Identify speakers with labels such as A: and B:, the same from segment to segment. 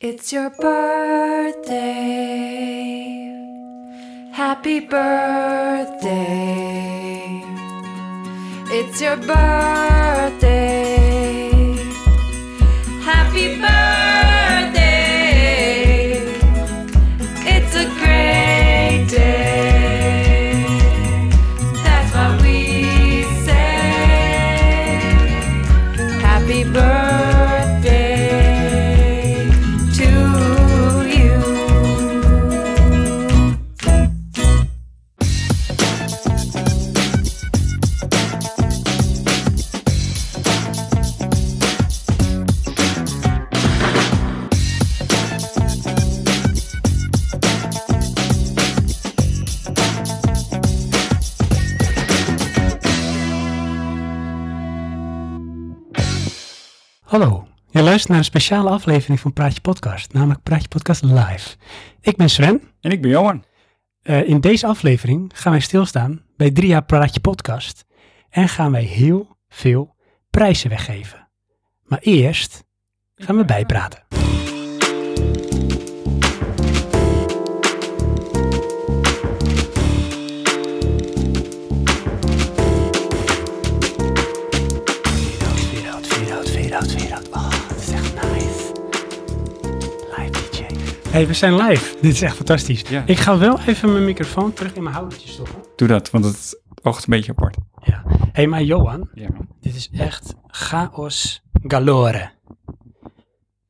A: It's your birthday. Happy birthday. It's your birthday. Happy birthday. It's a great day. That's what we say. Happy birthday to you.
B: Hallo, je luistert naar een speciale aflevering van Praatje Podcast, namelijk Praatje Podcast Live. Ik ben Sven.
C: En ik ben Johan.
B: Eh, in deze aflevering gaan wij stilstaan bij drie jaar Praatje Podcast en gaan wij heel veel prijzen weggeven. Maar eerst gaan we bijpraten. Fade-out, fade-out, fade-out, fade-out, fade-out. Oh, dit is echt nice. Live DJ. hey, we zijn live. Dit is echt fantastisch.
C: Ja.
B: Ik ga wel even mijn microfoon terug in mijn houdertje stoppen.
C: Doe dat, want het oogt een beetje apart.
B: Ja. hey, maar Johan,
C: Ja, man.
B: dit is echt chaos galore.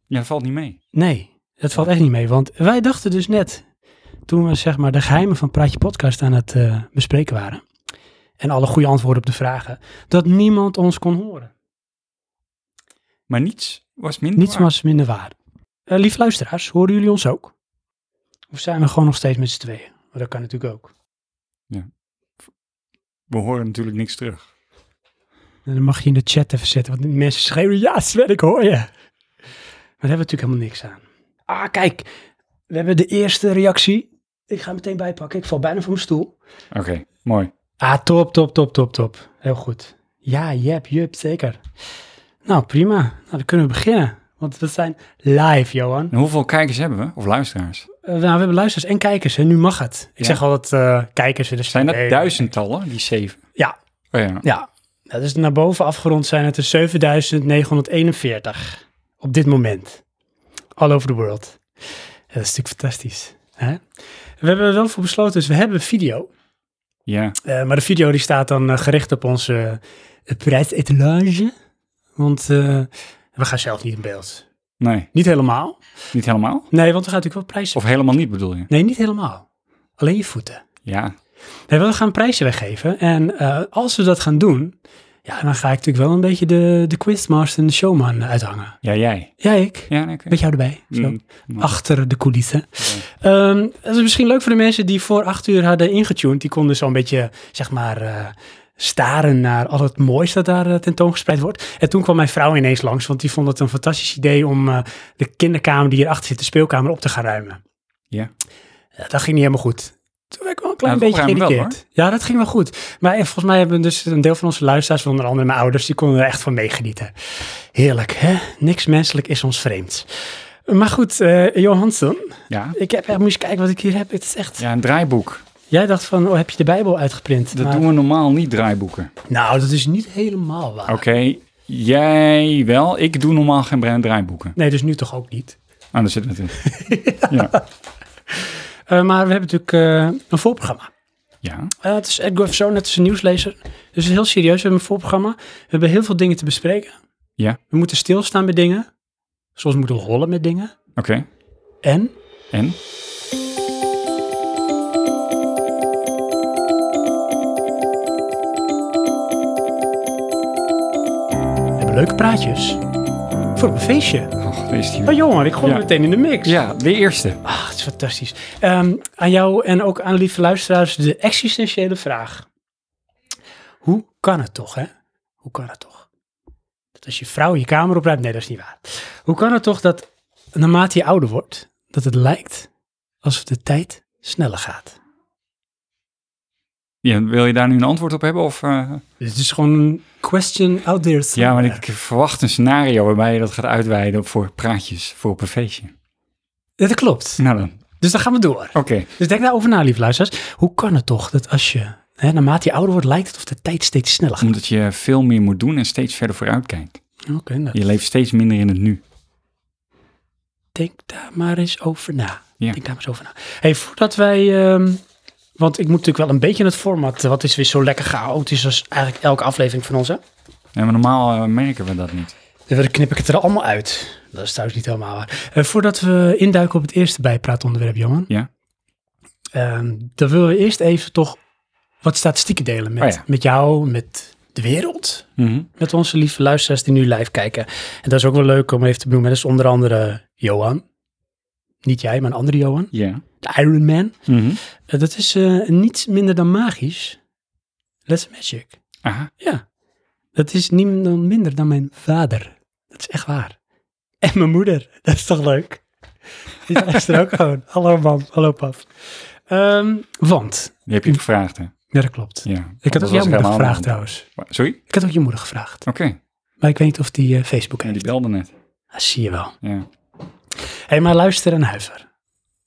C: Ja, dat valt niet mee.
B: Nee, dat valt echt niet mee. Want wij dachten dus net, toen we zeg maar de geheimen van Praatje Podcast aan het eh, bespreken waren. En alle goede antwoorden op de vragen. Dat niemand ons kon horen.
C: Maar niets was minder
B: Niets
C: waar.
B: was minder waar. Eh lief luisteraars, horen jullie ons ook? Of zijn we gewoon nog steeds met z'n tweeën? Maar dat kan natuurlijk ook.
C: We horen natuurlijk niks terug.
B: En dan mag je in de chat even zetten, want die mensen schreeuwen, ja Sven, ik hoor je. Maar daar hebben we natuurlijk helemaal niks aan. Ah, kijk, we hebben de eerste reactie. Ik ga hem meteen bijpakken, ik val bijna van mijn stoel.
C: Oké, mooi.
B: Ah, top, top, top, top, top. Heel goed. Ja, jep, jup, zeker. Nou, prima. Nou, dan kunnen we beginnen. Want we zijn live, Johan.
C: En hoeveel kijkers hebben we? Of luisteraars?
B: Eh, nou, we hebben luisteraars en kijkers en nu mag het. Ik
C: Ja.
B: zeg altijd eh, kijkers. Dus
C: Zijn dat
B: nee.
C: duizendtallen, die zeven?
B: Ja,
C: Oh ja.
B: ja. Dat is naar boven afgerond zijn het er 7941 op dit moment. All over the world. Ja, dat is natuurlijk fantastisch. Hè? We hebben er wel voor besloten, dus we hebben video.
C: Ja,
B: Eh, maar de video die staat dan eh, gericht op onze uh, prijsetalage. Want eh, we gaan zelf niet in beeld.
C: nee.
B: Niet helemaal.
C: Niet helemaal?
B: Nee, want we gaan natuurlijk wel prijzen.
C: Of helemaal niet bedoel je?
B: Nee, niet helemaal. Alleen je voeten.
C: Ja.
B: Nee, we gaan prijzen weggeven. En eh, als we dat gaan doen, ja, dan ga ik natuurlijk wel een beetje de, de quizmaster en de showman uithangen.
C: Ja, jij.
B: Ja, ik.
C: Ja, nee, oké.
B: Met jou erbij. Zo.
C: Mm, mooi.
B: Achter de coulissen. Ehm, dat is misschien leuk voor de mensen die voor acht uur hadden ingetuned. Die konden zo'n beetje, zeg maar, eh, staren naar al het moois dat daar eh, tentoongespreid wordt. En toen kwam mijn vrouw ineens langs, want die vond het een fantastisch idee om eh, de kinderkamer die hierachter zit, de speelkamer, op te gaan ruimen.
C: Ja.
B: Ja, dat ging niet helemaal goed. Toen werd ik wel een klein
C: Nou, het
B: beetje
C: opruimen wel,
B: geïrriteerd. ja, dat ging wel goed. Maar eh, volgens mij hebben dus een deel van onze luisteraars, onder andere mijn ouders, die konden er echt van meegenieten. Heerlijk, hè? Niks menselijk is ons vreemd. Maar goed, eh Johansson,
C: Ja.
B: ik heb echt, moest je kijken wat ik hier heb. Het is echt.
C: ja, een draaiboek.
B: Jij dacht van, oh, heb je de Bijbel uitgeprint?
C: Dat
B: Maar-
C: doen we normaal niet, draaiboeken.
B: Nou, dat is niet helemaal waar.
C: Oké, jij wel. Ik doe normaal geen bra- draaiboeken.
B: Nee, dus nu toch ook niet.
C: Ah, daar zit het in. ja.
B: Eh, maar we hebben natuurlijk eh, een voorprogramma.
C: ja.
B: Eh, het is Edgar zo net is een nieuwslezer. Dus het is heel serieus. We hebben een voorprogramma. We hebben heel veel dingen te bespreken.
C: Ja.
B: We moeten stilstaan bij dingen. Soms moeten we rollen met dingen.
C: Oké.
B: En
C: En?
B: we hebben leuke praatjes. Voor op een feestje.
C: Oh, is die
B: Maar jongen, ik gooi
C: Ja.
B: me meteen in de mix.
C: Ja, de eerste.
B: Ah, het is fantastisch. Ehm, aan jou en ook aan lieve luisteraars de existentiële vraag. Hoe kan het toch, hè? Hoe kan het toch? Dat als je vrouw je kamer opruimt, nee, dat is niet waar. Hoe kan het toch dat naarmate je ouder wordt, dat het lijkt alsof de tijd sneller gaat?
C: Ja, wil je daar nu een antwoord op hebben? Of, eh?
B: Dit is gewoon een question out there.
C: Ja, maar
B: somewhere.
C: ik verwacht een scenario waarbij je dat gaat uitweiden voor praatjes, voor op een feestje.
B: Dat klopt.
C: Nou dan, oké.
B: Dus dan gaan we door. Dus denk daarover na, lieve luisteraars. Hoe kan het toch dat als je, hè, naarmate je ouder wordt, lijkt het of de tijd steeds sneller gaat?
C: Omdat je veel meer moet doen en steeds verder vooruit kijkt.
B: Oké, nou,
C: Je leeft steeds minder in het nu.
B: denk daar maar eens over na.
C: Ja.
B: Denk daar maar eens over na. hey, voordat wij... ehm, want ik moet natuurlijk wel een beetje het format, eh, wat is weer zo lekker chaotisch als eigenlijk elke aflevering van ons, hè?
C: En we normaal eh, merken we dat niet.
B: Dan knip ik het er allemaal uit. Dat is trouwens niet helemaal waar. Eh, voordat we induiken op het eerste bijpraatonderwerp, jongen.
C: Ja.
B: ehm, dan willen we eerst even toch wat statistieken delen met,
C: Oh ja.
B: met jou, met de wereld.
C: Mhm.
B: Met onze lieve luisteraars die nu live kijken. En dat is ook wel leuk om even te benoemen. Dat is onder andere Johan. Niet jij, maar een andere Johan.
C: Ja.
B: De Iron Man.
C: Mhm.
B: Eh, dat is eh, niets minder dan magisch. Let's Magic.
C: Aha.
B: Ja, dat is niemand minder dan mijn vader. Dat is echt waar. En mijn moeder, dat is toch leuk? Die luistert ook gewoon. Hallo man, hallo pap. Ehm, want,
C: Die heb je gevraagd, hè?
B: ja dat klopt.
C: Ja.
B: Ik had ook
C: Anders was
B: jouw moeder
C: helemaal
B: gevraagd
C: niet.
B: trouwens.
C: Wa- Sorry?
B: Ik had ook je moeder gevraagd.
C: Oké.
B: Maar ik weet niet of die eh, Facebook
C: Ja, die
B: heeft.
C: belde net.
B: Dat zie je wel.
C: Ja.
B: Hé, hey, maar luister en huiver.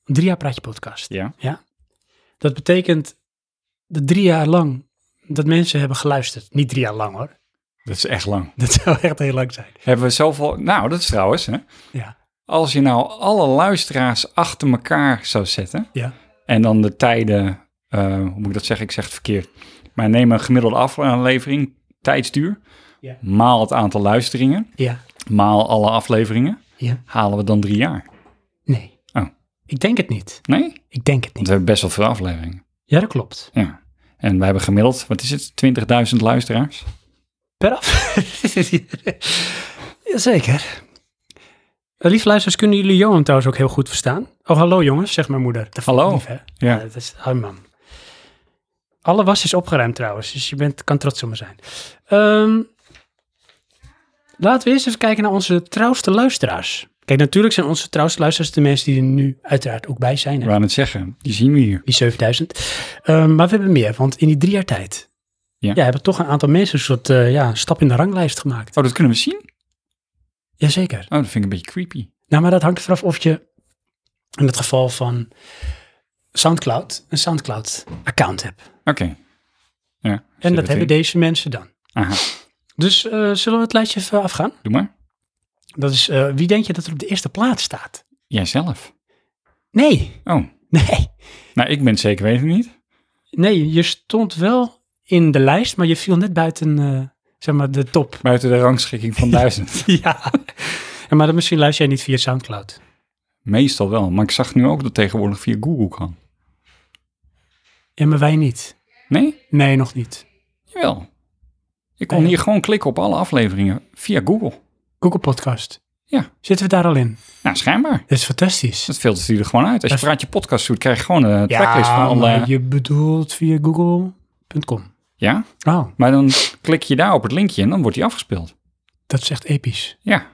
B: Drie jaar praatje podcast.
C: Ja.
B: Dat betekent dat drie jaar lang dat mensen hebben geluisterd. Niet drie jaar lang hoor.
C: Dat is echt lang.
B: Dat zou echt heel lang zijn.
C: Hebben we zoveel... Nou, dat is trouwens, hè?
B: Ja.
C: Als je nou alle luisteraars achter elkaar zou zetten...
B: Ja.
C: En dan de tijden, eh, hoe moet ik dat zeggen? Ik zeg het verkeerd. Maar neem een gemiddelde aflevering, tijdsduur,
B: Ja.
C: maal het aantal luisteringen,
B: Ja.
C: maal alle afleveringen,
B: Ja.
C: halen we dan drie jaar.
B: Nee.
C: Oh.
B: Ik denk het niet.
C: Nee? Want
B: Ik denk het
C: we
B: niet.
C: hebben best wel veel afleveringen.
B: Ja, dat klopt.
C: Ja. En we hebben gemiddeld, wat is het, 20.000 luisteraars?
B: Per af. Jazeker. Eh, Lieve luisteraars, kunnen jullie Johan trouwens ook heel goed verstaan? Oh, hallo jongens, zegt mijn moeder. Dat vind ik
C: Hallo.
B: lief, hè?
C: Ja.
B: dat is haar man. Alle was is opgeruimd trouwens, dus je bent, kan trots op me zijn. Ehm, laten we eerst even kijken naar onze trouwste luisteraars. Kijk, natuurlijk zijn onze trouwste luisteraars de mensen die er nu uiteraard ook bij zijn. hè?
C: We gaan het zeggen, die zien we hier.
B: die 7000. Ehm, maar we hebben meer, want in die drie jaar tijd
C: Ja.
B: ja. hebben toch een aantal mensen een soort eh, ja, stap in de ranglijst gemaakt.
C: Oh, dat kunnen we zien? Oh,
B: Jazeker.
C: dat vind ik een beetje creepy.
B: Nou, maar dat hangt eraf of je in het geval van Soundcloud een Soundcloud-account hebt.
C: Oké. Ja,
B: En
C: zit
B: dat
C: het
B: hebben
C: in.
B: deze mensen dan.
C: Aha,
B: Dus eh, zullen we het lijstje even afgaan?
C: doe maar.
B: Dat is, eh, wie denk je dat er op de eerste plaats staat?
C: Jijzelf.
B: Nee,
C: Oh,
B: nee,
C: nou ik ben het zeker weten niet.
B: nee. Je stond wel in de lijst, maar je viel net buiten eh, zeg maar de top.
C: Buiten de rangschikking van duizend.
B: Ja, en maar dan misschien luister jij niet via Soundcloud.
C: Meestal wel, maar ik zag nu ook dat tegenwoordig via Google kan.
B: Ja, maar wij niet.
C: Nee?
B: Nee, nog niet.
C: Jawel. Ik kon
B: Nee.
C: hier gewoon klikken op alle afleveringen via Google.
B: Google Podcast.
C: Ja.
B: Zitten we daar al in?
C: Nou, schijnbaar.
B: Dat is fantastisch.
C: Dat filtert hij er gewoon uit. Als je
B: Dat-
C: praat je podcast zoekt, krijg je gewoon een tracklist van eh, alle...
B: maar eh, je bedoelt via google.com.
C: Ja,
B: Oh,
C: maar dan klik je daar op het linkje en dan wordt die afgespeeld.
B: dat is echt episch.
C: Ja.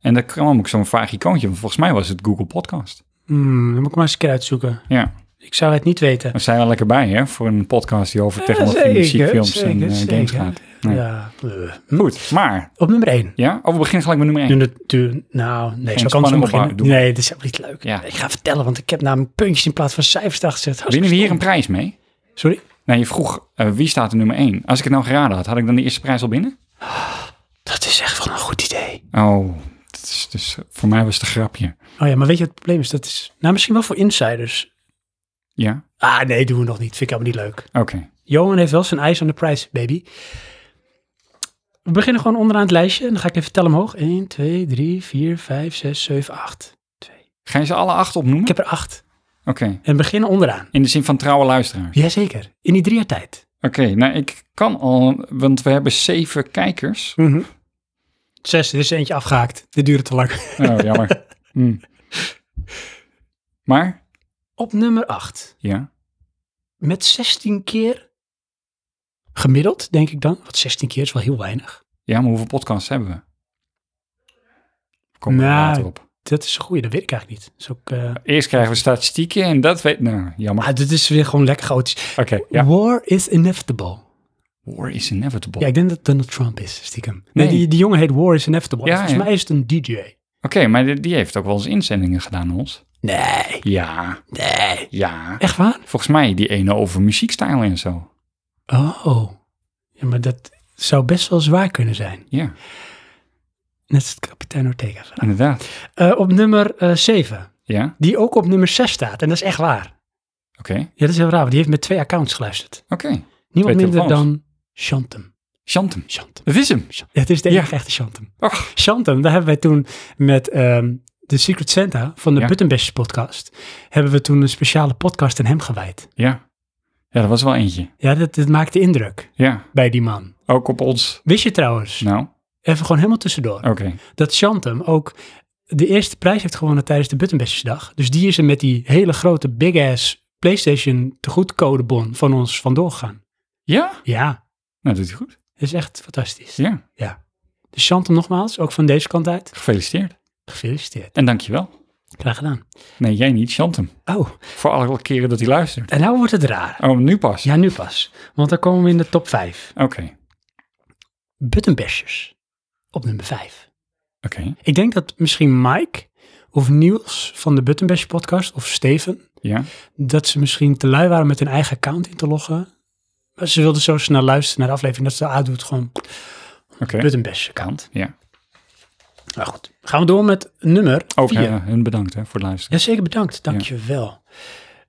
C: En dan kwam ook zo'n vaag icoontje, want volgens mij was het Google Podcast.
B: Hmm, dan moet ik maar eens een keer uitzoeken.
C: Ja,
B: Ik zou het niet weten.
C: daar zijn we lekker bij hè, voor een podcast die over
B: Ja,
C: technologie,
B: zeker,
C: muziek, films en
B: zeker,
C: eh, games
B: zeker.
C: gaat. Nee.
B: Ja. eh.
C: Goed, maar...
B: Op nummer 1.
C: Ja, oh, we beginnen gelijk met nummer 1.
B: nou, nee, zo
C: spanning
B: kan het niet
C: opbouwen,
B: beginnen.
C: doe
B: Nee, dat is helemaal niet leuk.
C: Ja.
B: Ik ga vertellen, want ik heb namelijk puntjes in plaats van cijfers daar gezet. Dat is
C: Winnen we hier een
B: stom.
C: prijs mee?
B: Sorry?
C: Nou, je vroeg eh, wie staat er nummer 1. Als ik het nou geraden had, had ik dan de eerste prijs al binnen?
B: Dat is echt wel een goed idee.
C: Oh, dat is dus, voor mij was het een grapje.
B: Oh ja, maar weet je wat het probleem is? Dat is nou, misschien wel voor insiders.
C: Ja?
B: Ah, nee, doen we nog niet. Vind ik helemaal niet leuk.
C: Oké.
B: Johan heeft wel zijn eyes on the prize, baby. We beginnen gewoon onderaan het lijstje. En dan ga ik even tellen omhoog. 1, 2, 3, 4, 5, 6, 7, 8.
C: Ga je ze alle acht opnoemen?
B: Ik heb er 8.
C: Oké.
B: En we beginnen onderaan.
C: In de zin van trouwe luisteraars.
B: Jazeker. In die drie jaar tijd.
C: Oké, nou ik kan al, want we hebben zeven kijkers.
B: Zes, er is eentje afgehaakt. Dit duurde te lang.
C: Oh, jammer. Hm. Maar,
B: Op nummer 8.
C: ja.
B: Met 16 keer gemiddeld, denk ik dan. Want 16 keer is wel heel weinig.
C: Ja, maar hoeveel podcasts hebben we? Kom er
B: Nou.
C: later op.
B: Dat is een goede, dat weet ik eigenlijk niet. Dat is ook, eh,
C: Eerst krijgen we statistieken en dat weet... Nou, jammer.
B: Maar dit is weer gewoon lekker chaotisch.
C: Oké, ja.
B: War is inevitable.
C: War is inevitable.
B: Ja, ik denk dat het Donald Trump is, stiekem. Nee,
C: Nee.
B: Die, die jongen heet War is Inevitable.
C: Ja,
B: Volgens
C: ja.
B: mij is het een DJ.
C: maar die, die heeft ook wel eens inzendingen gedaan, ons.
B: Nee,
C: Ja,
B: nee.
C: ja.
B: Echt waar?
C: Volgens mij die ene over muziekstijl en zo.
B: Oh. Ja, maar dat zou best wel zwaar kunnen zijn.
C: Ja,
B: Net als het kapitein Ortega. verhaal.
C: inderdaad.
B: Eh, op nummer 7,
C: Ja,
B: die ook op nummer 6 staat. En dat is echt waar.
C: oké.
B: Ja, dat is heel raar, want die heeft met twee accounts geluisterd.
C: Oké.
B: Niemand
C: Twee
B: minder
C: telefoons.
B: dan Chantem.
C: Chantem.
B: Chantem.
C: Dat is hem.
B: Ja, het is de enige
C: Ja.
B: echte Chantem.
C: Och,
B: Chantem, daar hebben wij toen met ehm, de Secret Santa van de
C: Ja.
B: Buttonbashers podcast, hebben we toen een speciale podcast aan hem gewijd.
C: ja. Ja, dat was wel eentje.
B: Ja, dat, dat maakte indruk
C: Ja,
B: bij die man.
C: ook op ons.
B: Wist je trouwens,
C: Nou,
B: even gewoon helemaal tussendoor,
C: oké.
B: dat Chantem ook de eerste prijs heeft gewonnen tijdens de Buttonbashersdag. Dus die is er met die hele grote big ass PlayStation tegoedcodebon van ons vandoor gegaan.
C: Ja?
B: Ja,
C: Nou, doet hij goed.
B: dat is echt fantastisch.
C: Ja,
B: Dus Chantem nogmaals, ook van deze kant uit,
C: gefeliciteerd.
B: gefeliciteerd.
C: En dankjewel.
B: Graag gedaan.
C: Nee, jij niet, Chantem.
B: Oh,
C: Voor alle keren dat hij luistert.
B: en nou wordt het raar.
C: Oh, nu pas.
B: Ja, nu pas. Want dan komen we in de top 5.
C: Oké,
B: Buttonbashers op nummer 5.
C: oké.
B: Ik denk dat misschien Mike of Niels van de Buttonbash podcast of Steven,
C: Ja,
B: dat ze misschien te lui waren met hun eigen account in te loggen. Maar ze wilden zo snel luisteren naar de aflevering dat ze de doet gewoon
C: oké.
B: Buttonbash account.
C: Ja.
B: Nou goed, gaan we door met nummer
C: Ook
B: 4.
C: eh, hun bedankt hè, voor het luisteren.
B: Jazeker, bedankt. Dank je wel.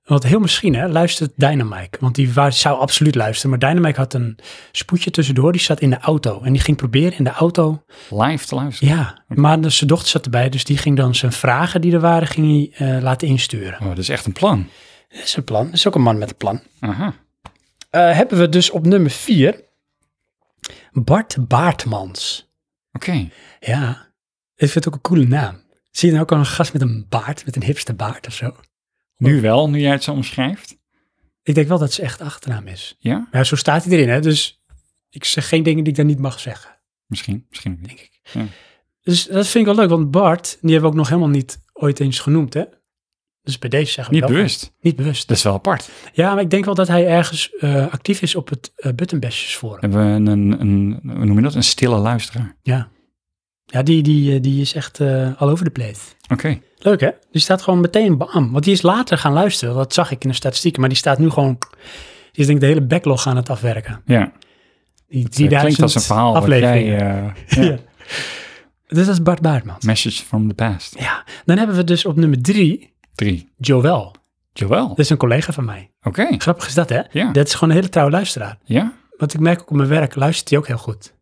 B: Want heel misschien hè, luistert Dynamite. Want die wa- zou absoluut luisteren. Maar Dynamite had een spoedje tussendoor. Die zat in de auto. En die ging proberen in de auto.
C: Live te luisteren.
B: Ja, maar dus zijn dochter zat erbij. Dus die ging dan zijn vragen die er waren, ging hij eh, laten insturen.
C: Oh, dat is echt een plan.
B: Dat is een plan. Dat is ook een man met een plan.
C: Aha.
B: Eh, hebben we dus op nummer 4 Bart Baartmans.
C: Oké.
B: Ja, ik vind het ook een coole naam. Zie je nou ook al een gast met een baard, met een hipste baard of zo?
C: Nu wel, nu jij het zo omschrijft.
B: Ik denk wel dat ze echt achternaam is.
C: Ja,
B: Maar ja, zo staat hij erin, hè? dus ik zeg geen dingen die ik dan niet mag zeggen,
C: misschien. Misschien ook niet.
B: denk ik.
C: Ja.
B: Dus dat vind ik wel leuk, want Bart, die hebben we ook nog helemaal niet ooit eens genoemd, hè? Dus bij deze zeggen we
C: Niet
B: wel-
C: bewust.
B: Niet bewust.
C: Dat is wel apart.
B: Ja, maar ik denk wel dat hij ergens eh, actief is op het eh Buttonbashers forum.
C: Hebben we een, een, een, hoe noem je dat? Een stille luisteraar.
B: Ja, ja die, die, eh, die is echt eh all over the place.
C: Oké.
B: Leuk hè? Die staat gewoon meteen bam. Want die is later gaan luisteren, dat zag ik in de statistieken. Maar die staat nu gewoon, die is denk ik de hele backlog aan het afwerken.
C: Ja.
B: Die
C: Het klinkt
B: 3000
C: als een verhaal wat jij...
B: afleveringen.
C: eh, ja.
B: Ja. Dus dat is Bart Baartman.
C: Message from the past.
B: Ja, dan hebben we dus op nummer drie
C: Drie.
B: Joël.
C: Jawel.
B: Dat is een collega van mij.
C: Oké.
B: Grappig is dat hè?
C: Ja.
B: Dat is gewoon een hele trouwe luisteraar.
C: Ja.
B: Want ik merk ook op mijn werk, luistert hij ook heel goed.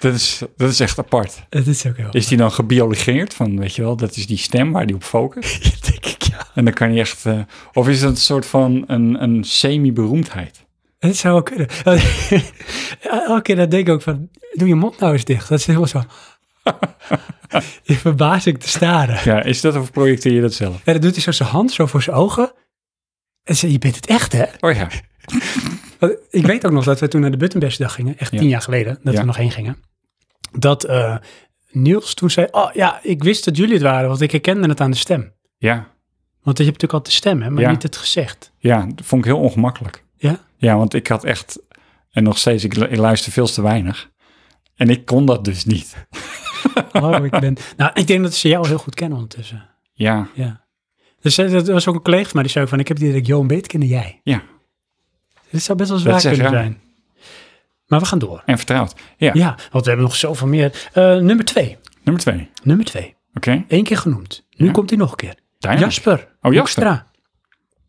C: Dat is, dat is echt apart.
B: Dat is ook heel
C: Is die dan gebiologeerd? Van, weet je wel, dat is die stem waar die op focust.
B: goed, denk ik, ja.
C: En dan kan hij echt... eh, of is dat een soort van een, een semi-beroemdheid?
B: Dat zou wel kunnen. Elke keer dan denk ik ook van, doe je mond nou eens dicht. Dat is helemaal zo. Je verbaas ik te staren.
C: Ja, is dat of projecteer je dat zelf?
B: En dan doet hij zo zijn hand zo voor zijn ogen. En zei, je bent het echt, hè?
C: Oh ja.
B: Want Ik weet ook nog dat we toen naar de Buttonbashdag gingen. Echt
C: Ja.
B: tien jaar geleden, dat
C: Ja.
B: we er nog heen gingen. Dat eh, Niels toen zei, oh ja, ik wist dat jullie het waren, want ik herkende het aan de stem.
C: Ja,
B: Want je hebt natuurlijk altijd de stem, hè, maar
C: Ja.
B: niet het gezegd.
C: Ja, dat vond ik heel ongemakkelijk.
B: Ja?
C: Ja, want ik had echt, en nog steeds, ik, lu- ik luister veel te weinig. En ik kon dat dus niet.
B: Oh, ik ben... Nou, ik denk dat ze jou heel goed kennen ondertussen.
C: Ja,
B: Ja. Dus eh, dat was ook een collega van mij die zei ook van, ik heb die direct Johan beter kennen dan jij.
C: ja,
B: Dit zou best wel
C: Dat
B: zwaar
C: is echt
B: kunnen
C: raar.
B: zijn. Maar we gaan door.
C: en vertrouwd. Ja,
B: Ja, want we hebben nog zoveel meer. Eh, nummer twee.
C: nummer twee.
B: Nummer twee.
C: Oké,
B: Eén keer genoemd. Nu komt hij nog een keer.
C: Dynamite.
B: Jasper.
C: Oh, Jasper.
B: Hoekstra.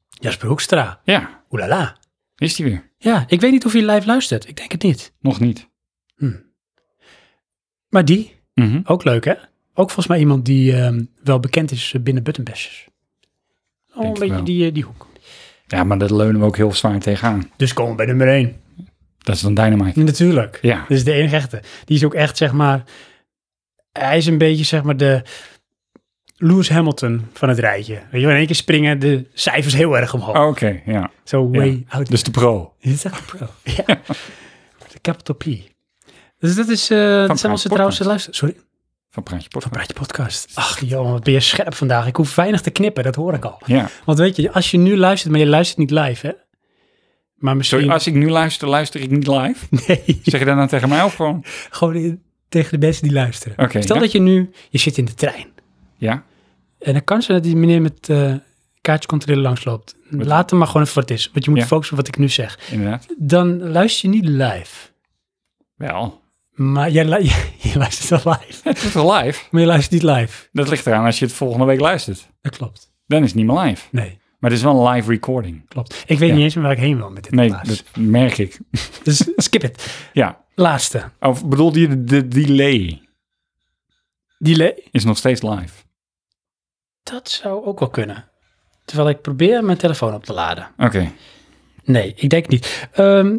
B: Jasper Hoekstra.
C: Ja,
B: Oelala.
C: is die weer?
B: Ja, ik weet niet of hij live luistert. Ik denk het niet.
C: Nog niet.
B: Maar die,
C: Mhm.
B: ook leuk hè? Ook volgens mij iemand die ehm, wel bekend is eh, binnen Buttonbashers. Oh,
C: Denk
B: een
C: ik
B: beetje
C: wel.
B: die, eh, die hoek.
C: Ja, maar dat leunen we ook heel zwaar tegenaan.
B: Dus komen we bij nummer één.
C: Dat is dan Dynamite.
B: Natuurlijk.
C: Ja,
B: Dit is de enige echte. Die is ook echt, zeg maar... Hij is een beetje, zeg maar, de Lewis Hamilton van het rijtje. Weet je, wel, in één keer springen de cijfers heel erg omhoog.
C: oké, Oh, ja.
B: Zo way out.
C: Dus de pro.
B: Dit is echt een pro. ja. De capital P. Dus dat is... eh dat zijn onze
C: Praatje
B: trouwens
C: Podcast.
B: luister... Sorry,
C: Van Praatje
B: van
C: Podcast.
B: Praatje Podcast. Ach, joh, wat ben je scherp vandaag. Ik hoef weinig te knippen, dat hoor ik al.
C: Ja,
B: Want weet je, als je nu luistert, maar je luistert niet live, hè? Maar misschien...
C: sorry, als ik nu luister, luister ik niet live.
B: Nee,
C: Zeg je dat nou tegen mij of gewoon?
B: gewoon in tegen de mensen die luisteren.
C: Oké,
B: Stel
C: ja.
B: dat je nu, je zit in de trein.
C: Ja?
B: En dan kan ze dat die meneer met eh kaartje controle langsloopt.
C: Wat-
B: Laat hem maar gewoon even wat het is. Want je moet
C: Ja.
B: focussen op wat ik nu zeg.
C: Inderdaad.
B: Dan luister je niet live.
C: Wel.
B: Maar jij lu- je luistert wel live.
C: Het is toch live?
B: Maar je luistert niet live.
C: Dat ligt eraan als je het volgende week luistert.
B: Dat klopt.
C: Dan is het niet meer live.
B: Nee,
C: Maar het is wel een live recording.
B: klopt. Ik weet
C: Ja.
B: niet eens meer waar ik heen wil met dit.
C: Nee,
B: helaas.
C: dat merk ik.
B: Dus skip het.
C: Ja.
B: Laatste.
C: Of bedoelde je de, de delay
B: Delay.
C: is nog steeds live?
B: Dat zou ook wel kunnen. Terwijl ik probeer mijn telefoon op te laden.
C: Oké.
B: Nee, ik denk niet. Ehm,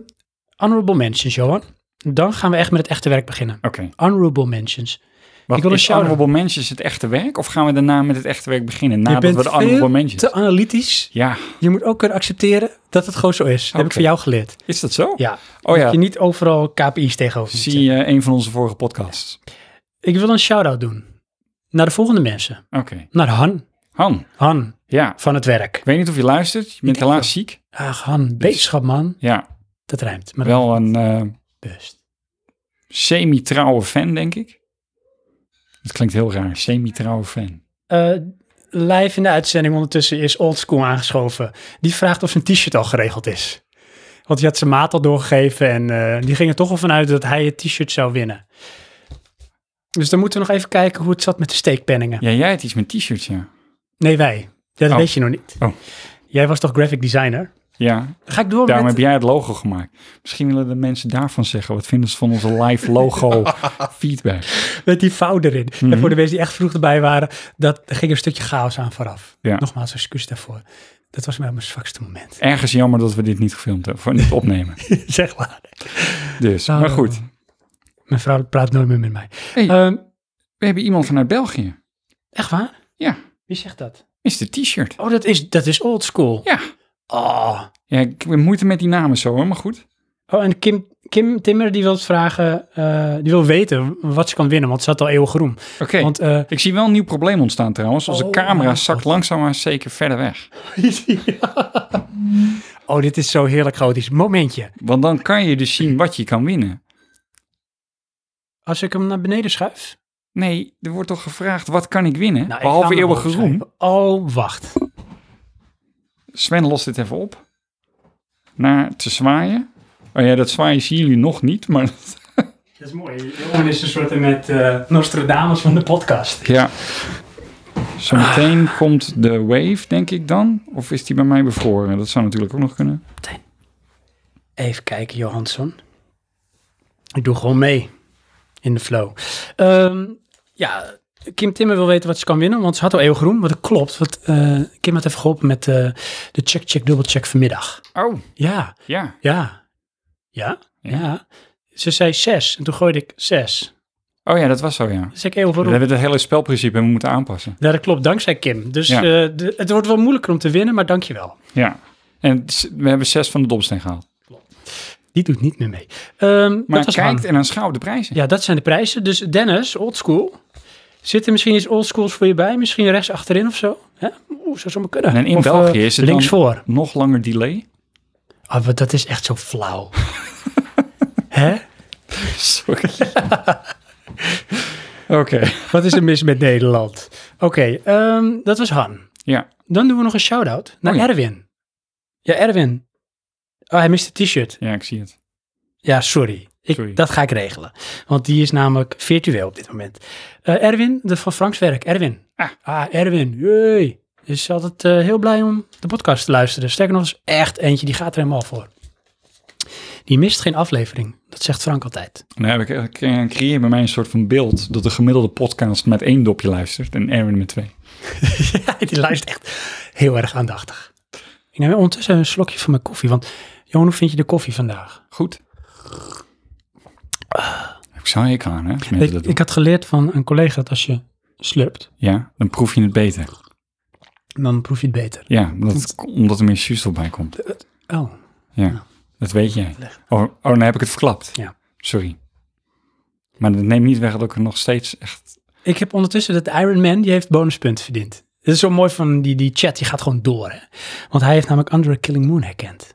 B: honorable mentions, Johan. Dan gaan we echt met het echte werk beginnen.
C: Oké.
B: Honorable mentions.
C: Wat,
B: Ik wil een
C: is
B: shout-out.
C: honorable mentions het echte werk? Of gaan we daarna met het echte werk beginnen? Nadat
B: je
C: we
B: bent
C: de honorable
B: veel
C: mentions...
B: te analytisch.
C: Ja,
B: Je moet ook kunnen accepteren dat het gewoon zo is. Dat heb ik
C: Oké.
B: van jou geleerd.
C: is dat zo?
B: Ja.
C: Oh
B: Dat
C: ja,
B: je niet overal KPI's tegenover moet
C: zie je eh, een van onze vorige podcasts.
B: zetten. Ik wil een shout-out doen. Naar de volgende mensen.
C: Oké.
B: Naar Han.
C: Han,
B: Han
C: ja.
B: van het werk.
C: Ik weet niet of je luistert. Je bent
B: denk
C: helaas ziek.
B: Ach, Han. Beterschap, man.
C: Ja,
B: Dat rijmt. Maar
C: wel een eh,
B: best.
C: semi-trouwe fan, denk ik. Dat klinkt heel raar. Semi-trouwe fan.
B: Eh, live in de uitzending ondertussen is Oldschool aangeschoven. Die vraagt of zijn t-shirt al geregeld is. Want die had zijn maat al doorgegeven en eh, die ging er toch al vanuit dat hij het t-shirt zou winnen. Dus dan moeten we nog even kijken hoe het zat met de steekpenningen.
C: Ja, jij had iets met t-shirts, ja.
B: Nee, wij. Ja, dat
C: Oh.
B: weet je nog niet.
C: Oh.
B: Jij was toch graphic designer?
C: Ja,
B: Dan ga ik door
C: daarom
B: met...
C: heb jij het logo gemaakt. Misschien willen de mensen daarvan zeggen. Wat vinden ze van onze live logo feedback?
B: met die fout erin.
C: Mhm.
B: En voor de mensen die echt vroeg erbij waren, dat, er ging een stukje chaos aan vooraf.
C: Ja.
B: Nogmaals, excuus daarvoor. Dat was mij mijn zwakste moment.
C: Ergens jammer dat we dit niet gefilmd hebben, voor niet opnemen.
B: zeg maar.
C: Dus, maar
B: Oh.
C: goed.
B: Mijn vrouw praat nooit meer met mij.
C: Hey.
B: Ehm,
C: We hebben iemand vanuit België.
B: echt waar?
C: Ja,
B: Wie zegt dat?
C: is de t-shirt.
B: Oh, dat is, dat is old school.
C: Ja.
B: Oh.
C: ja, ik heb moeite met die namen zo, hoor, maar goed.
B: oh, en Kim, Kim Timmer die wil vragen, eh, die wil weten wat ze kan winnen, want ze had al eeuwig groen.
C: Oké,
B: Want eh,
C: ik zie wel een nieuw probleem ontstaan trouwens. Onze
B: Oh,
C: camera
B: mijn
C: zakt
B: God.
C: langzaam maar zeker verder weg.
B: oh, dit is zo heerlijk chaotisch. Momentje.
C: Want dan kan je dus zien wat je kan winnen.
B: Als ik hem naar beneden schuif.
C: Nee, er wordt toch gevraagd, wat kan ik winnen?
B: Nou, ik ga
C: Behalve
B: hem
C: eeuwige
B: omhoog
C: roem.
B: schuiven. Oh, wacht.
C: Sven lost dit even op. Naar te zwaaien. Oh ja, dat zwaaien zien jullie nog niet, maar...
B: Dat is mooi. Johan is een soort met eh, Nostradamus van de podcast.
C: Ja. Zometeen komt de wave, denk ik dan. Of is die bij mij bevroren? Dat zou natuurlijk ook nog kunnen.
B: Even kijken, Johansson. Ik doe gewoon mee in de flow. Ehm, ja, Kim Timmer wil weten wat ze kan winnen, want ze had al eeuwig groen. Wat klopt, want eh, Kim had even geholpen met eh, de check-check, dubbelcheck vanmiddag.
C: Oh,
B: Ja,
C: ja.
B: ja, ja, ja. Ze zei zes en toen gooide ik zes.
C: Oh ja, dat was zo, ja.
B: Dus ik eeuwig
C: We
B: groen.
C: hebben het hele spelprincipe en we moeten aanpassen.
B: Ja, dat klopt, dankzij Kim. Dus
C: Ja.
B: eh, de- het wordt wel moeilijker om te winnen, maar dankjewel.
C: Ja. En het is- we hebben zes van de domsteen gehaald.
B: Die doet niet meer mee. Ehm,
C: Maar
B: dat was Han.
C: kijkt en aanschouwt de prijzen.
B: Ja, dat zijn de prijzen. Dus Dennis, oldschool. Zitten misschien iets oldschools voor je bij? Misschien rechts achterin of zo? Hè? Oeh, zou zomaar kunnen.
C: En in
B: Of, eh,
C: België is het
B: links
C: dan
B: voor.
C: nog langer delay.
B: Ah, wat dat is echt zo flauw. Hè?
C: Sorry. Oké.
B: Wat is er mis met Nederland? Oké, ehm, dat was Han.
C: Ja.
B: Dan doen we nog een shout-out naar
C: Oh ja.
B: Erwin. Ja, Erwin. Oh, hij mist het t-shirt.
C: ja, ik zie het.
B: Ja, sorry. Ik,
C: Sorry.
B: Dat ga ik regelen. Want die is namelijk virtueel op dit moment. Eh, Erwin, de van Franks werk. Erwin.
C: Ah.
B: Erwin. Hey. Is altijd eh, heel blij om de podcast te luisteren. Sterker nog, is echt eentje, die gaat er helemaal voor. Die mist geen aflevering. Dat zegt Frank altijd.
C: Nou, heb ik, ik eh, creëer bij mij een soort van beeld dat de gemiddelde podcast met één dopje luistert en Erwin met twee.
B: die luistert echt heel erg aandachtig. Ik neem ondertussen een slokje van mijn koffie. Want, Johan, hoe vind je de koffie vandaag?
C: Goed. Ik zou je aan, hè? als mensen dat
B: Ik,
C: doen.
B: ik had geleerd van een collega dat als je slurpt,
C: Ja, dan proef je het beter.
B: dan proef je het beter.
C: Ja, omdat, omdat er meer zuurstof bij komt.
B: Oh,
C: Ja, dat weet jij. Oh, oh, dan heb ik het verklapt.
B: Ja.
C: Sorry. Maar dat neemt niet weg dat ik er nog steeds echt...
B: Ik heb ondertussen dat Iron Man, die heeft bonuspunten verdiend. Dat is zo mooi van die, die chat, die gaat gewoon door. Hè? Want hij heeft namelijk Under a Killing Moon herkend.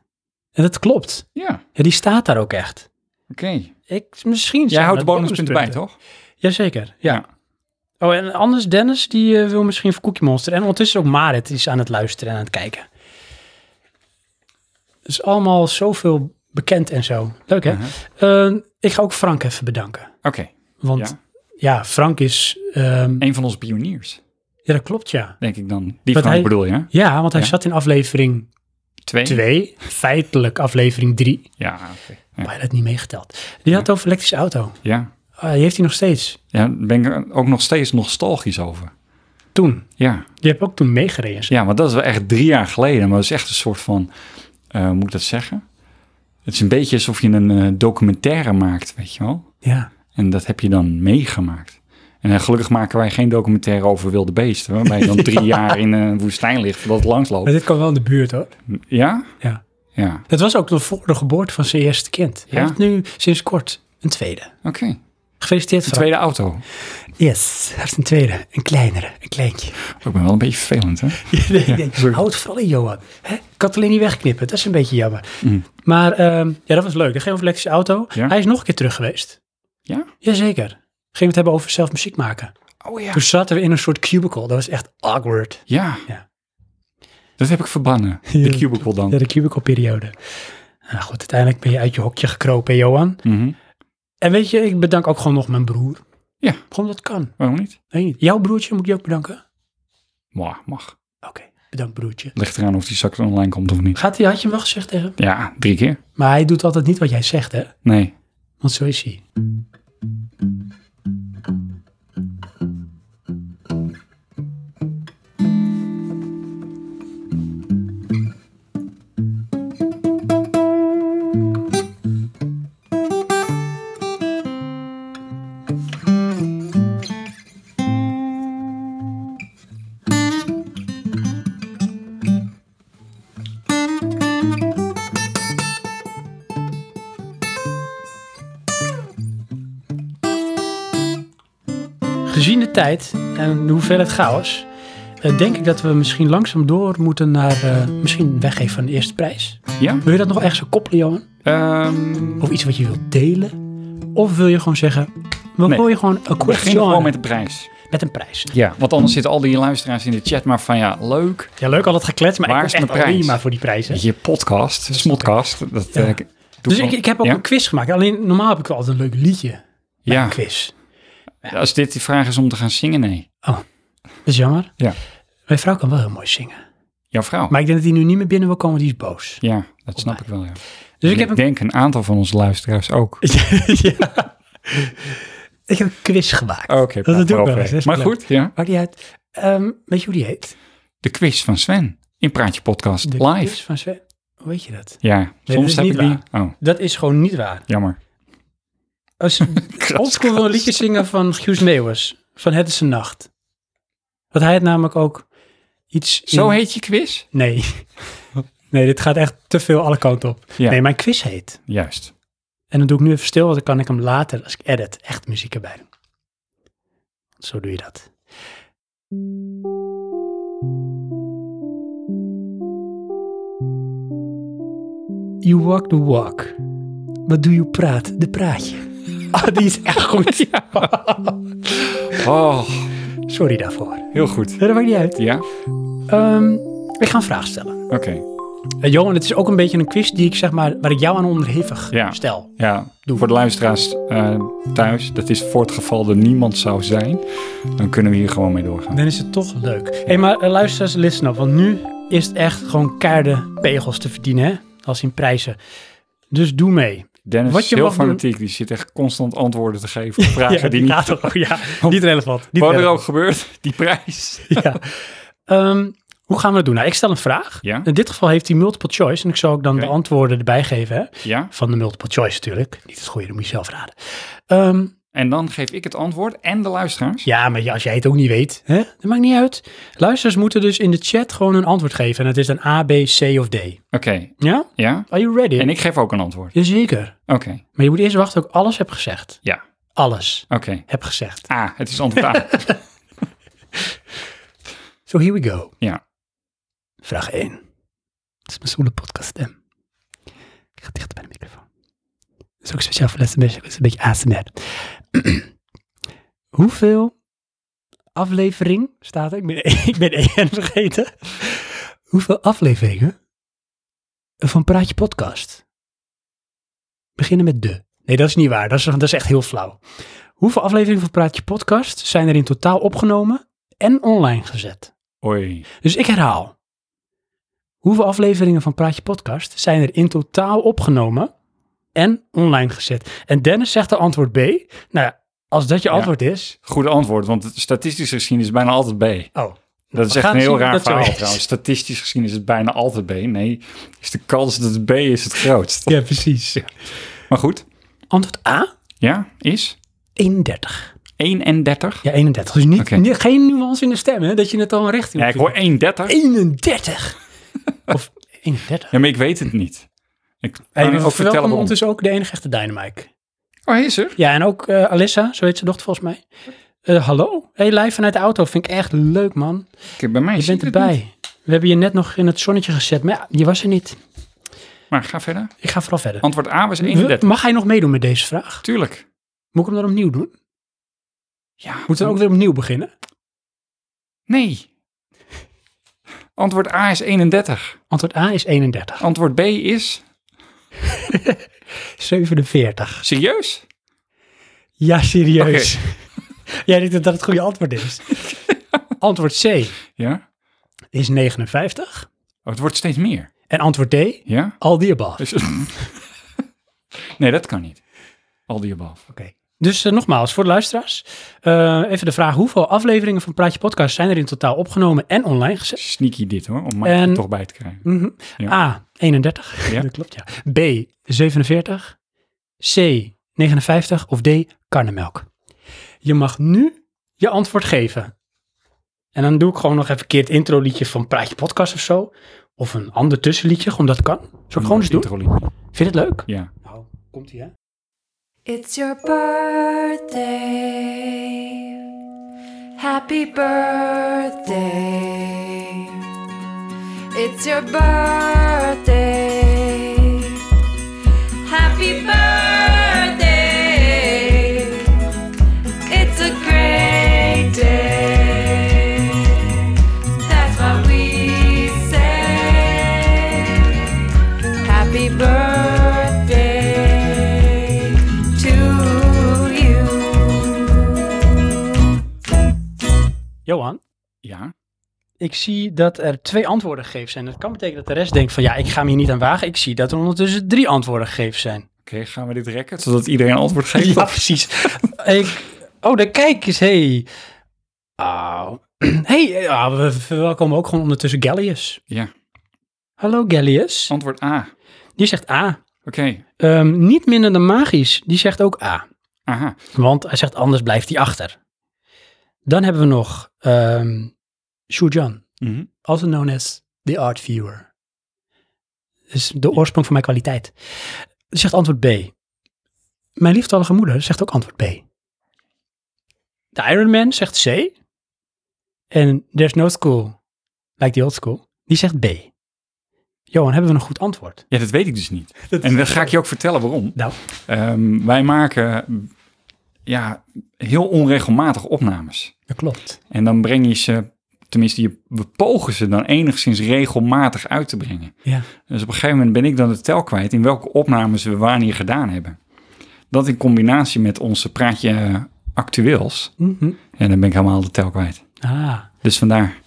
B: En dat klopt.
C: Ja,
B: Ja, die staat daar ook echt.
C: oké.
B: Ik, misschien
C: Jij
B: zijn
C: houdt de
B: dat
C: bonuspunten bij,
B: bonuspunten.
C: toch?
B: Jazeker, ja. Oh, en anders Dennis, die eh, wil misschien voor Cookie Monster. En ondertussen ook Marit is aan het luisteren en aan het kijken. Het is allemaal zoveel bekend en zo. Leuk, hè?
C: Mhm.
B: Eh, ik ga ook Frank even bedanken.
C: Oké,
B: Want ja,
C: ja.
B: Frank is... ehm,
C: Een van onze pioniers,
B: ja, dat klopt, ja.
C: denk ik dan. Die
B: Wat
C: Frank
B: hij-
C: bedoel je, hè?
B: Ja, want hij
C: Ja.
B: zat in aflevering
C: Twee?
B: 2, feitelijk aflevering 3.
C: Ja, oké. Ja.
B: Maar hij had niet meegeteld. Die had het over elektrische auto.
C: ja.
B: Ah, die heeft hij nog steeds.
C: Ja, daar ben ik er ook nog steeds nostalgisch over.
B: Toen.
C: Ja,
B: Je hebt ook toen meegereden.
C: ja maar dat is wel echt drie jaar geleden. Maar dat is echt een soort van, eh, hoe moet ik dat zeggen? Het is een beetje alsof je een eh, documentaire maakt, weet je wel?
B: Ja.
C: En dat heb je dan meegemaakt. En eh, gelukkig maken wij geen documentaire over wilde beesten, waarbij je dan drie jaar in een woestijn ligt voordat het
B: Maar
C: langsloopt.
B: dit kwam wel in de buurt, hoor.
C: Ja?
B: Ja.
C: Ja,
B: Dat was ook nog voor de geboorte van zijn eerste kind. Hij
C: Ja.
B: heeft nu sinds kort een tweede.
C: oké.
B: Gefeliciteerd,
C: De
B: Frank.
C: tweede auto. Oh,
B: Yes, hij heeft een tweede. Een kleinere, een kleintje.
C: Oh, ik ben wel een beetje vervelend, hè?
B: nee, nee, Hou het vooral in, Johan. Hè? Ik kan het alleen niet wegknippen. Dat is een beetje jammer.
C: Mm.
B: Maar ehm, ja, dat was leuk. Dat ging over elektrische auto.
C: Ja.
B: Hij is nog een keer terug geweest.
C: Ja?
B: Jazeker. Gingen we het hebben over zelf muziek maken.
C: Oh ja.
B: Toen zaten we in een soort cubicle. Dat was echt awkward.
C: Ja.
B: Ja.
C: Dat heb ik verbannen.
B: Ja.
C: De cubicle dan.
B: Ja, de cubicle periode. Nou goed, uiteindelijk ben je uit je hokje gekropen, hè, Johan.
C: Mhm.
B: En weet je, ik bedank ook gewoon nog mijn broer.
C: Ja.
B: Gewoon dat kan.
C: Waarom niet?
B: Weet niet. Jouw broertje moet ik je ook bedanken?
C: Maar mag.
B: Oké, bedankt broertje.
C: Ligt eraan of die straks online komt of niet.
B: Gaat hij, had je hem wel gezegd tegen hem?
C: Ja, drie keer.
B: Maar hij doet altijd niet wat jij zegt, hè?
C: Nee.
B: Want zo is hij. Gezien de tijd en de hoeveelheid chaos, eh, denk ik dat we misschien langzaam door moeten naar eh, misschien weggeven van de eerste prijs.
C: Ja?
B: Wil je dat nog ergens aan koppelen, Johan?
C: Ehm
B: Of iets wat je wilt delen? Of wil je gewoon zeggen, we
C: Nee.
B: gooien gewoon een
C: we beginnen
B: question
C: gewoon
B: met...
C: met de prijs.
B: een prijs.
C: Ja. Want anders zitten al die luisteraars in de chat maar van ja, leuk.
B: Ja, leuk al dat gekletst, maar
C: Waar
B: ik
C: is
B: ben echt
C: mijn prijs?
B: prima voor die prijzen.
C: Je podcast, smodcast. Dat,
B: Ja.
C: eh, doe
B: Dus
C: wel-
B: ik, ik heb ook
C: ja?
B: een quiz gemaakt. Alleen normaal heb ik wel altijd een leuk liedje. bij
C: Ja.
B: Een quiz.
C: Als dit die vraag is om te gaan zingen, nee.
B: Dat is jammer.
C: Ja.
B: Mijn vrouw kan wel heel mooi zingen.
C: Jouw vrouw.
B: Maar ik denk dat die nu niet meer binnen wil komen, die is boos.
C: Ja, dat snap ik wel, ja.
B: Dus ik
C: En
B: heb, een,
C: denk een aantal van onze luisteraars ook.
B: Ja. ik heb een quiz gemaakt.
C: Oh, Oké,
B: dat
C: praat
B: doe ik wel
C: over.
B: eens, dat is
C: Maar
B: leuk.
C: goed, ja.
B: Maakt niet uit. Ehm, weet je hoe die heet?
C: De quiz van Sven in Praatje Podcast
B: De
C: live.
B: quiz van Sven. Hoe weet je dat?
C: Ja,
B: dat
C: soms
B: is
C: heb
B: niet
C: ik die. Oh,
B: Dat is gewoon niet waar.
C: jammer.
B: Als oldschool wil een liedje zingen van Guus Meeuwers. Van Het is een nacht. Want hij had namelijk ook iets... in-
C: Zo heet je quiz?
B: Nee. Nee, dit gaat echt te veel alle kanten op.
C: Ja.
B: Nee, mijn quiz heet.
C: Juist.
B: En dan doe ik nu even stil, want dan kan ik hem later, als ik edit, echt muziek erbij doen. Zo doe je dat. You walk the walk. What do you praat? De praatje. Ah, die is echt goed.
C: Oh,
B: Sorry daarvoor.
C: heel goed.
B: Nee, Dat maakt niet uit.
C: Ja?
B: Ehm, ik ga een vraag stellen.
C: Oké.
B: Eh, Johan, het is ook een beetje een quiz die ik zeg maar, waar ik jou aan onderhevig
C: Ja.
B: stel.
C: Ja, voor de luisteraars eh, thuis, dat is voor het geval er niemand zou zijn, dan kunnen we hier gewoon mee doorgaan.
B: Dan is het toch leuk. Hé, hey, maar eh, luister eens, listen op. Want nu is het echt gewoon keiharde pegels te verdienen, hè? Als in prijzen. Dus doe mee.
C: Dennis
B: Wat
C: is
B: je
C: heel
B: mag doen-
C: fanatiek, die zit echt constant antwoorden te geven op vragen die niet...
B: gaat ook, ja, niet relevant. Niet
C: Wat er
B: relevant.
C: ook gebeurt, die prijs.
B: Ja. Ehm, hoe gaan we dat doen? Nou, ik stel een vraag.
C: Ja?
B: In dit geval heeft hij multiple choice. En ik zal ook dan
C: Oké.
B: de antwoorden erbij geven. Hè?
C: Ja?
B: Van de multiple choice natuurlijk. Niet het goede, dat moet je zelf raden. Ehm,
C: En dan geef ik het antwoord en de luisteraars.
B: Ja, maar ja, als jij het ook niet weet, hè? dat maakt niet uit. Luisteraars moeten dus in de chat gewoon een antwoord geven. En het is dan A, B, C of D.
C: Oké,
B: Ja?
C: ja?
B: Are you ready?
C: En ik geef ook een antwoord.
B: Jazeker.
C: Oké,
B: Maar je moet eerst wachten dat ik alles heb gezegd.
C: ja.
B: Alles
C: Oké.
B: heb gezegd.
C: Ah, het is antwoord A.
B: So here we go.
C: ja.
B: Vraag 1. Het is mijn zoele podcaststem. Ik ga dichter bij de microfoon. is ook speciaal voor Let's Magic, dat is een beetje ASMR. Hoeveel aflevering staat er? Ik ben, ik ben EN vergeten. Hoeveel afleveringen van Praatje Podcast? Beginnen met de. Nee, dat is niet waar. Dat is, dat is echt heel flauw. Hoeveel afleveringen van Praatje Podcast zijn er in totaal opgenomen en online gezet?
C: Oei.
B: Dus ik herhaal. Hoeveel afleveringen van Praatje Podcast zijn er in totaal opgenomen en online gezet? En Dennis zegt de antwoord B. Nou ja, als dat je
C: Ja.
B: antwoord is...
C: Goed antwoord, want het statistisch gezien is het bijna altijd B.
B: Oh,
C: Dat is
B: We
C: echt
B: gaan
C: een heel
B: zien of
C: raar
B: dat zo
C: verhaal
B: is.
C: trouwens. Statistisch gezien is het bijna altijd B. Nee, is de kans dat het B is het grootst.
B: ja precies.
C: Maar goed,
B: Antwoord A?
C: ja, is
B: 31.
C: 31.
B: Ja, 31. Dus niet,
C: Oké.
B: ni- geen nuance in de stem, hè? Dat je het al een richting
C: Ja, ik hoor 31.
B: 31! of 31.
C: Ja, maar ik weet het niet. Ik kan
B: Hey,
C: ook vertellen waarom.
B: ondertussen ook de enige echte Dynamite.
C: Oh, hij is er?
B: Ja, en ook eh, Alissa, zo heet zijn dochter volgens mij. Eh, hallo, hey, live vanuit de auto. Vind ik echt leuk, man.
C: Kijk, bij mij
B: Je
C: zie ik
B: bent
C: het niet.
B: erbij. We hebben je net nog in het zonnetje gezet, maar ja, je was er niet.
C: Maar ga verder.
B: Ik ga vooral verder.
C: Antwoord A was 31.
B: Mag hij nog meedoen met deze vraag?
C: Tuurlijk.
B: Moet ik hem dan opnieuw doen?
C: Ja,
B: Moeten we ook weer opnieuw beginnen?
C: Nee. Antwoord A is 31.
B: Antwoord A is 31.
C: Antwoord B is...
B: 47.
C: Serieus?
B: Ja, serieus. Jij denkt dat dat het goede antwoord is. antwoord C
C: Ja.
B: is 59.
C: Oh, het wordt steeds meer.
B: En antwoord D,
C: Ja?
B: al die above.
C: Dus- nee, dat kan niet. Al die above.
B: Oké. Dus eh, nogmaals, voor de luisteraars, eh, even de vraag: hoeveel afleveringen van Praatje Podcast zijn er in totaal opgenomen en online gezet?
C: Sneaky dit hoor, om Mike er
B: En-
C: toch bij te krijgen.
B: Mhm.
C: Ja.
B: A, 31.
C: Ja.
B: Dat klopt, ja. B, 47. C, 59. Of D, karnemelk. Je mag nu je antwoord geven. En dan doe ik gewoon nog even een keer het intro liedje van Praatje Podcast of zo. Of een ander tussenliedje, gewoon dat kan. Zullen we het gewoon eens doen?
C: Intro liedje.
B: Vind je het leuk?
C: Ja.
B: Nou, komt ie hè?
A: It's your birthday. Happy birthday. It's your birthday. Happy birthday. It's a great day. That's what we say. Happy birthday to you.
B: Johan,
C: Ja.
B: ik zie dat er twee antwoorden gegeven zijn. Dat kan betekenen dat de rest denkt van ja, ik ga me hier niet aan wagen. Ik zie dat er ondertussen drie antwoorden gegeven zijn.
C: Oké, gaan we dit rekken, zodat iedereen een antwoord geeft?
B: Ja, precies. ik, oh, daar kijk eens. Hey. Au. hey, ja, we verwelkomen ook gewoon ondertussen Gallius.
C: Ja.
B: Hallo Gallius.
C: Antwoord A.
B: Die zegt A.
C: Oké.
B: Ehm, niet minder dan magisch. Die zegt ook A.
C: Aha.
B: Want hij zegt anders blijft hij achter. Dan hebben we nog ehm Shujan.
C: Mhm.
B: Also known as the art viewer. Is de oorsprong van mijn kwaliteit. Die zegt antwoord B. Mijn lieftallige moeder zegt ook antwoord B. De Iron Man zegt C. En There's No School, like the old school, die zegt B. Johan, hebben we een goed antwoord?
C: Ja, dat weet ik dus niet. En dan ga ik je ook vertellen waarom.
B: Nou,
C: Ehm, wij maken ja, heel onregelmatig opnames.
B: dat klopt.
C: En dan breng je ze, tenminste, je, we pogen ze dan enigszins regelmatig uit te brengen.
B: Ja.
C: Dus op een gegeven moment ben ik dan de tel kwijt in welke opnames we wanneer gedaan hebben. Dat in combinatie met onze praatje eh, actueels.
B: Mhm.
C: En dan ben ik helemaal de tel kwijt.
B: Ah,
C: Dus vandaar.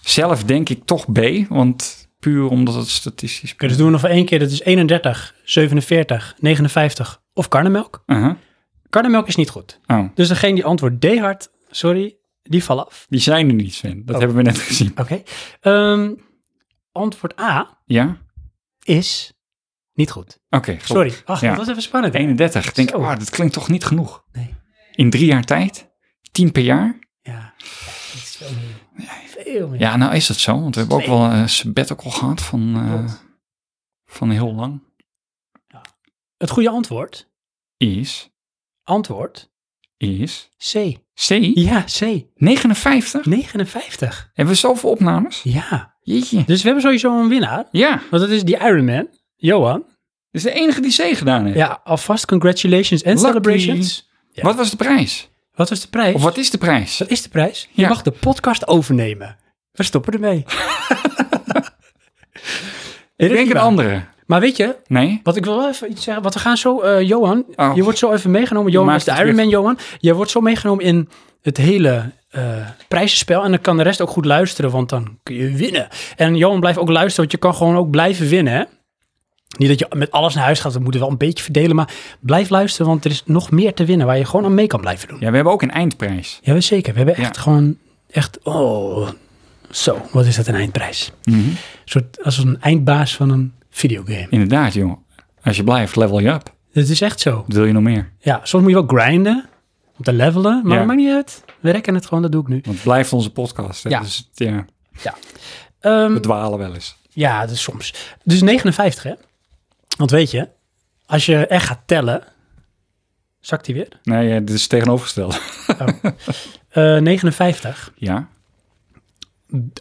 C: Zelf denk ik toch B, want puur omdat het statistisch...
B: Oké, dus doen we nog voor één keer. Dat is 31, 47, 59 of karnemelk.
C: Aha.
B: Karnemelk is niet goed.
C: Oh,
B: Dus degene die antwoordt D hard, sorry, die vallen af.
C: die zijn er niet, Sven. Dat
B: Oh.
C: hebben we net gezien.
B: Oké. Ehm, antwoord A
C: Ja?
B: is niet goed.
C: Oké, goed.
B: Sorry. Ach,
C: Ja.
B: dat was even spannend. hè?
C: 31. Ik Denk,
B: Zo.
C: ah, dat klinkt toch niet genoeg?
B: Nee.
C: In drie jaar tijd? Tien per jaar?
B: Ja. Dat is veel meer. Veel meer.
C: Ja, nou is dat zo. Want we hebben ook
B: Twee.
C: wel een sabbatical gehad van, eh,
B: Klopt.
C: van heel lang.
B: Het goede antwoord,
C: Is,
B: antwoord
C: is,
B: C.
C: C,
B: Ja, C.
C: 59.
B: 59.
C: Hebben we zoveel opnames?
B: Ja.
C: Jeetje.
B: Dus we hebben sowieso een winnaar.
C: Ja,
B: Want dat is die Iron Man, Johan.
C: is de enige die C gedaan heeft.
B: Ja, alvast congratulations en
C: Lucky.
B: celebrations. Ja.
C: Wat was de prijs?
B: Wat was de prijs?
C: Of wat is de prijs?
B: Wat is de prijs? Je
C: Ja.
B: mag de podcast overnemen. We stoppen ermee.
C: Ik denk een andere.
B: Maar weet je,
C: Nee?
B: wat ik wil wel even iets zeggen. Want we gaan zo, eh, Johan,
C: Oh.
B: je wordt zo even meegenomen. Johan
C: Maak
B: is de
C: het
B: Iron
C: terug.
B: Man, Johan. Je wordt zo meegenomen in het hele eh prijzenspel. En dan kan de rest ook goed luisteren, want dan kun je winnen. En Johan blijft ook luisteren, want je kan gewoon ook blijven winnen, hè? Niet dat je met alles naar huis gaat, we moeten wel een beetje verdelen. Maar blijf luisteren, want er is nog meer te winnen waar je gewoon aan mee kan blijven doen.
C: Ja, we hebben ook een eindprijs.
B: Ja, zeker. We hebben echt
C: Ja.
B: gewoon echt. Oh, zo. Wat is dat een eindprijs?
C: Mhm.
B: Een soort als een eindbaas van een videogame.
C: Inderdaad, joh. Als je blijft, level je up.
B: Het is echt zo.
C: Wat wil je nog meer?
B: Ja, soms moet je wel grinden om te levelen, maar
C: Ja.
B: dat maakt niet uit. We rekken het gewoon, dat doe ik nu.
C: Want het blijft onze podcast. Hè?
B: Ja.
C: Dus ja,
B: Ehm,
C: we dwalen wel eens.
B: ja, dat is soms. Dus 59, hè? Want weet je, als je echt gaat tellen, zakt die weer.
C: Nee, eh, dit is tegenovergesteld.
B: Eh, 59.
C: Ja,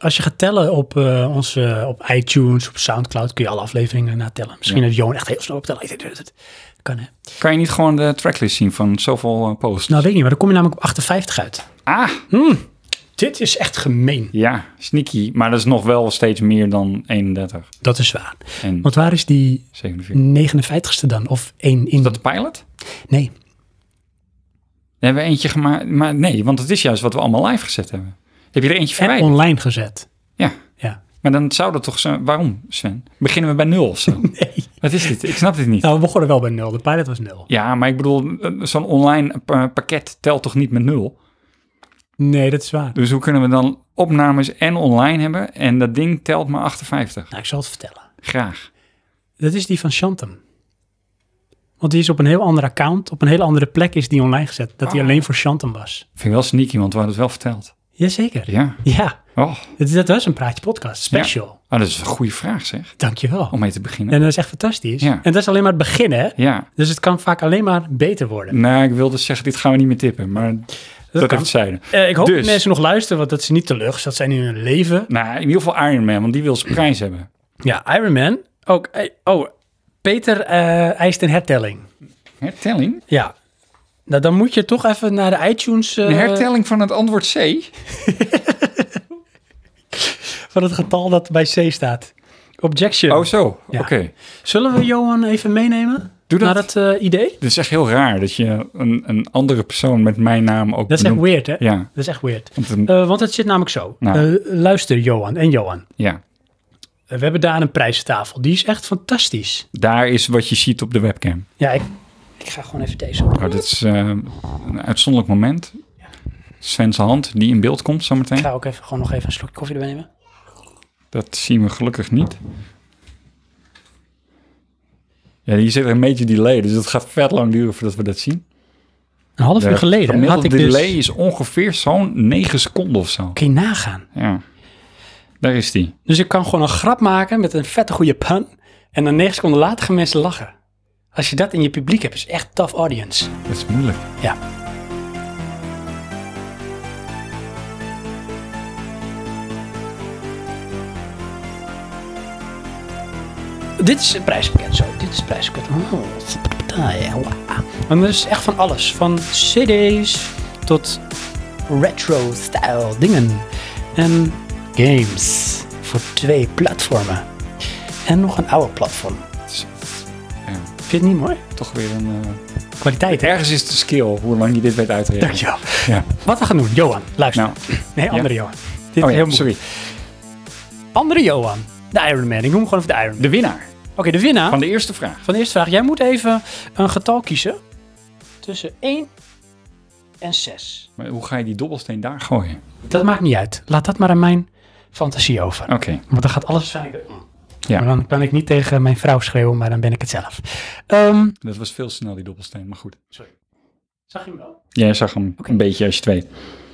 B: Als je gaat tellen op, eh, onze, op iTunes, op Soundcloud, kun je alle afleveringen natellen. Misschien
C: Ja.
B: dat Johan echt heel snel op tellen. Kan hè?
C: Kan je niet gewoon de tracklist zien van zoveel eh, posts?
B: Nou, weet ik niet, maar dan kom je namelijk op 58 uit.
C: Ah,
B: Dit is echt gemeen.
C: ja, sneaky. Maar dat is nog wel steeds meer dan 31
B: Dat is waar.
C: en
B: Want waar is die
C: 47.
B: 59ste dan? Of één in...
C: Is dat de pilot?
B: Nee.
C: Daar hebben we eentje gemaakt. Maar nee, want het is juist wat we allemaal live gezet hebben. Heb je er eentje
B: En
C: verwijderd?
B: online gezet.
C: Ja.
B: Ja.
C: Maar dan zou dat toch zijn. Waarom, Sven? Beginnen we bij nul of zo?
B: Nee.
C: Wat is dit? Ik snap dit niet.
B: Nou, we begonnen wel bij nul. De pilot was nul.
C: Ja, maar ik bedoel, eh, zo'n online pa- pakket telt toch niet met nul?
B: Nee, dat is waar.
C: Dus hoe kunnen we dan opnames en online hebben? En dat ding telt maar 58.
B: Nou, ik zal het vertellen.
C: Graag.
B: Dat is die van Shantum. Want die is op een heel ander account, op een hele andere plek is die online gezet. Dat die
C: Ah.
B: alleen voor Shantum was.
C: Vind ik wel sneaky, want we hadden het wel verteld.
B: Jazeker.
C: Ja.
B: Ja,
C: Oh,
B: dat, dat was een praatje podcast. Special.
C: ah, dat is een goede vraag zeg,
B: Dankjewel.
C: om mee te beginnen.
B: En dat is echt fantastisch.
C: Ja.
B: En dat is alleen maar het begin, hè?
C: Ja.
B: Dus het kan vaak alleen maar beter worden.
C: Nou, ik wilde zeggen, dit gaan we niet meer tippen, maar dat
B: kan.
C: heeft zijde.
B: Eh, ik hoop
C: Dus.
B: dat mensen nog luisteren, want dat is niet teleurgesteld zijn in hun leven.
C: Nou, in ieder geval Iron Man, want die wil zijn prijs hebben.
B: Ja, Iron Man. Ook, eh, oh, Peter eh, eist een hertelling.
C: Hertelling?
B: Ja. Nou, dan moet je toch even naar de iTunes eh,
C: De hertelling van het antwoord C?
B: van het getal dat bij C staat. Objection.
C: Oh, zo.
B: Ja.
C: Oké.
B: Zullen we Johan even meenemen
C: Doe dat.
B: naar het eh, idee?
C: Dit is echt heel raar dat je een, een andere persoon met mijn naam ook
B: Dat is echt
C: benoemt.
B: weird, hè?
C: Ja.
B: Dat is echt weird.
C: Want een-
B: Eh, want het zit namelijk zo.
C: Nou.
B: Eh, luister, Johan en Johan.
C: ja.
B: Eh, we hebben daar een prijstafel. Die is echt fantastisch.
C: Daar is wat je ziet op de webcam.
B: Ja, ik, ik ga gewoon even deze op.
C: Oh, dit is eh, een uitzonderlijk moment. Sven's hand die in beeld komt
B: Ik
C: zometeen.
B: ga ook even, gewoon nog even een slokje koffie erbij nemen.
C: Dat zien we gelukkig niet. Ja, hier zit een beetje delay, dus het gaat vet lang duren voordat we dat zien.
B: Een half uur geleden had
C: gemiddelde
B: ik dus...
C: delay is ongeveer zo'n 9 seconden of zo.
B: Kun je nagaan.
C: Ja, daar is die.
B: Dus ik kan gewoon een grap maken met een vette goede pun. En dan negen seconden later gaan mensen lachen. Als je dat in je publiek hebt, is echt tough audience.
C: Dat is moeilijk.
B: Ja. Dit is het prijspakket zo. Dit is het prijspakket. Oh. En dat is echt van alles. Van cd's tot retro-style dingen. En games voor twee platformen. En nog een oude platform.
C: Het is- Ja,
B: Vind je het niet mooi?
C: toch weer een... eh,
B: Kwaliteit, hè?
C: Ergens is de skill, hoe lang je dit weet uit te rekenen.
B: Dankjewel.
C: Ja.
B: Wat we gaan doen, Johan, luister.
C: Nou,
B: nee, andere Johan. Dit
C: oh
B: is heel
C: ja,
B: moeilijk.
C: sorry.
B: Andere Johan, de Iron Man. Ik noem hem gewoon even de Iron Man.
C: De winnaar
B: Oké, de winnaar
C: van
B: van...
C: de eerste vraag.
B: de eerste vraag. Jij moet even een getal kiezen tussen 1 en 6.
C: Maar hoe ga je die dobbelsteen daar gooien?
B: Dat maakt niet uit. Laat dat maar aan mijn fantasie over.
C: Oké,
B: Want dan gaat alles waarschijnlijk...
C: Oh. Ja.
B: Maar dan kan ik niet tegen mijn vrouw schreeuwen, maar dan ben ik het zelf. Ehm,
C: dat was veel te snel die dobbelsteen, maar goed.
B: Zag je hem wel?
C: Jij zag hem een beetje als je het weet.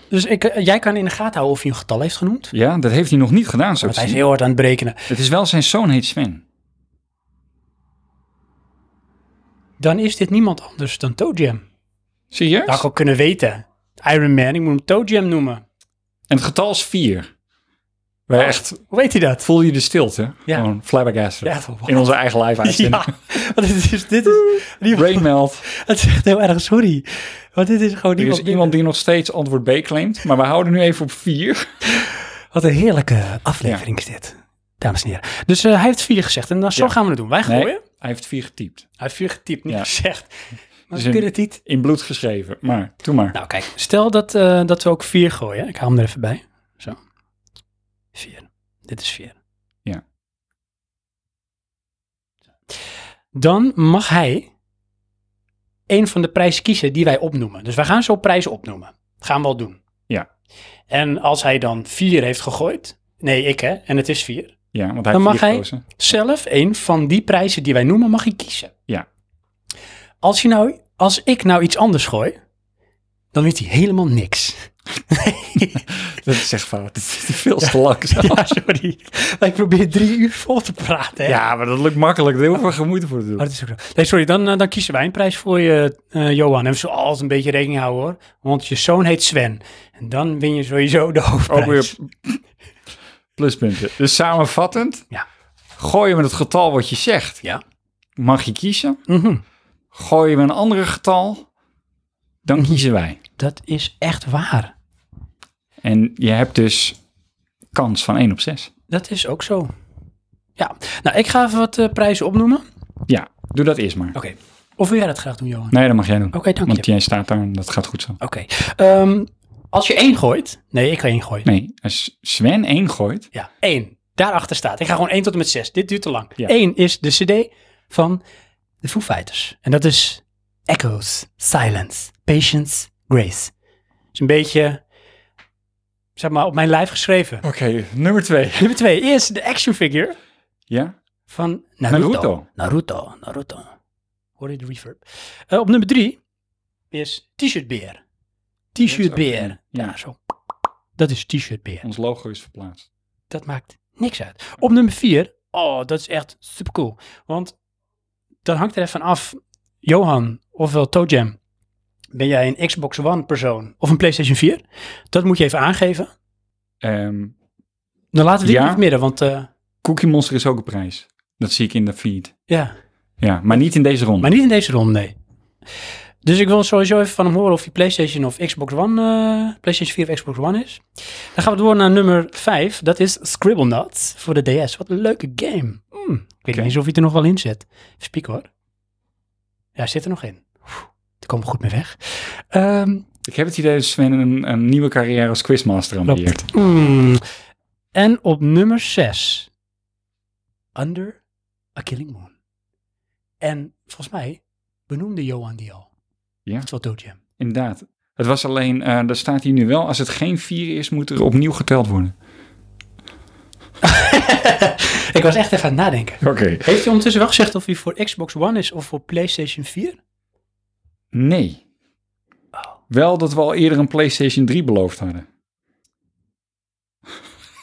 B: Dus ik, eh, jij kan in de gaten houden of hij een getal heeft genoemd.
C: Ja, dat heeft hij nog niet gedaan, zo
B: Want
C: te
B: hij is
C: zien.
B: heel hard aan het berekenen.
C: Het is wel zijn zoon heet Sven.
B: Dan is dit niemand anders dan Toe Jam.
C: Serieus?
B: Dat had ik ook kunnen weten. Iron Man, ik moet hem Toe Jam noemen.
C: En het getal is 4. Wij echt,
B: Hoe weet hij dat?
C: voel je de stilte?
B: Ja.
C: Gewoon flabbergasted.
B: Ja, wow.
C: In onze eigen live uitzending.
B: Ja, want dit is, dit is, die-
C: Brain melt.
B: het is echt heel erg sorry. Want dit is gewoon
C: Er is
B: iemand,
C: iemand die nog steeds antwoord B claimt, maar we houden nu even op vier.
B: Wat een heerlijke aflevering is dit, dames en heren. Dus eh, hij heeft vier gezegd en dan, zo
C: Ja.
B: gaan we het doen. Wij gooien.
C: Nee, hij heeft vier getypt.
B: Hij heeft vier getypt, niet
C: Ja.
B: gezegd. Maar
C: Dus
B: we
C: een-
B: kunnen het niet.
C: In bloed geschreven, maar doe maar.
B: Nou kijk, stel dat, eh, dat we ook vier gooien. Ik haal hem er even bij. Zo. Vier. Dit is vier.
C: Ja.
B: Dan mag hij een van de prijzen kiezen die wij opnoemen. Dus wij gaan zo prijzen opnoemen. Dat gaan we al doen.
C: Ja.
B: En als hij dan vier heeft gegooid, nee ik hè, en het is vier.
C: ja, want hij
B: Dan mag
C: heeft vier
B: hij-
C: gekozen.
B: zelf een van die prijzen die wij noemen, mag je kiezen.
C: Ja.
B: Als, je nou, als ik nou iets anders gooi, dan weet hij helemaal niks. Nee,
C: Dat is echt fout. Het is veel te langzaam. Ja.
B: ja, sorry. Maar ik probeer drie uur vol te praten. Hè?
C: maar dat lukt makkelijk. Er is
B: Oh.
C: heel veel gemoeite voor te doen.
B: Maar dat is ook zo. Nee, sorry, dan, eh, dan kiezen wij een prijs voor je, eh, Johan. En we zullen altijd een beetje rekening houden hoor. Want je zoon heet Sven. En dan win je sowieso de hoofdprijs.
C: Ook weer pluspunten. Dus samenvattend,
B: Ja.
C: gooi je met het getal wat je zegt,
B: Ja.
C: mag je kiezen.
B: Mhm.
C: Gooi je met een ander getal, dan kiezen wij.
B: Dat is echt waar.
C: En je hebt dus kans van 1 op 6.
B: Dat is ook zo. Ja, nou ik ga even wat eh, prijzen opnoemen.
C: Ja, doe dat eerst maar.
B: Oké. Of wil jij dat graag doen, Johan?
C: Nee, dat mag jij doen.
B: Oké, Oh. dank
C: Want
B: je.
C: jij staat daar en dat gaat goed zo.
B: Oké. Ehm, als je één gooit. Nee, ik ga één gooien.
C: Nee, als Sven 1 gooit,
B: Ja, één. Daarachter staat. Ik ga gewoon één tot en met zes. Dit duurt te lang.
C: Ja.
B: Eén is de CD van de Foo Fighters. En dat is Echoes, Silence, Patience, Grace. is een beetje, zeg maar, op mijn lijf geschreven.
C: Oké, nummer twee.
B: Nummer twee is de action figure
C: Ja?
B: van Naruto.
C: Naruto.
B: Naruto, Naruto. Hoor je de reverb? Eh, op nummer drie is T-shirt beer. T-shirt
C: Dat is
B: beer.
C: ook- ja.
B: Ja, zo. Dat is T-shirt beer.
C: Ons logo is verplaatst.
B: Dat maakt niks uit. Op nummer vier. Oh, dat is echt super cool. Want dan hangt er even af. Johan, ofwel ToeJam. Ben jij een Xbox One persoon of een PlayStation 4? Dat moet je even aangeven.
C: Ehm,
B: Dan laten we die
C: Ja.
B: niet midden, want eh,
C: Cookie Monster is ook een prijs. Dat zie ik in de feed.
B: ja.
C: Ja, maar niet in deze ronde.
B: Maar niet in deze ronde, nee. Dus ik wil sowieso even van hem horen of hij PlayStation of Xbox One, eh, PlayStation 4 of Xbox One is. Dan gaan we door naar nummer 5. Dat is Scribble Nuts voor de DS. Wat een leuke game. Hmm, ik weet
C: Oké.
B: niet eens of hij er nog wel in zit. Even spieken hoor. Ja, hij zit er nog in. Oeh, Daar komen we goed mee weg. Ehm,
C: Ik heb het idee dat Sven een, een nieuwe carrière als quizmaster ambieert.
B: mm. en op nummer 6. Under a Killing Moon. En volgens mij benoemde Johan die al.
C: Ja.
B: Dat is wel Doodjam.
C: Inderdaad. Het was alleen, eh daar staat hier nu wel, als het geen vier is, moet er opnieuw geteld worden.
B: Ik was echt even aan het nadenken.
C: Oké.
B: Heeft hij ondertussen wel gezegd of hij voor Xbox One is of voor PlayStation 4?
C: Nee. Wel dat we al eerder een PlayStation 3 beloofd hadden.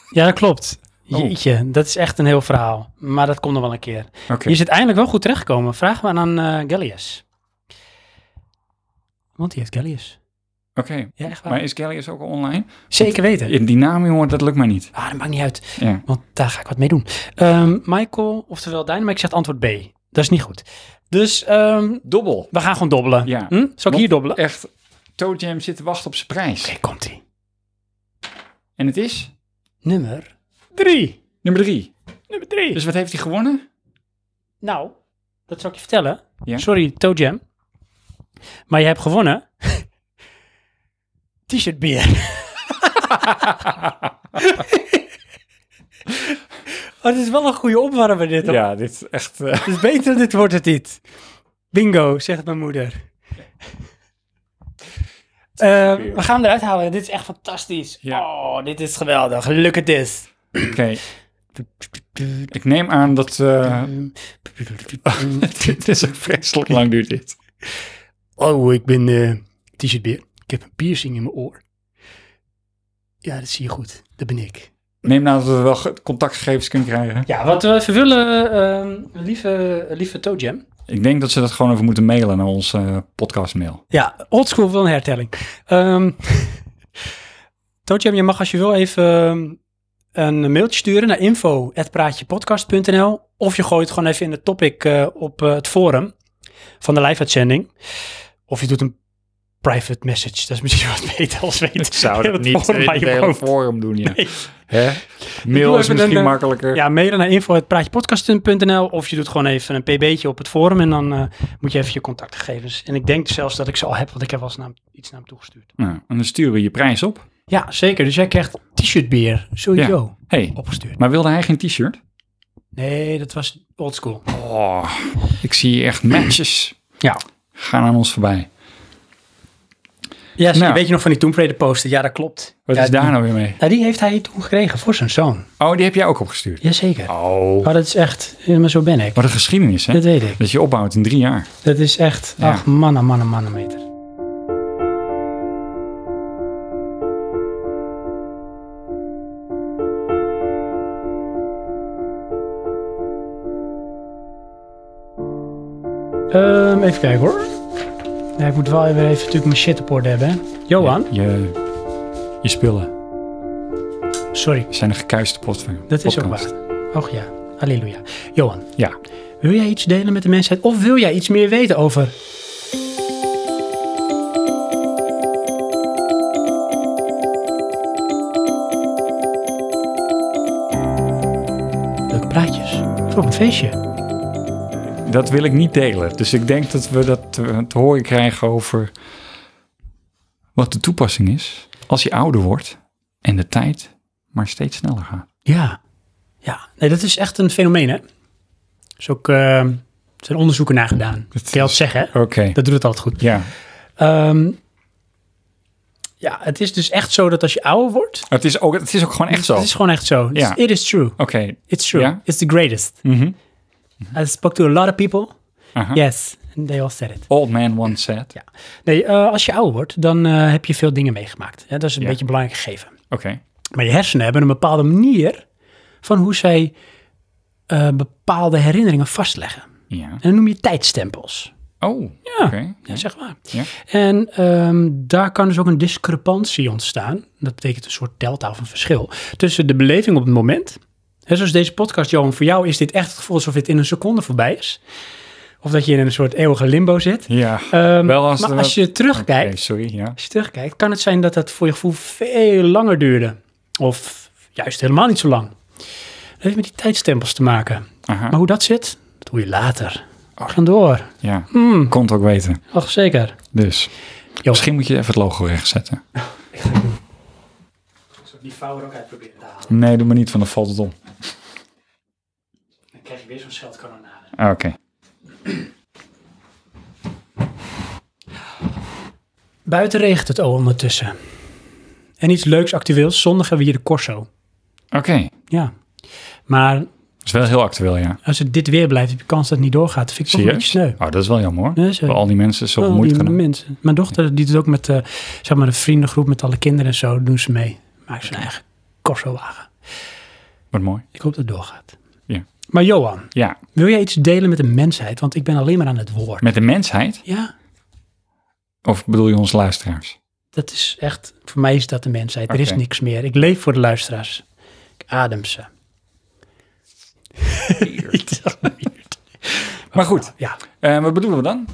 B: Ja, dat klopt.
C: Oh.
B: Jeetje, dat is echt een heel verhaal. Maar dat komt nog wel een keer.
C: Oké.
B: Je zit eindelijk wel goed terechtgekomen. Vraag maar aan eh, Gallius. Want die heeft Gallius.
C: Oké.
B: Ja, echt waar.
C: Maar is Gallius ook al online?
B: Zeker weten.
C: In die naam, jongen, dat lukt mij niet.
B: Ah, dat maakt niet uit,
C: Ja.
B: want daar ga ik wat mee doen. Ehm, Michael, oftewel Dynamic, zegt antwoord B. Dat is niet goed. Dus ehm,
C: Dobbel.
B: we gaan gewoon dobbelen.
C: Ja.
B: Hm? Zal ik hier dobbelen? Oké,
C: Echt, Toe Jam zit te wachten op zijn prijs.
B: komt-ie.
C: En het is
B: Nummer 3.
C: nummer drie.
B: Nummer 3.
C: Dus wat heeft hij gewonnen?
B: Nou, dat zal ik je vertellen.
C: Ja.
B: Sorry, ToeJam. Maar je hebt gewonnen. T-shirt bier. oh, dit is wel een goede opwarmer dit. hoor.
C: Ja, dit is echt... eh,
B: Het is beter, dit wordt het niet. Bingo, zegt mijn moeder. Eh,
C: bier.
B: we gaan hem eruit halen. Dit is echt fantastisch.
C: Ja.
B: Oh, dit is geweldig. Lukt het is.
C: Oké, ik neem aan dat... eh, dit is een vreselijk lang duurt dit.
B: Oh, ik ben eh, t-shirt beer. Ik heb een piercing in mijn oor. Ja, dat zie je goed. Dat ben ik.
C: Neem nou dat we wel ge- contactgegevens kunnen krijgen.
B: Ja, wat we even willen, ehm, lieve, lieve ToeJam.
C: Ik denk dat ze dat gewoon even moeten mailen naar onze eh, podcastmail.
B: Ja, oldschool wil een hertelling. Ehm ToeJam, je mag als je wil even ehm, een mailtje sturen naar info.praatjepodcast.nl of je gooit gewoon even in de topic eh, op eh, het forum van de live-uitzending. Of je doet een private message. Dat is misschien wat beter als weten.
C: Ik zou
B: Heel
C: dat
B: het
C: niet eh,
B: forum
C: in
B: waar je
C: het hele
B: woont.
C: forum doen, ja.
B: Nee.
C: Hè?
B: doe
C: Mail is
B: even een,
C: misschien
B: eh,
C: makkelijker.
B: Ja, mailen naar info.praatjepodcast.nl of je doet gewoon even een pb'tje op het forum en dan eh, moet je even je contactgegevens. En ik denk dus zelfs dat ik ze al heb, want ik heb wel eens naar, hem- iets naar hem toegestuurd.
C: Nou, en dan sturen we je prijs op.
B: Ja, zeker. Dus jij krijgt t-shirt bier sowieso
C: Hey,
B: opgestuurd.
C: maar wilde hij geen t-shirt?
B: Nee, dat was oldschool.
C: Oh, ik zie echt matches
B: Ja.
C: gaan aan ons voorbij.
B: Ja, zie je,
C: Nou.
B: weet je nog van die Tomb Raider poster? Ja, dat klopt.
C: Wat
B: Ja,
C: is daar
B: die-
C: nou weer mee?
B: Nou, die heeft hij toen gekregen voor zijn zoon.
C: Oh, die heb jij ook opgestuurd.
B: Jazeker.
C: Oh.
B: Maar dat is echt, ja, maar zo ben ik.
C: Wat een geschiedenis, hè?
B: Dat weet ik.
C: Dat je opbouwt in drie jaar.
B: Dat is echt,
C: Ja.
B: ach, oh, mannen, mannen, mannen meter. Ehm, even kijken hoor. Ja, ik moet wel weer even natuurlijk mijn shit op orde hebben. Hè. Johan,
C: Je, je spullen
B: sorry,
C: zijn een gekuiste potver.
B: dat is ook
C: podcast.
B: waar. Och ja, halleluja. Johan,
C: Ja.
B: Wil jij iets delen met de mensheid of wil jij iets meer weten over? Leuke praatjes voor op het feestje.
C: Dat wil ik niet delen. Dus ik denk dat we dat eh, te horen krijgen over wat de toepassing is als je ouder wordt en de tijd maar steeds sneller gaat.
B: Ja, ja. Nee, dat is echt een fenomeen, hè? Er is ook, eh, er zijn onderzoeken naar gedaan. Dat kan je altijd zeggen, hè?
C: Oké.
B: Dat doet het altijd goed.
C: Ja.
B: Ehm, ja, het is dus echt zo dat als je ouder wordt...
C: Het is ook, het is ook gewoon echt zo.
B: Het is
C: Oké.
B: gewoon echt zo. Dus
C: Ja.
B: It is true. It's true.
C: Ja?
B: It's the greatest.
C: Mhm.
B: I spoke to a lot of people.
C: Aha.
B: Yes, and they all said it.
C: Old man once said.
B: Ja. Nee, eh, als je ouder wordt, dan eh, heb je veel dingen meegemaakt. Ja, dat is een
C: Ja.
B: beetje een belangrijk gegeven.
C: Oké.
B: Maar je hersenen hebben een bepaalde manier van hoe zij eh, bepaalde herinneringen vastleggen.
C: Ja.
B: En dat noem je tijdstempels.
C: Oh.
B: Ja,
C: Oké.
B: ja, zeg maar.
C: Ja.
B: En ehm, daar kan dus ook een discrepantie ontstaan. Dat betekent een soort delta of een verschil. Tussen de beleving op het moment. Hè, zoals deze podcast, Johan, voor jou is dit echt het gevoel alsof dit in een seconde voorbij is. Of dat je in een soort eeuwige limbo zit.
C: Ja.
B: Ehm,
C: Wel als
B: maar
C: er
B: als
C: wat-
B: je terugkijkt,
C: Oké, sorry, ja.
B: als je terugkijkt, kan het zijn dat dat voor je gevoel veel langer duurde. Of juist helemaal niet zo lang. Dat heeft met die tijdstempels te maken.
C: Aha.
B: Maar hoe dat zit, dat doe je later. Gaan door.
C: Ja.
B: Hmm,
C: Kon het ook weten.
B: och zeker.
C: Dus. Misschien moet je even het logo rechtzetten.
B: Die vouw er ook uit proberen te halen.
C: Nee, doe maar niet, van dan valt het om.
B: Dan krijg je weer zo'n scheldkanonade.
C: Ah, Oké.
B: Buiten regent het al ondertussen. En iets leuks actueels. Zondag hebben we hier de Corso.
C: Oké.
B: Ja. Maar
C: Dat is wel heel actueel, ja.
B: als het dit weer blijft, heb je kans dat het niet doorgaat. Dat vind ik toch eh, een beetje
C: Serieus?
B: sneu.
C: Oh, dat is wel jammer hoor.
B: Nee,
C: Hebben
B: zeker.
C: al die mensen zo
B: Al
C: moeite
B: die
C: gedaan.
B: mensen. Mijn dochter die doet ook met eh, zeg maar de vriendengroep met alle kinderen en zo doen ze mee. Maakt ze een eigen corso-wagen.
C: Wat mooi.
B: Ik hoop dat het doorgaat.
C: Ja.
B: Maar Johan,
C: Ja,
B: wil jij iets delen met de mensheid? Want ik ben alleen maar aan het woord.
C: met de mensheid?
B: Ja,
C: Of bedoel je onze luisteraars?
B: dat is echt, voor mij is dat de mensheid. Er is
C: Oké.
B: niks meer. Ik leef voor de luisteraars. Ik adem ze.
C: Maar goed,
B: ja,
C: eh, wat bedoelen we dan?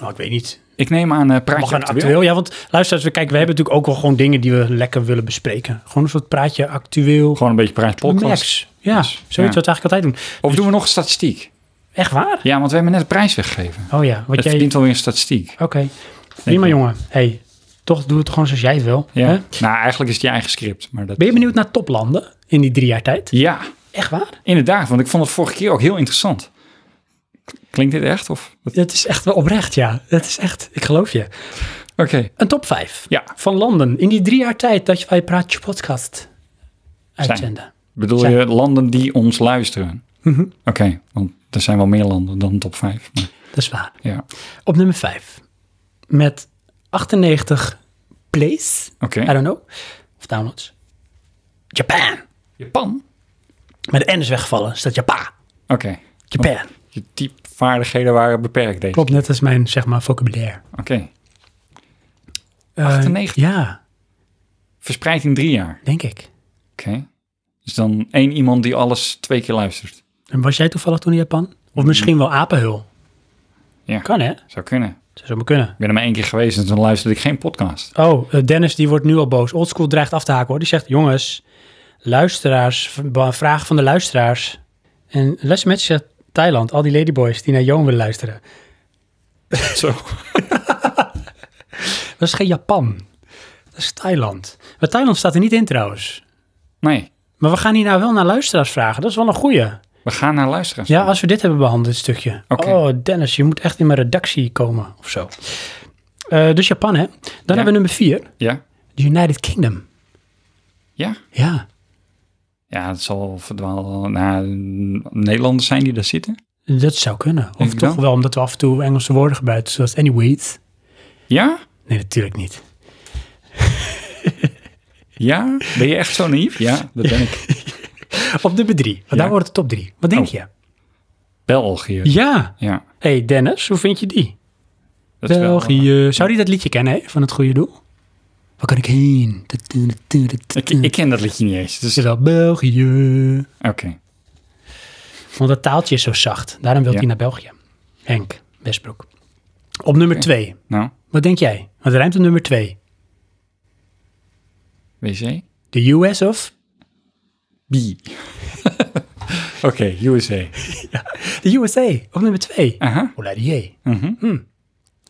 B: nou, ik weet niet.
C: Ik neem aan eh
B: Mag
C: praatje
B: een
C: actueel.
B: actueel? Ja, want luisteraars, we, kijk, we hebben natuurlijk ook wel gewoon dingen die we lekker willen bespreken. Gewoon een soort praatje actueel.
C: Gewoon een beetje praatje podcast.
B: Max. Ja,
C: Dus,
B: zoiets
C: ja.
B: wat we eigenlijk altijd doen.
C: Of doen we nog statistiek?
B: Echt waar?
C: Ja, want we hebben net een prijs weggegeven.
B: Oh ja, wat
C: Het
B: jij...
C: verdient wel weer statistiek.
B: Oké. Prima,
C: je.
B: jongen. hey, toch doe het gewoon zoals jij het wil.
C: Ja.
B: hè?
C: Nou, eigenlijk is het je eigen script. Maar dat...
B: Ben je benieuwd naar toplanden in die drie jaar tijd?
C: Ja,
B: Echt waar?
C: inderdaad. Want ik vond het vorige keer ook heel interessant. Klinkt dit echt? Of... Oké.
B: Dat is echt wel oprecht, ja. Dat is echt, ik geloof je. Een top vijf
C: Ja.
B: van landen in die drie jaar tijd dat wij Praatje Podcast uitzenden.
C: Bedoel
B: Zijn.
C: je landen die ons luisteren?
B: Mhm.
C: Oké, want er zijn wel meer landen dan top 5. Maar,
B: Dat is waar.
C: ja, oké.
B: Op nummer vijf. Met 98 plays, I don't know, of downloads. Japan.
C: Japan?
B: Met de N is weggevallen, staat Japan.
C: Oké.
B: Japan.
C: Je typevaardigheden waren beperkt deze.
B: Oh, Klopt, net als mijn, zeg maar, vocabulaire.
C: Oké.
B: Eh,
C: 98?
B: ja,
C: Verspreid in drie jaar.
B: denk ik.
C: Oké. Dus Dus dan één iemand die alles twee keer luistert.
B: En was jij toevallig toen in Japan? Of misschien wel apenhul?
C: Ja.
B: Kan hè?
C: Zou kunnen.
B: Zou zo maar kunnen.
C: Ik ben er maar één keer geweest en toen luisterde ik geen podcast.
B: Oh, eh, Dennis die wordt nu al boos. Oldschool dreigt af te haken hoor. Die zegt, jongens, luisteraars, v- ba- vragen van de luisteraars. En Les Match zegt, Thailand, al die ladyboys die naar Johan willen luisteren.
C: Zo.
B: Dat is geen Japan. Dat is Thailand. Maar Thailand staat er niet in trouwens.
C: Nee,
B: Maar we gaan hier nou wel naar luisteraars vragen. Dat is wel een goeie.
C: we gaan naar luisteren.
B: Ja, als we dit hebben behandeld, dit stukje.
C: Oké.
B: Oh, Dennis, je moet echt in mijn redactie komen of zo. Eh, dus Japan, hè? Dan hebben we nummer vier,
C: Ja?
B: de United Kingdom.
C: Ja?
B: Ja,
C: Ja, het zal verdwaal. Nou, Nederlanders zijn die daar zitten.
B: dat zou kunnen. Of
C: ik
B: toch
C: wel.
B: wel, omdat we af en toe Engelse woorden gebruiken, zoals anyways.
C: Ja?
B: Nee, natuurlijk niet.
C: Ja? Ben je echt zo naïef? Ja, dat ben ik.
B: Op nummer drie, want
C: Ja.
B: daar wordt het top drie. Wat denk
C: Oh.
B: je?
C: België.
B: Ja.
C: Ja,
B: hey, Dennis, hoe vind je die?
C: dat is wel- eh,
B: België. Zou die dat liedje kennen, hè? Van het goede doel? Waar kan ik heen?
C: Ik,
B: Mm.
C: ik ken dat liedje niet eens. Dus,
B: Is wel België.
C: Oké.
B: Want dat taaltje is zo zacht. Daarom wil
C: Ja.
B: hij naar België. Henk Westbroek. Op nummer twee.
C: Nou,
B: Wat denk jij? Wat rijmt op nummer twee?
C: WC?
B: De US of?
C: B. Oké, USA.
B: De USA. Op nummer twee.
C: Aha.
B: Ola de J.
C: mhm.
B: Hmm.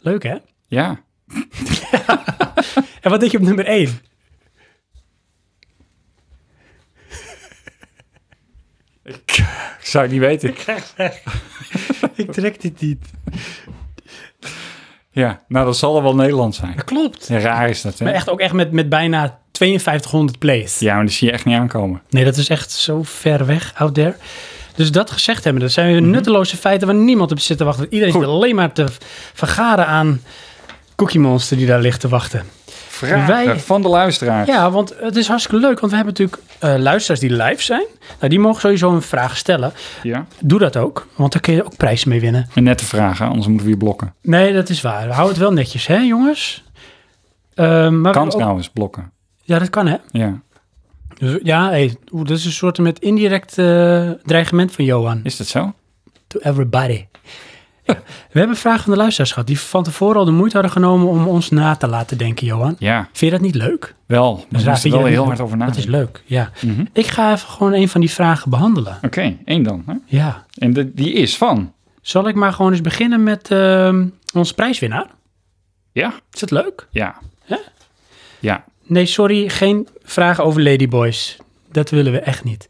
B: Leuk hè?
C: Ja.
B: En wat denk je op nummer één?
C: Ik zou het niet weten.
B: Ik trek dit niet.
C: Ja, nou dat zal er wel Nederland zijn.
B: Klopt.
C: Ja, raar is dat, hè?
B: Maar echt ook echt met, met bijna 5200 plays.
C: Ja, maar die zie je echt niet aankomen.
B: Nee, dat is echt zo ver weg out there. Dus dat gezegd hebben, dat zijn weer nutteloze feiten waar niemand op zit te wachten. Iedereen zit
C: Goed.
B: alleen maar te vergaren aan Cookie Monster die daar ligt te wachten.
C: Vragen
B: Wij-
C: van de luisteraar.
B: Ja, want het is hartstikke leuk, want we hebben natuurlijk eh, luisteraars die live zijn. Nou, die mogen sowieso een vraag stellen.
C: ja.
B: Doe dat ook, want daar kun je ook prijzen mee winnen.
C: En nette vragen, anders moeten we je blokken.
B: Nee, dat is waar. Hou het wel netjes, hè, jongens? Eh, maar
C: Kan
B: we- ook-
C: trouwens blokken.
B: Ja, dat kan, hè?
C: Ja.
B: Dus, ja, hey, oeh, dat is een soort met indirect eh, dreigement van Johan.
C: Is dat zo?
B: to everybody. Ja. We hebben vragen van de luisteraars gehad die van tevoren al de moeite hadden genomen om ons na te laten denken, Johan.
C: Ja,
B: Vind je dat niet leuk?
C: wel. Maar
B: raar,
C: we moesten
B: vind
C: er
B: je
C: wel
B: dat
C: heel
B: niet
C: hard over
B: Dat is
C: nadenken.
B: leuk, ja.
C: Mhm.
B: Ik ga even gewoon een van die vragen behandelen.
C: Oké, één dan. Hè?
B: Ja.
C: En de- die is van.
B: Zal ik maar gewoon eens beginnen met ehm ons prijswinnaar?
C: Ja.
B: Is dat leuk?
C: Ja.
B: Hè?
C: Ja.
B: Nee, sorry, geen vragen over Ladyboys. Dat willen we echt niet.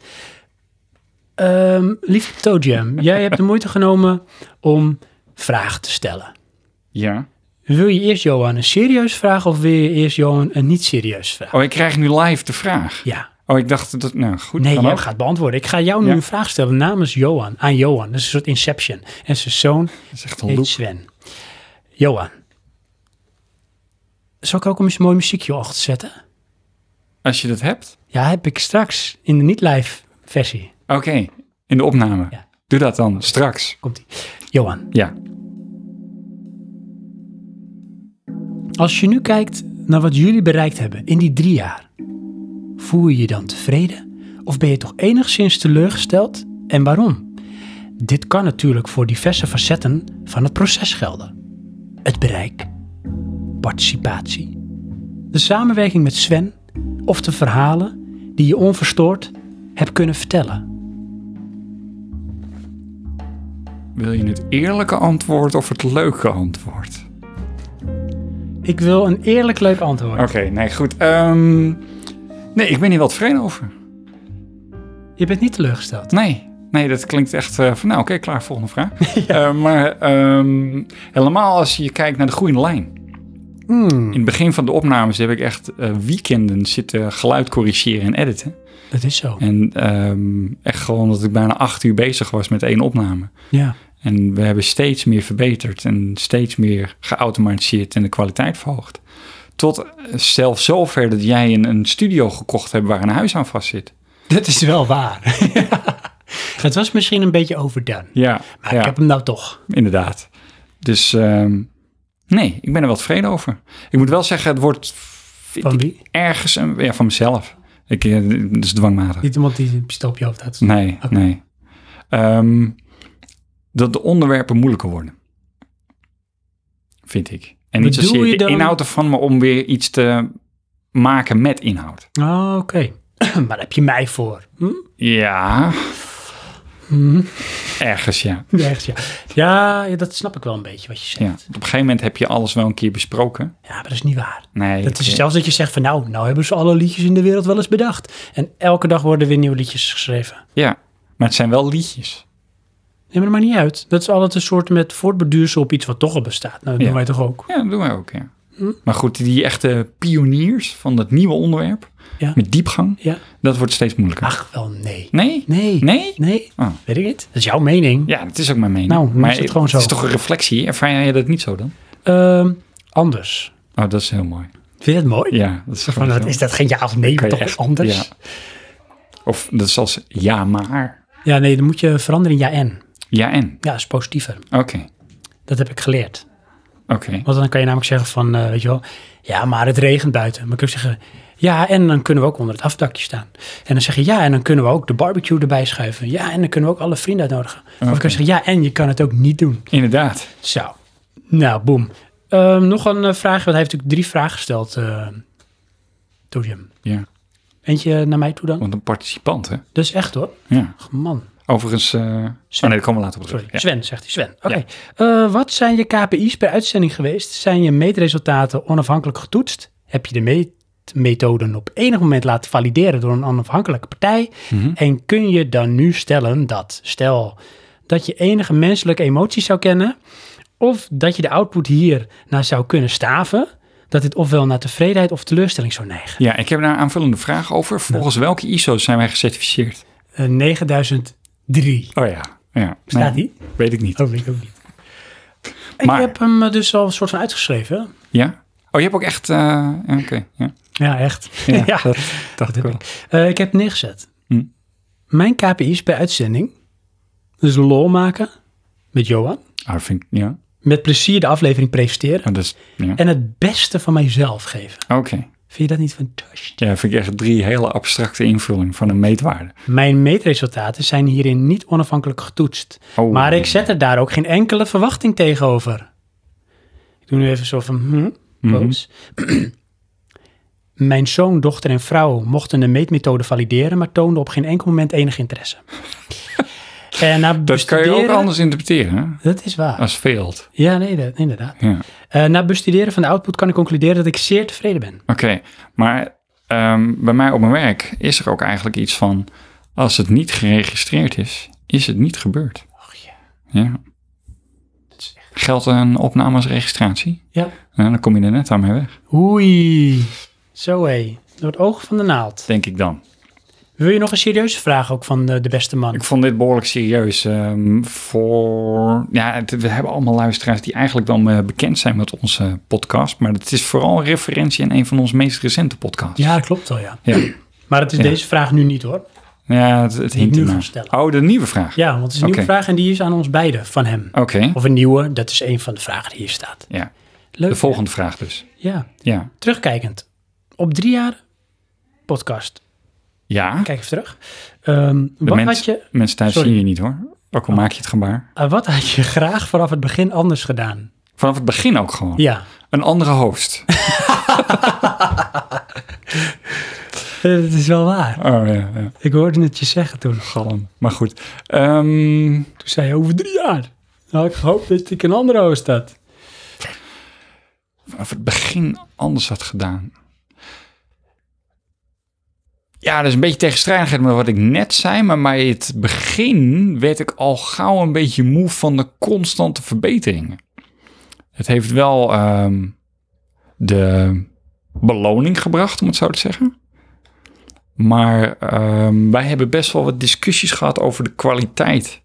B: Ehm lieve Toadjam, jij hebt de moeite genomen om vragen te stellen.
C: Ja.
B: Wil je eerst Johan een serieus vraag of wil je eerst Johan een niet serieus vraag?
C: Oh, ik krijg nu live de vraag.
B: Ja.
C: Oh, ik dacht dat... Nou, goed.
B: Nee,
C: kan
B: jij
C: ook.
B: gaat beantwoorden. Ik ga jou nu
C: Ja.
B: een vraag stellen namens Johan, aan Johan. Dat is een soort Inception. En zijn zoon
C: Dat is echt een
B: heet
C: loop.
B: Sven. Johan. Zal ik ook een mooi muziekje achter zetten?
C: Als je dat hebt.
B: Ja, heb ik straks in de niet-live versie.
C: Oké, in de opname.
B: Ja.
C: Doe dat dan, straks.
B: Komt-ie. Johan,
C: Ja.
B: Als je nu kijkt naar wat jullie bereikt hebben in die drie jaar, voel je je dan tevreden of ben je toch enigszins teleurgesteld en waarom? Dit kan natuurlijk voor diverse facetten van het proces gelden. Het bereik, participatie, de samenwerking met Sven of de verhalen die je onverstoord hebt kunnen vertellen.
C: Wil je het eerlijke antwoord of het leuke antwoord?
B: Ik wil een eerlijk leuk antwoord.
C: Oké, nee, goed. Ehm, nee, ik ben hier wel tevreden over.
B: Je bent niet teleurgesteld.
C: Nee, nee, dat klinkt echt eh, van... Nou, oké, klaar, volgende vraag. Eh, maar ehm, helemaal als je kijkt naar de groene lijn. In het begin van de opnames heb ik echt eh, weekenden zitten geluid corrigeren en editen.
B: dat is zo.
C: En ehm, echt gewoon dat ik bijna acht uur bezig was met één opname.
B: Ja.
C: En we hebben steeds meer verbeterd en steeds meer geautomatiseerd en de kwaliteit verhoogd. Tot eh, zelfs zover dat jij een, een studio gekocht hebt waar een huis aan vast zit.
B: Dat is wel waar. Het was misschien een beetje overdone.
C: Ja,
B: Maar
C: ja
B: ik heb hem nou toch.
C: inderdaad. Dus ehm, nee, ik ben er wel tevreden over. Ik moet wel zeggen, het wordt
B: Van wie?
C: ergens een, ja, van mezelf. Ik, eh, dat is dwangmatig.
B: Niet iemand die een pistool op je hoofd had.
C: Nee,
B: Oké.
C: nee. Ehm, dat de onderwerpen moeilijker worden. Vind ik. En niet
B: Bedoel
C: zozeer
B: je
C: de
B: dan-
C: inhoud ervan, maar om weer iets te maken met inhoud.
B: Oh, oké. maar daar heb je mij voor. Hm?
C: Ja. Ergens, ja.
B: Ja, echt, ja. Ja, ja, dat snap ik wel een beetje wat je
C: ja.
B: zegt.
C: Op een gegeven moment heb je alles wel een keer besproken.
B: Ja, maar dat is niet waar.
C: Nee.
B: Dat
C: ik- eh,
B: is zelfs dat je zegt van nou, nou hebben ze alle liedjes in de wereld wel eens bedacht. En elke dag worden weer nieuwe liedjes geschreven.
C: Ja. Maar het zijn wel liedjes.
B: Neem er maar niet uit. Dat is altijd een soort met voortbeduursen op iets wat toch al bestaat. Nou, dat
C: Ja.
B: doen wij toch ook.
C: Ja, dat doen wij ook, ja.
B: Hmm.
C: Maar goed, die echte pioniers van dat nieuwe onderwerp,
B: Ja.
C: met diepgang,
B: Ja.
C: dat wordt steeds moeilijker.
B: Ach, wel nee.
C: Nee?
B: Nee.
C: Nee?
B: Nee.
C: Oh.
B: Weet ik niet. Dat is jouw mening.
C: Ja, dat is ook mijn mening.
B: Nou, dan
C: maar
B: is het gewoon zo.
C: Het is toch een reflectie? Ervaar jij dat niet zo dan?
B: Ehm, anders.
C: Oh, dat is heel mooi.
B: Vind je dat mooi?
C: Ja, dat is
B: Van,
C: gewoon
B: dat,
C: zo.
B: is dat geen ja of nee,
C: Kan
B: maar
C: je
B: toch
C: echt-
B: anders?
C: ja. Of dat is als ja, maar.
B: Ja, nee, dan moet je veranderen in ja en.
C: Ja en.
B: Ja, dat is positiever.
C: Oké,
B: Dat heb ik geleerd.
C: oké.
B: Want dan kan je namelijk zeggen van, eh, weet je wel, ja, maar het regent buiten. Maar kun je zeggen, ja, en dan kunnen we ook onder het afdakje staan. En dan zeg je, ja, en dan kunnen we ook de barbecue erbij schuiven. Ja, en dan kunnen we ook alle vrienden uitnodigen. Of
C: Oké.
B: ik kan zeggen, ja, en je kan het ook niet doen.
C: Inderdaad.
B: Zo. Nou, boem. Ehm, nog een eh, vraag, want hij heeft natuurlijk drie vragen gesteld. eh door hem.
C: Ja,
B: Eentje naar mij toe dan.
C: want een participant, hè?
B: Dat is echt hoor.
C: Ja.
B: Ach, man.
C: Overigens... eh Oh nee, dat komen we later op terug.
B: Sorry,
C: Ja.
B: Sven, zegt hij. Sven, oké. Eh, wat zijn je KPI's per uitzending geweest? Zijn je meetresultaten onafhankelijk getoetst? Heb je de meetmethoden op enig moment laten valideren door een onafhankelijke partij? En kun je dan nu stellen dat, stel, dat je enige menselijke emoties zou kennen... of dat je de output hier naar zou kunnen staven... dat dit ofwel naar tevredenheid of teleurstelling zou neigen?
C: Ja, ik heb daar een aanvullende vraag over. Volgens welke ISO's zijn wij gecertificeerd?
B: Eh, 9003.
C: Oh ja. ja.
B: Bestaat
C: Nee,
B: die?
C: Weet ik niet.
B: Oh, weet ik ook niet. Ik
C: Maar-
B: heb hem eh, dus al een soort van uitgeschreven.
C: Ja? Oh, je hebt ook echt... eh, ja, Oké, ja.
B: Ja, echt.
C: Ja,
B: Ja,
C: dat
B: dacht
C: ik wel.
B: Ik. Eh, ik heb het neergezet.
C: Hm.
B: Mijn KPI's per uitzending. Dus lol maken met Johan.
C: Ah, dat vind ik... Ja.
B: Met plezier de aflevering presenteren.
C: Maar dat is... Ja.
B: En het beste van mijzelf geven.
C: Oké.
B: Vind je dat niet fantastisch?
C: Ja, vind ik echt drie hele abstracte invullingen van een meetwaarde.
B: Mijn meetresultaten zijn hierin niet onafhankelijk getoetst.
C: Oh.
B: Maar ik zet er daar ook geen enkele verwachting tegenover. Ik doe nu even zo van... Hm,
C: Mhm.
B: boos. Mijn zoon, dochter en vrouw mochten de meetmethode valideren... maar toonden op geen enkel moment enig interesse. en na
C: Dat kan je ook
B: bestuderen-
C: anders interpreteren hè?
B: Dat is waar.
C: als veld.
B: Ja, nee, dat- inderdaad.
C: Ja.
B: Eh, na bestuderen van de output kan ik concluderen dat ik zeer tevreden ben.
C: Oké, maar ehm, bij mij op mijn werk is er ook eigenlijk iets van... als het niet geregistreerd is, is het niet gebeurd.
B: Och ja.
C: Ja. Geldt een opname als registratie?
B: Ja.
C: Nou, dan kom je er net aan mee weg,
B: Oei. Zo hé. Door het oog van de naald.
C: denk ik dan.
B: Wil je nog een serieuze vraag ook van eh, de beste man?
C: Ik vond dit behoorlijk serieus ehm, voor... Ja, het- we hebben allemaal luisteraars die eigenlijk dan eh, bekend zijn met onze podcast. Maar het is vooral een referentie aan een van onze meest recente podcasts.
B: Ja, klopt wel, ja.
C: Ja,
B: Maar het is
C: Ja.
B: deze vraag nu niet, hoor.
C: ja het, het
B: Die ik
C: hint
B: nu
C: ernaar.
B: ga stellen.
C: Oh, de nieuwe vraag.
B: Ja, want het is een nieuwe
C: Oké.
B: vraag en die is aan ons beiden van hem.
C: Oké,
B: Of een nieuwe, dat is een van de vragen die hier staat.
C: ja.
B: Leuk.
C: de
B: hè?
C: volgende vraag dus.
B: Ja.
C: Ja.
B: Terugkijkend. Op drie jaar podcast.
C: Ja,
B: Kijk even terug. Ehm,
C: de
B: wat,
C: mens-
B: had je,
C: mensen thuis
B: Sorry. Oh.
C: zien je niet hoor. Ook al maak je het gebaar.
B: eh, wat had je graag vanaf het begin anders gedaan?
C: Vanaf het begin ook gewoon.
B: Ja.
C: Een andere host.
B: Eh, Dat is wel waar.
C: Oh ja, ja.
B: Ik hoorde het je zeggen toen.
C: Galm. Maar goed. Ehm,
B: Toen zei je over drie jaar. Nou, ik hoop dat ik een andere host had.
C: vanaf het begin anders had gedaan. Ja, dat is een beetje tegenstrijdigheid met wat ik net zei. Maar bij het begin werd ik al gauw een beetje moe van de constante verbeteringen. Het heeft wel ehm, de beloning gebracht, om het zo te zeggen. Maar ehm, wij hebben best wel wat discussies gehad over de kwaliteit.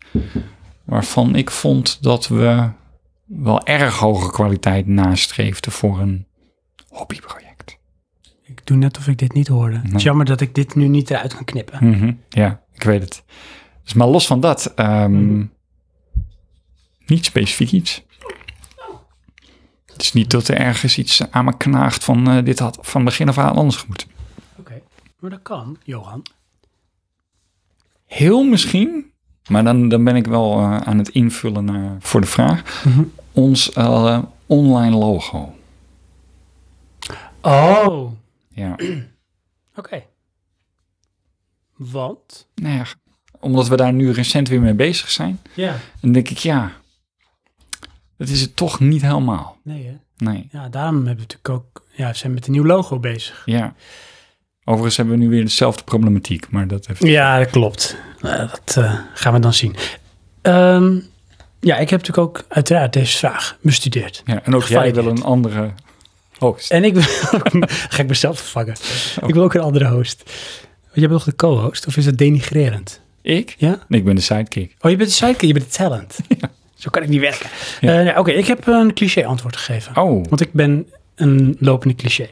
C: Waarvan ik vond dat we wel erg hoge kwaliteit nastreefden voor een hobbyproject.
B: Ik doe net of ik dit niet hoorde. Het is jammer dat ik dit nu niet eruit kan knippen.
C: Mhm, Ja, ik weet het. Dus maar los van dat, ehm, niet specifiek iets. Het is niet dat er ergens iets aan me knaagt van eh, dit had van begin af aan anders gemoet.
B: Oké. Maar dat kan, Johan.
C: Heel misschien, maar dan, dan ben ik wel eh, aan het invullen naar, voor de vraag. Ons eh, online logo.
B: Oh, oké.
C: Ja.
B: Want?
C: Nou ja, omdat we daar nu recent weer mee bezig zijn,
B: Ja.
C: dan denk ik ja, dat is het toch niet helemaal.
B: Nee, hè?
C: Nee,
B: Ja, daarom hebben we natuurlijk ook... Ja, we zijn met een nieuw logo bezig.
C: ja. Overigens hebben we nu weer dezelfde problematiek, maar dat heeft...
B: Ja, dat klopt. Nou, dat eh, gaan we dan zien. Ehm, ja, ik heb natuurlijk ook uiteraard deze vraag bestudeerd.
C: Ja, en ook jij wil een andere host.
B: En ik wil ook- ga ik mezelf vervangen. Ik wil ook een andere host. Want Jij bent toch de co-host? Of is dat denigrerend?
C: Ik?
B: Ja?
C: Nee, ik ben de sidekick.
B: Oh, je bent de sidekick, je bent de talent. Zo kan ik niet werken.
C: Ja.
B: Eh, nee, Oké, ik heb een cliché antwoord gegeven.
C: Oh,
B: Want ik ben een lopende cliché.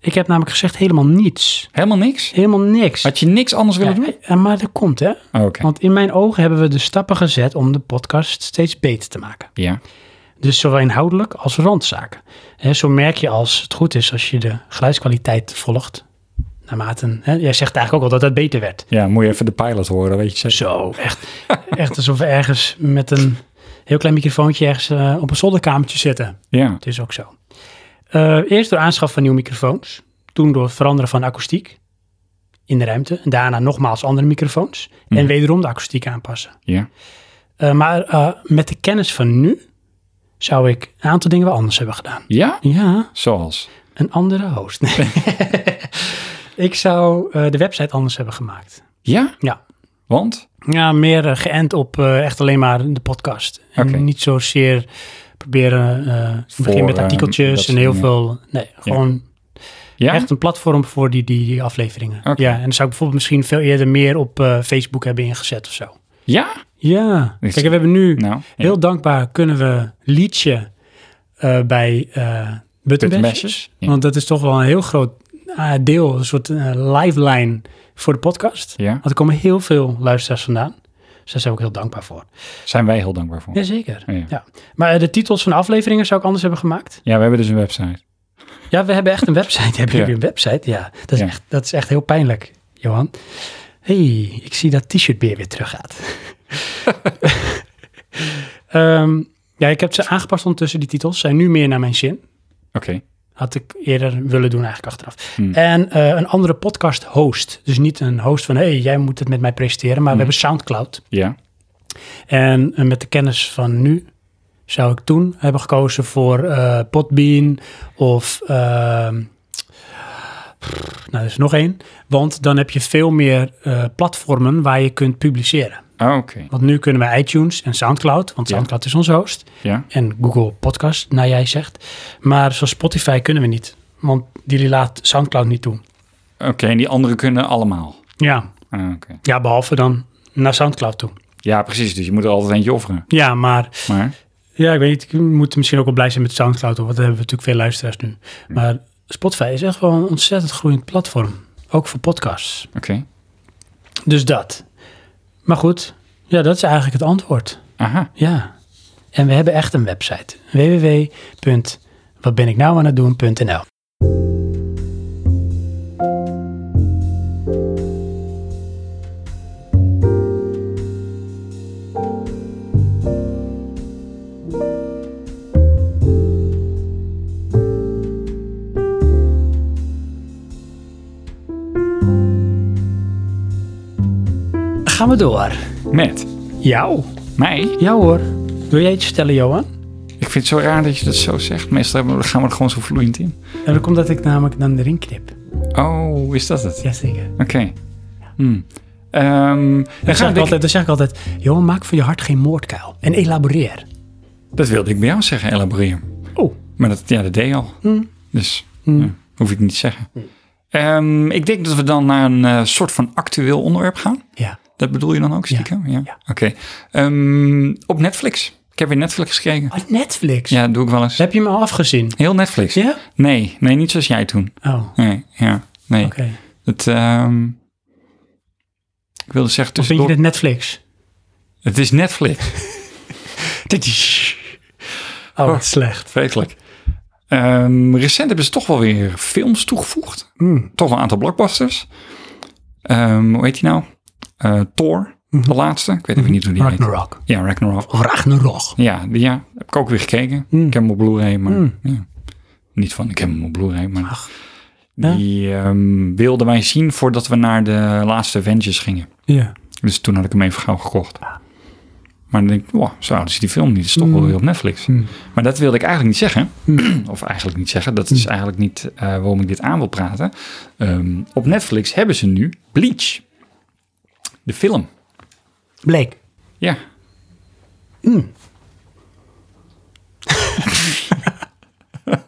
B: Ik heb namelijk gezegd helemaal niets.
C: helemaal niks?
B: Helemaal niks.
C: Had je niks anders willen doen?
B: Ja, eh, maar dat komt, hè?
C: Oh, Oké,
B: Want in mijn ogen hebben we de stappen gezet om de podcast steeds beter te maken.
C: ja.
B: Dus zowel inhoudelijk als randzaken. Hè, zo merk je als het goed is, als je de geluidskwaliteit volgt. Naarmate, hè, jij zegt eigenlijk ook al dat het beter werd.
C: Ja, moet je even de pilot horen, weet je zeker?
B: Zo, echt, echt alsof we ergens met een heel klein microfoontje ergens eh, op een zolderkamertje zitten.
C: Ja,
B: Het is ook zo. Eh, eerst door aanschaf van nieuwe microfoons. Toen door het veranderen van akoestiek in de ruimte. En daarna nogmaals andere microfoons.
C: Mhm.
B: En wederom de akoestiek aanpassen.
C: ja.
B: Eh, maar eh, met de kennis van nu zou ik een aantal dingen wel anders hebben gedaan.
C: Ja?
B: Ja,
C: Zoals?
B: een andere host. Nee. ik zou eh, de website anders hebben gemaakt.
C: Ja?
B: Ja.
C: Want?
B: Ja, meer eh, geënt op eh, echt alleen maar de podcast. En
C: Oké.
B: niet zozeer proberen, eh
C: Voor,
B: begin met
C: eh, dat
B: artikeltjes en
C: soort
B: heel
C: dingen.
B: veel. Nee, gewoon
C: Ja?
B: echt een platform voor die, die, die afleveringen.
C: Oké.
B: Ja, en dan zou ik bijvoorbeeld misschien veel eerder meer op eh, Facebook hebben ingezet of zo.
C: Ja?
B: Ja,
C: Dus-
B: kijk, we hebben nu
C: Nou, ja.
B: heel dankbaar kunnen we liedje eh, bij eh Buttonbashers.
C: Buttonbashers, ja.
B: Want dat is toch wel een heel groot ah, deel, een soort eh, lifeline voor de podcast.
C: Ja,
B: Want er komen heel veel luisteraars vandaan. Dus daar zijn we ook heel dankbaar voor.
C: zijn wij heel dankbaar voor.
B: Jazeker.
C: Ja.
B: Ja. Maar eh, de titels van de afleveringen zou ik anders hebben gemaakt.
C: Ja, we hebben dus een website.
B: Ja, we hebben echt een website. Hebben
C: Ja.
B: jullie een website? Ja, dat is,
C: Ja.
B: Echt, dat is echt heel pijnlijk, Johan. hey, ik zie dat t-shirt weer weer teruggaat. Ehm ja, ik heb ze aangepast ondertussen, die titels. Zijn nu meer naar mijn zin.
C: Oké.
B: Had ik eerder willen doen eigenlijk achteraf.
C: Hmm.
B: En eh, een andere podcast host. Dus niet een host van, hé, hey, jij moet het met mij presenteren.
C: Hmm.
B: Maar we hebben Soundcloud.
C: Ja.
B: En eh, met de kennis van nu zou ik toen hebben gekozen voor eh Podbean of... ehm, pff, nou, er is nog één. Want dan heb je veel meer eh, platformen waar je kunt publiceren.
C: Ah, Oké.
B: Want nu kunnen we iTunes en Soundcloud, want
C: Ja.
B: Soundcloud is onze host.
C: Ja.
B: En Google Podcast, naar jij zegt. Maar zoals Spotify kunnen we niet, want die laat Soundcloud niet toe.
C: Oké, en die anderen kunnen allemaal.
B: Ja,
C: Ah, Oké.
B: ja behalve dan naar Soundcloud toe.
C: Ja, precies. Dus je moet er altijd eentje offeren.
B: Ja, maar
C: Maar,
B: Ja, ik weet niet. Ik moet misschien ook wel blij zijn met Soundcloud, hoor, want daar hebben we natuurlijk veel luisteraars nu. Maar Spotify is echt wel een ontzettend groeiend platform. Ook voor podcasts.
C: oké.
B: Dus dat. Maar goed, ja, dat is eigenlijk het antwoord.
C: Aha.
B: Ja. En we hebben echt een website. nou www.watbeniknouaanhetdoen.nl Gaan we door.
C: Met
B: Jou.
C: mij?
B: Ja hoor. Wil jij iets vertellen, Johan?
C: Ik vind het zo raar dat je dat zo zegt. Meestal hebben we- gaan we er gewoon zo vloeiend in.
B: En dat komt dat ik namelijk dan erin knip.
C: Oh, is dat het?
B: Jazeker.
C: Oké. Hmm. Ehm, dan
B: Dan
C: ga
B: zeg, ik
C: ik,
B: altijd, dan zeg ik altijd, Johan, maak van je hart geen moordkuil. En elaboreer.
C: dat wilde ik bij jou zeggen, elaboreer.
B: Oh,
C: Maar dat, ja, dat deed je al.
B: Hmm.
C: Dus ja, hoef ik niet te zeggen. Ehm, ik denk dat we dan naar een eh, soort van actueel onderwerp gaan.
B: ja.
C: Dat bedoel je dan ook, stiekem? Ja.
B: ja.
C: Oké. Ehm, op Netflix. Ik heb weer Netflix gekeken.
B: Oh, Netflix.
C: Ja, dat doe ik wel eens.
B: Heb je hem al afgezien?
C: Heel Netflix.
B: Ja?
C: Nee, nee, niet zoals jij toen.
B: Oh, oké.
C: Nee, ja, nee. Het, ehm, ik wilde zeggen
B: Of vind je
C: tussendoor...
B: dit Netflix?
C: Het is Netflix.
B: Dit is... Oh, wat slecht.
C: Vreselijk. Ehm, recent hebben ze toch wel weer films toegevoegd.
B: Mm.
C: Toch wel een aantal blockbusters. Ehm, hoe heet die nou? Eh, Thor, de laatste. Ik weet even niet hoe die heet.
B: Hmm. Ragnarok.
C: Ja, Ragnarok.
B: Of Ragnarok.
C: Ja, die, ja, heb ik ook weer gekeken.
B: Mm.
C: Ik heb hem op Blu-ray, maar
B: Mm.
C: ja. niet van ik heb hem op Blu-ray, maar
B: Ach.
C: die ehm, wilden wij zien voordat we naar de laatste Avengers gingen.
B: Ja.
C: Dus toen had ik hem even gauw gekocht. Maar dan denk ik, wow, zo oud is die film niet. Dat is toch wel weer op Netflix. Maar dat wilde ik eigenlijk niet zeggen. Of eigenlijk niet zeggen. Dat is eigenlijk niet eh, waarom ik dit aan wil praten. Ehm, op Netflix hebben ze nu Bleach. De film.
B: Blake.
C: Ja.
B: Mm.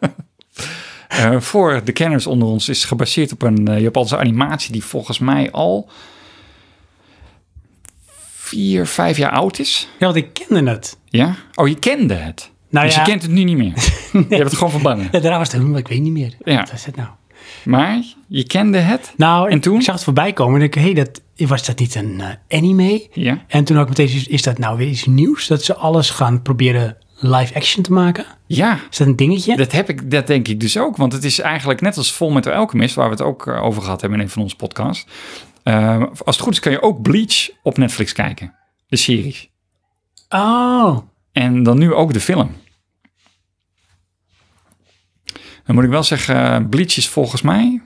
C: Eh, voor de kenners onder ons is gebaseerd op een eh, Japanse animatie die volgens mij al vier, vijf jaar oud is.
B: Ja, want ik kende het.
C: Ja? Oh, je kende het.
B: Nou
C: dus
B: ja.
C: je kent het nu niet meer. Je hebt het gewoon verbannen.
B: Ja, daarna was het helemaal, ik weet niet meer.
C: Ja.
B: Wat is het nou?
C: Maar je kende het.
B: Nou,
C: En
B: ik,
C: toen?
B: ik zag het voorbij komen en ik hé, dat was dat niet een eh, anime?
C: Ja.
B: En toen had ik meteen, zoiets, is dat nou weer iets nieuws? Dat ze alles gaan proberen live action te maken?
C: Ja,
B: Is dat een dingetje?
C: Dat, heb ik, dat denk ik dus ook. Want het is eigenlijk net als Fullmetal Alchemist... waar we het ook eh, over gehad hebben in een van onze podcasts. Eh, als het goed is kan je ook Bleach op Netflix kijken. De serie.
B: Oh,
C: En dan nu ook de film. Dan moet ik wel zeggen... eh, Bleach is volgens mij...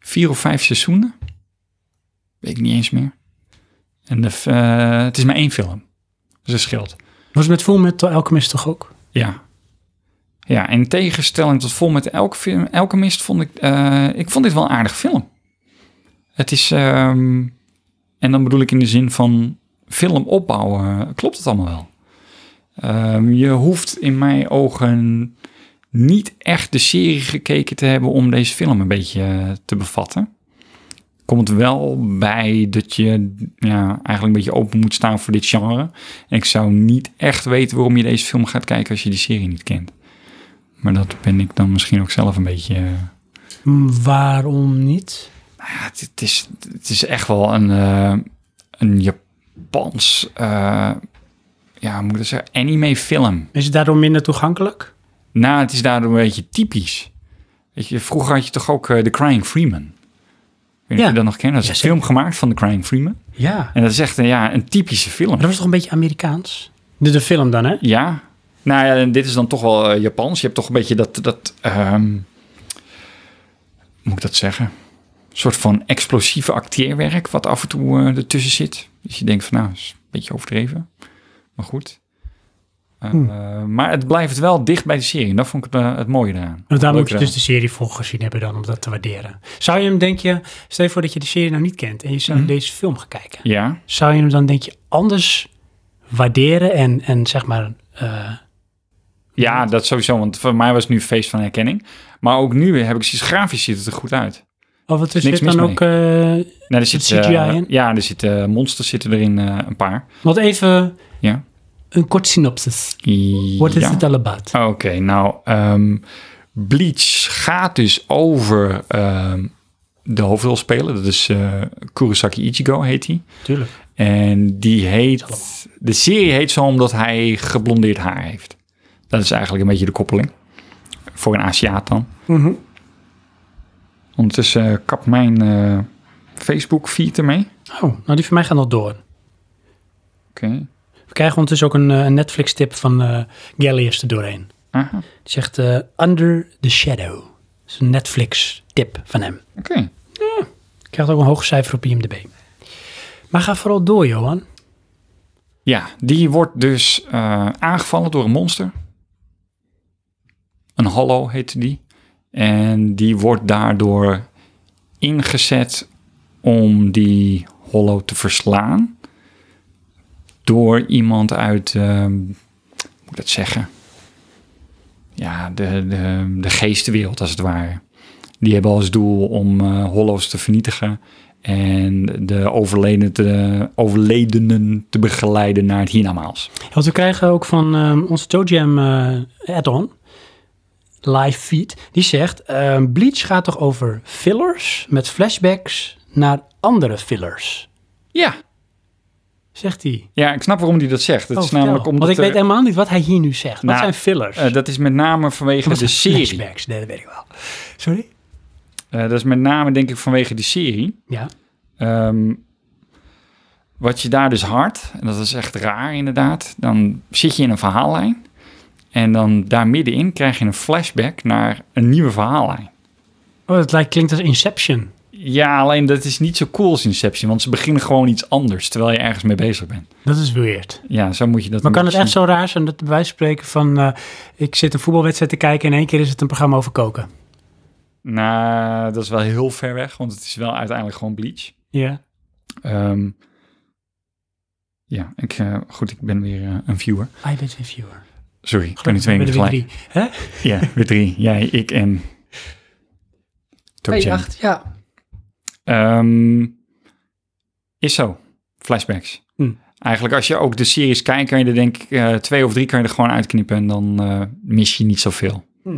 C: vier of vijf seizoenen. Weet ik niet eens meer. En de, f- eh, het is maar één film. Dus dat scheelt.
B: was het met Fullmetal Alchemist toch ook?
C: Ja. Ja, in tegenstelling tot vol met elke film, Alchemist vond ik, eh, ik vond dit wel een aardig film. Het is, ehm, en dan bedoel ik in de zin van film opbouwen, klopt het allemaal wel. Ehm, je hoeft in mijn ogen niet echt de serie gekeken te hebben om deze film een beetje eh, te bevatten. Komt wel bij dat je ja, eigenlijk een beetje open moet staan voor dit genre. En ik zou niet echt weten waarom je deze film gaat kijken als je die serie niet kent. Maar dat ben ik dan misschien ook zelf een beetje. eh,
B: Mm, Waarom niet?
C: Nou ja, het, het is, het is echt wel een, eh, een Japans. eh, ja, hoe moet ik dat zeggen? Anime-film.
B: Is het daardoor minder toegankelijk?
C: Nou, het is daardoor een beetje typisch. Weet je, vroeger had je toch ook eh, The Crying Freeman. Ik weet niet
B: Ja.
C: of je dat nog kent. Dat is een film gemaakt van The Crying Freeman.
B: Ja. Maar
C: En dat is echt een, ja, een typische film.
B: dat was toch een beetje Amerikaans? De, de film dan, hè?
C: Ja. Nou ja, en dit is dan toch wel eh, Japans. Je hebt toch een beetje dat... dat ehm, moet ik dat zeggen? Een soort van explosieve acteerwerk... wat af en toe eh, ertussen zit. Dus je denkt van nou, is een beetje overdreven. Maar goed. Eh, eh,
B: Hmm.
C: maar het blijft wel dicht bij de serie. En dat vond ik het, eh, het mooie eraan.
B: Want daar
C: Leuk
B: moet je
C: eraan.
B: dus de serie voor gezien hebben dan, om dat te waarderen. Zou je hem, denk je, stel je voor dat je de serie nou niet kent en je zou deze film gaan kijken.
C: Ja,
B: Zou je hem dan, denk je, anders waarderen en, en zeg maar... eh,
C: ja, dat sowieso. Want voor mij was het nu een feest van herkenning. Maar ook nu heb ik zoiets grafisch ziet het er goed uit.
B: oh, wat is
C: Niks
B: dit dan
C: mis
B: ook... eh,
C: Nou, er
B: Zit
C: zit, eh,
B: CGI in?
C: Ja, er zitten monsters zitten erin, eh, een paar.
B: want even
C: Ja.
B: een kort synopsis. What
C: Wat
B: is it all about?
C: Oké, nou, ehm, Bleach gaat dus over ehm, de hoofdrolspeler. Dat is eh, Kurosaki Ichigo, heet hij.
B: Tuurlijk.
C: En die heet... De serie heet zo omdat hij geblondeerd haar heeft. Dat is eigenlijk een beetje de koppeling. Voor een Aziat dan.
B: Mhm.
C: Ondertussen eh, kap mijn eh, Facebook-feed ermee.
B: Oh, nou die van mij gaat nog door.
C: Oké.
B: We krijgen ondertussen ook een, eh, een Netflix-tip van eh Gallius er doorheen.
C: Aha.
B: Die zegt eh, Under the Shadow. Dat is een Netflix-tip van hem.
C: Oké.
B: Krijgt ook een hoog cijfer op IMDb. Maar ga vooral door, Johan.
C: Ja, die wordt dus eh, aangevallen door een monster. Een hollow heette die. En die wordt daardoor ingezet om die hollow te verslaan. Door iemand uit, ehm, hoe moet ik dat zeggen? Ja, de, de, de geestenwereld als het ware. Die hebben als doel om eh hollows te vernietigen. En de overledenen te, overledenen te begeleiden naar het hiernamaals.
B: Ja, Want we krijgen ook van ehm, onze Toe Jam eh, add-on, live feed, die zegt... ehm, Bleach gaat toch over fillers met flashbacks naar andere fillers?
C: Ja.
B: zegt hij.
C: Ja, ik snap waarom hij dat zegt. Het
B: Oh,
C: is
B: vertel.
C: namelijk omdat
B: Want ik
C: er-
B: weet helemaal niet wat hij hier nu zegt. Wat
C: Nou,
B: zijn fillers?
C: eh, dat is met name vanwege
B: Wat
C: de
B: zijn
C: serie.
B: flashbacks? Nee, dat weet ik wel. Sorry?
C: Eh, dat is met name denk ik vanwege die serie.
B: Ja.
C: Ehm, wat je daar dus hard, en dat is echt raar inderdaad, dan zit je in een verhaallijn. En dan daar middenin krijg je een flashback naar een nieuwe verhaallijn.
B: Oh, dat lijkt, klinkt als Inception.
C: Ja, alleen dat is niet zo cool als Inception, want ze beginnen gewoon iets anders terwijl je ergens mee bezig bent.
B: Dat is weird.
C: Ja, zo moet je dat
B: Maar
C: een
B: kan het
C: beetje
B: echt zo raar zijn dat wij spreken van... eh, ik zit een voetbalwedstrijd te kijken en in één keer is het een programma over koken?
C: zien. Nou, dat is wel heel ver weg, want het is wel uiteindelijk gewoon Bleach.
B: Ja.
C: Ehm, ja, ik, eh, goed, ik ben weer eh, een viewer.
B: Ah, je bent een viewer.
C: Sorry, ik ben niet twee
B: Met
C: minuten
B: de
C: gelijk.
B: drie. Hè?
C: Ja, weer drie. Jij, ik en... Toe-chan.
B: ja.
C: Ehm, is zo. Flashbacks.
B: Hm.
C: Eigenlijk als je ook de series kijkt, kan je er denk ik eh, twee of drie kan je er gewoon uitknippen en dan eh, mis je niet zoveel.
B: Hm.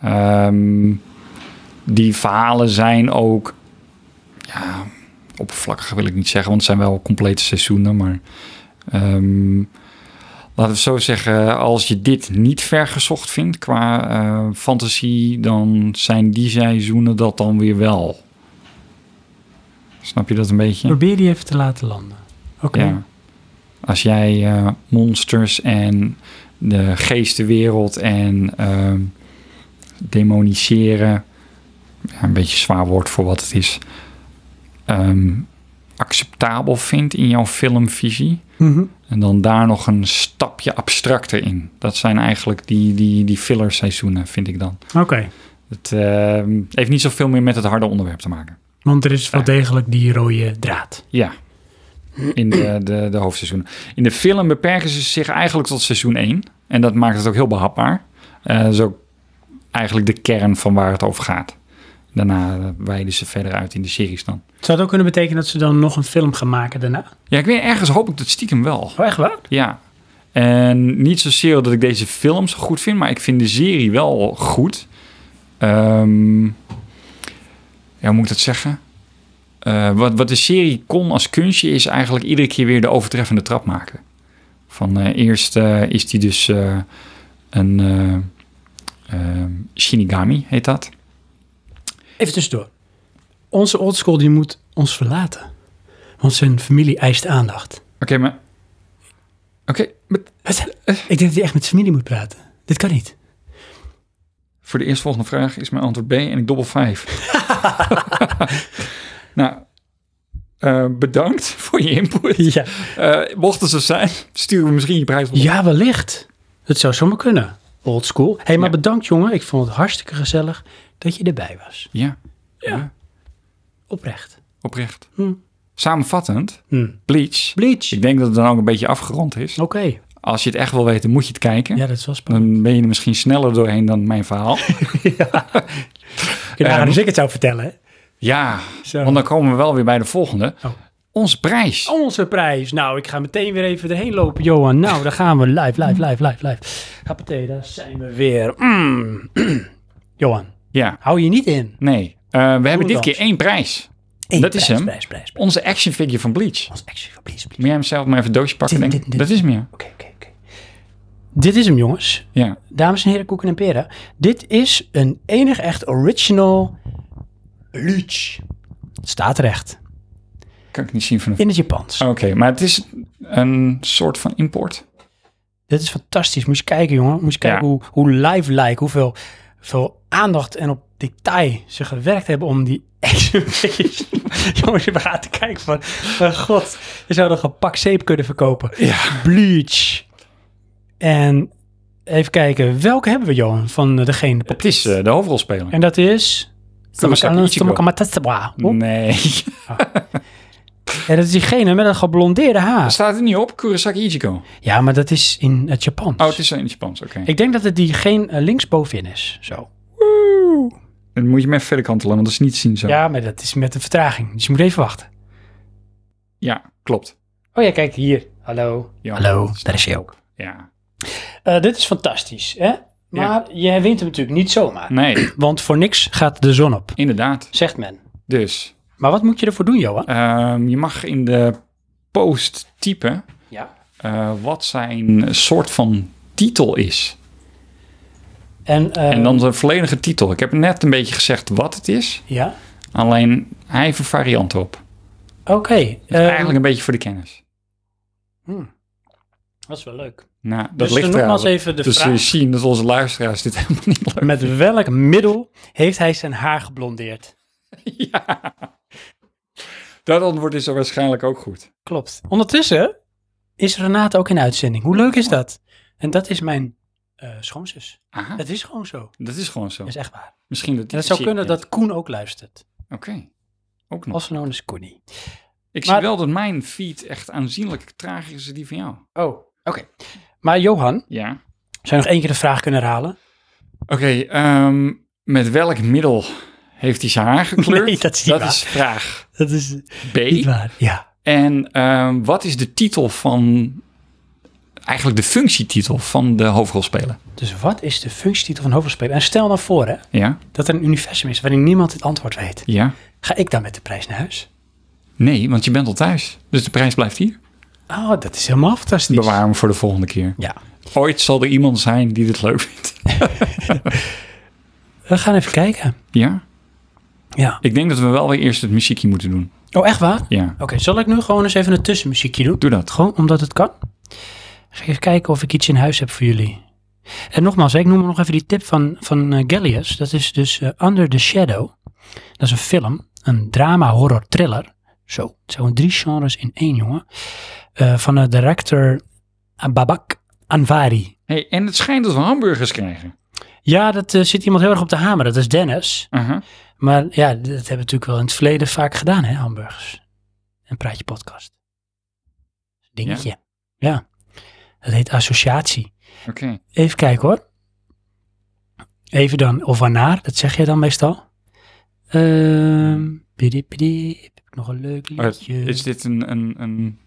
C: Ehm, die verhalen zijn ook, ja, oppervlakkig wil ik niet zeggen, want het zijn wel complete seizoenen, maar ehm, laten we zo zeggen, als je dit niet vergezocht vindt qua eh, fantasie, dan zijn die seizoenen dat dan weer wel. Snap je dat een beetje?
B: Probeer die even te laten landen. Oké.
C: Ja. Als jij eh, monsters en de geestenwereld en ehm, demoniseren, ja, een beetje zwaar woord voor wat het is, ehm, acceptabel vindt in jouw filmvisie.
B: Mhm.
C: En dan daar nog een stapje abstracter in. Dat zijn eigenlijk die, die, die filler seizoenen, vind ik dan.
B: Oké.
C: Het ehm, heeft niet zoveel meer met het harde onderwerp te maken.
B: Want er is wel degelijk die rode draad.
C: Ja, in de, de, de hoofdseizoenen. In de film beperken ze zich eigenlijk tot seizoen 1. En dat maakt het ook heel behapbaar. Eh dat is ook eigenlijk de kern van waar het over gaat. Daarna eh, wijden ze verder uit in de series dan.
B: Zou het ook kunnen betekenen dat ze dan nog een film gaan maken daarna?
C: Ja, ik weet ergens hoop ik dat stiekem wel.
B: Oh, echt waar?
C: Ja. En niet zozeer dat ik deze films goed vind, maar ik vind de serie wel goed. Ehm, ja, hoe moet ik dat zeggen? Eh, wat, wat de serie kon als kunstje is eigenlijk iedere keer weer de overtreffende trap maken. Van eh, eerst eh, is die dus eh, een eh, eh, Shinigami, heet dat.
B: Even tussendoor. Onze oldschool die moet ons verlaten. Want zijn familie eist aandacht.
C: Oké, maar... Oké, maar
B: Wat? Ik denk dat hij echt met zijn familie moet praten. Dit kan niet.
C: Voor de eerstvolgende vraag is mijn antwoord B en ik dobbel 5. nou, eh, bedankt voor je input.
B: Ja,
C: Eh, mocht het zo zijn, sturen we misschien je prijs op.
B: ja wellicht. Het zou zomaar kunnen. Oldschool. Hé, hey, maar
C: Ja.
B: bedankt jongen. Ik vond het hartstikke gezellig dat je erbij was.
C: Ja.
B: Ja.
C: Ja,
B: Oprecht.
C: oprecht.
B: Hm.
C: Samenvattend,
B: Hm.
C: Bleach.
B: Bleach.
C: Ik denk dat het dan ook een beetje afgerond is.
B: Oké.
C: Als je het echt wil weten, moet je het kijken.
B: Ja, dat is wel spannend.
C: Dan ben je er misschien sneller doorheen dan mijn verhaal.
B: Ja,
C: Ehm,
B: als ik het zou vertellen. hè?
C: ja,
B: Zo.
C: want dan komen we wel weer bij de volgende.
B: Oh.
C: Onze prijs.
B: Onze prijs. Nou, ik ga meteen weer even erheen lopen, Johan. Nou, daar gaan we. Live, live, live, live, live. Happatee, daar zijn we weer. Mm. Johan,
C: Ja,
B: hou je niet in.
C: nee. Eh, we hebben dit
B: dan.
C: keer één prijs.
B: Eén
C: Dat is
B: prijs,
C: hem.
B: Prijs, prijs, prijs.
C: Onze action figure van Bleach.
B: Ons extra, please, please.
C: Moet jij hem zelf maar even een doosje pakken,
B: Dit-
C: denk ik?
B: dit- dit-
C: Dat is meer.
B: Oké, oké, oké. Dit is hem, jongens.
C: Ja.
B: Dames en heren, koeken en peren. Dit is een enig echt original Luch. Staat recht.
C: Kan ik niet zien van de...
B: In het Japans.
C: Oké, maar het is een soort van import.
B: Dit is fantastisch. Moest je kijken, jongen. Moest je
C: Ja.
B: kijken hoe, hoe live-like, hoeveel, hoeveel aandacht en op detail ze gewerkt hebben om die action figures. Jongens, je gaat te kijken van, eh, god, je zou nog een pak zeep kunnen verkopen.
C: Ja.
B: Bleach. En even kijken, welke hebben we, Johan, van eh, degene?
C: Het is eh, de hoofdrolspeler.
B: En dat is...
C: Tomokazu Ichigo. Mm.
B: Tomokamatsuwa. Oeh.
C: Nee.
B: En dat is diegene met dat geblondeerde haar.
C: Staat er niet op? Kurosaki Ichigo.
B: Ja, maar dat is in het Japans.
C: Oh, het is in het Japans. Oké.
B: Ik denk dat het diegene eh, linksbovenin is, zo.
C: Dan moet je hem even verder kantelen, want dat is niet te zien zo.
B: Ja, maar dat is met een vertraging. Dus je moet even wachten.
C: Ja, klopt.
B: Oh ja, kijk hier. Hallo.
C: Ja.
B: Hallo, daar is hij ook.
C: Ja.
B: dit is fantastisch, hè? Maar jij wint hem natuurlijk niet zomaar.
C: Nee,
B: Want voor niks gaat de zon op,
C: inderdaad.
B: zegt men.
C: Dus,
B: Maar wat moet je ervoor doen, Johan?
C: ehm, je mag in de post typen
B: Ja.
C: eh, wat zijn soort van titel is.
B: En, eh,
C: En dan de volledige titel. Ik heb net een beetje gezegd wat het is,
B: Ja.
C: alleen hij heeft een variant op.
B: Oké.
C: Dus
B: eh,
C: eigenlijk een beetje voor de kennis.
B: hmm. Dat is wel leuk.
C: Nou, dat
B: dus
C: ligt
B: dan
C: er
B: nogmaals
C: aan.
B: even de
C: Dus
B: vraag.
C: we zien dat onze luisteraars dit helemaal niet leuk
B: Met welk middel heeft hij zijn haar geblondeerd?
C: Ja. Dat antwoord is er waarschijnlijk ook goed.
B: Klopt. Ondertussen is Renate ook in uitzending. Hoe leuk is dat? En dat is mijn eh, schoonzus.
C: Aha,
B: Het is gewoon zo.
C: dat is gewoon zo.
B: Dat is echt waar.
C: Misschien dat
B: En het zou
C: zie
B: kunnen
C: ik niet.
B: dat Koen ook luistert.
C: Oké, ook nog.
B: Als nou genomen is Koenie.
C: Ik
B: maar-
C: zie wel dat mijn feed echt aanzienlijk trager is dan die van jou.
B: Oh, oké. Maar Johan,
C: Ja.
B: zou je nog één keer de vraag kunnen herhalen?
C: Oké, ehm, met welk middel heeft hij zijn haar gekleurd?
B: Nee, dat is niet waar.
C: is vraag
B: Dat is
C: B.
B: niet waar. Ja.
C: En ehm, wat is de titel van, eigenlijk de functietitel van de hoofdrolspeler?
B: Dus wat is de functietitel van hoofdrolspeler? En stel nou voor hè,
C: Ja,
B: dat er een universum is waarin niemand het antwoord weet.
C: ja.
B: Ga ik dan met de prijs naar huis?
C: Nee, want je bent al thuis. Dus de prijs blijft hier.
B: Oh, dat is helemaal fantastisch.
C: Bewaar hem voor de volgende keer.
B: Ja.
C: Ooit zal er iemand zijn die dit leuk vindt.
B: We gaan even kijken.
C: Ja?
B: Ja.
C: Ik denk dat we wel weer eerst het muziekje moeten doen.
B: Oh, echt waar?
C: Ja.
B: Oké, zal ik nu gewoon eens even een tussenmuziekje doen?
C: Doe dat.
B: Gewoon omdat het kan. Ga ik even kijken of ik iets in huis heb voor jullie. En nogmaals, hè, ik noem nog even die tip van, van eh, Gallius. Dat is dus eh, Under the Shadow. Dat is een film, een drama, horror, thriller. Zo, het zijn gewoon drie genres in één, jongen. Eh, van de director Babak Anvari.
C: Hey, en het schijnt dat we hamburgers krijgen.
B: Ja, dat eh, zit iemand heel erg op te hamer. Dat is Dennis.
C: Aha.
B: Maar ja, dat hebben we natuurlijk wel in het verleden vaak gedaan, hè, hamburgers. Een praatje podcast. Dingetje. Ja. Dat heet associatie.
C: Oké.
B: Even kijken hoor. Even dan, of waarnaar, dat zeg jij dan meestal. Ehm, pidi pidi, heb ik nog een leuk
C: Oh, het-
B: liedje.
C: Is dit een, een, een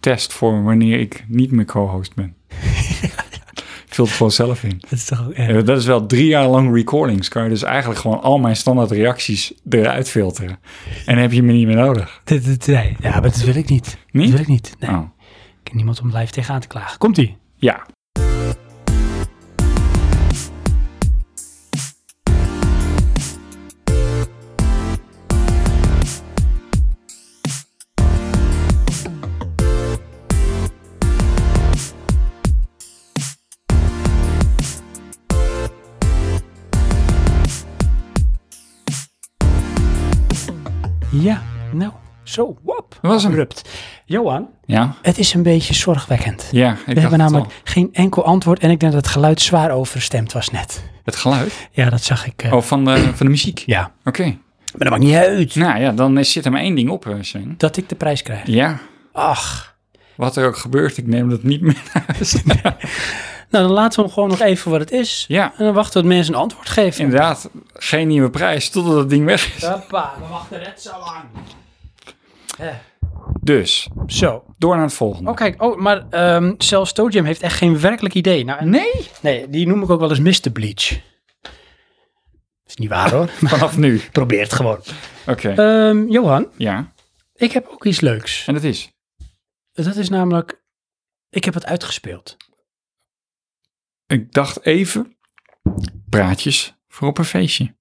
C: test voor wanneer ik niet meer co-host ben? Ik vul het gewoon zelf in.
B: Dat is toch ook
C: Eh, Dat is wel drie jaar lang recordings. Kan je dus eigenlijk gewoon al mijn standaard reacties eruit filteren. En heb je me niet meer nodig.
B: nee, ja, maar dat wil ik niet.
C: Niet?
B: Dat wil ik niet. Nee,
C: Oh.
B: ik ken niemand om live tegenaan te klagen. Komt-ie.
C: Ja.
B: Ja, nou, zo, wap.
C: Dat was hem.
B: Abrupt. Johan,
C: Ja?
B: het is een beetje zorgwekkend.
C: Ja, ik
B: We
C: dacht
B: hebben
C: het
B: namelijk
C: al.
B: geen enkel antwoord en ik denk dat het geluid zwaar overstemd was net.
C: Het geluid?
B: Ja, dat zag ik. eh,
C: Oh, van de, van de muziek?
B: Ja.
C: Oké.
B: Maar dat maakt niet uit.
C: Nou ja, dan is- zit er maar één ding op, eh, Sven.
B: Dat ik de prijs krijg.
C: Ja,
B: Ach.
C: wat er ook gebeurt, ik neem dat niet meer naar huis.
B: Nou, dan laten we hem gewoon nog even wat het is.
C: ja,
B: En dan wachten tot mensen een antwoord geven.
C: inderdaad. Geen nieuwe prijs totdat dat ding weg is.
B: Hoppa, we wachten net zo lang. Eh,
C: Dus,
B: Zo.
C: door naar het volgende.
B: Oh, kijk. Oh, maar ehm zelfs Toe Jam heeft echt geen werkelijk idee. Nou, en-
C: Nee?
B: Nee, die noem ik ook wel eens Mr. Bleach. Is niet waar hoor. Maar
C: Vanaf nu.
B: probeer het gewoon.
C: Oké,
B: Ehm, Johan,
C: ja.
B: ik heb ook iets leuks.
C: En dat is?
B: Dat is namelijk, ik heb het uitgespeeld.
C: Ik dacht even, praatjes voor op een feestje.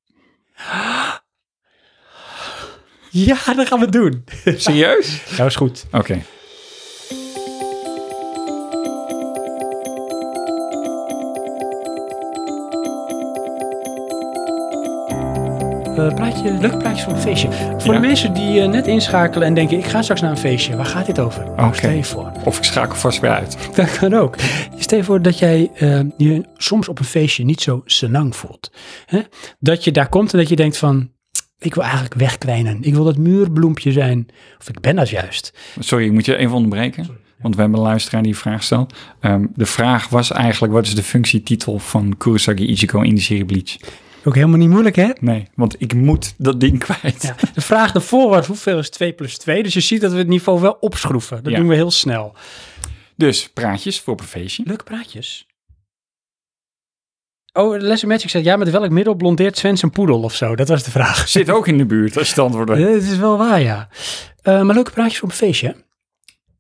B: Ja, dat gaan we doen.
C: Serieus?
B: Nou is goed.
C: Oké.
B: Eh, praatje, leuk praatje voor een feestje. Voor
C: Ja.
B: de mensen die eh, net inschakelen en denken, ik ga straks naar een feestje. Waar gaat dit over? Nou, Stel je voor.
C: Of ik schakel vast weer uit.
B: Dat kan ook. Stel je voor dat jij eh, je soms op een feestje niet zo senang voelt. Hè? Dat je daar komt en dat je denkt van, ik wil eigenlijk wegkwijnen. Ik wil dat muurbloempje zijn. Of ik ben dat juist.
C: Sorry, ik moet je even onderbreken. Want we hebben een luisteraar die een vraag stelt. Ehm, de vraag was eigenlijk, wat is de functietitel van Kurosaki Ichigo in de serie Bleach?
B: Ook helemaal niet moeilijk hè?
C: Nee, want ik moet dat ding kwijt.
B: Ja, de vraag daarvoor was hoeveel is 2 plus 2? Dus je ziet dat we het niveau wel opschroeven. Dat
C: Ja.
B: doen we heel snel.
C: Dus praatjes voor op een feestje.
B: Leuke praatjes. Oh, Les Magic zegt, ja, met welk middel blondeert Sven zijn poedel of zo? Dat was de vraag.
C: Zit ook in de buurt als je het antwoord
B: Eh,
C: weet.
B: Het is wel waar, ja. Eh, maar leuke praatjes op een feestje. hè?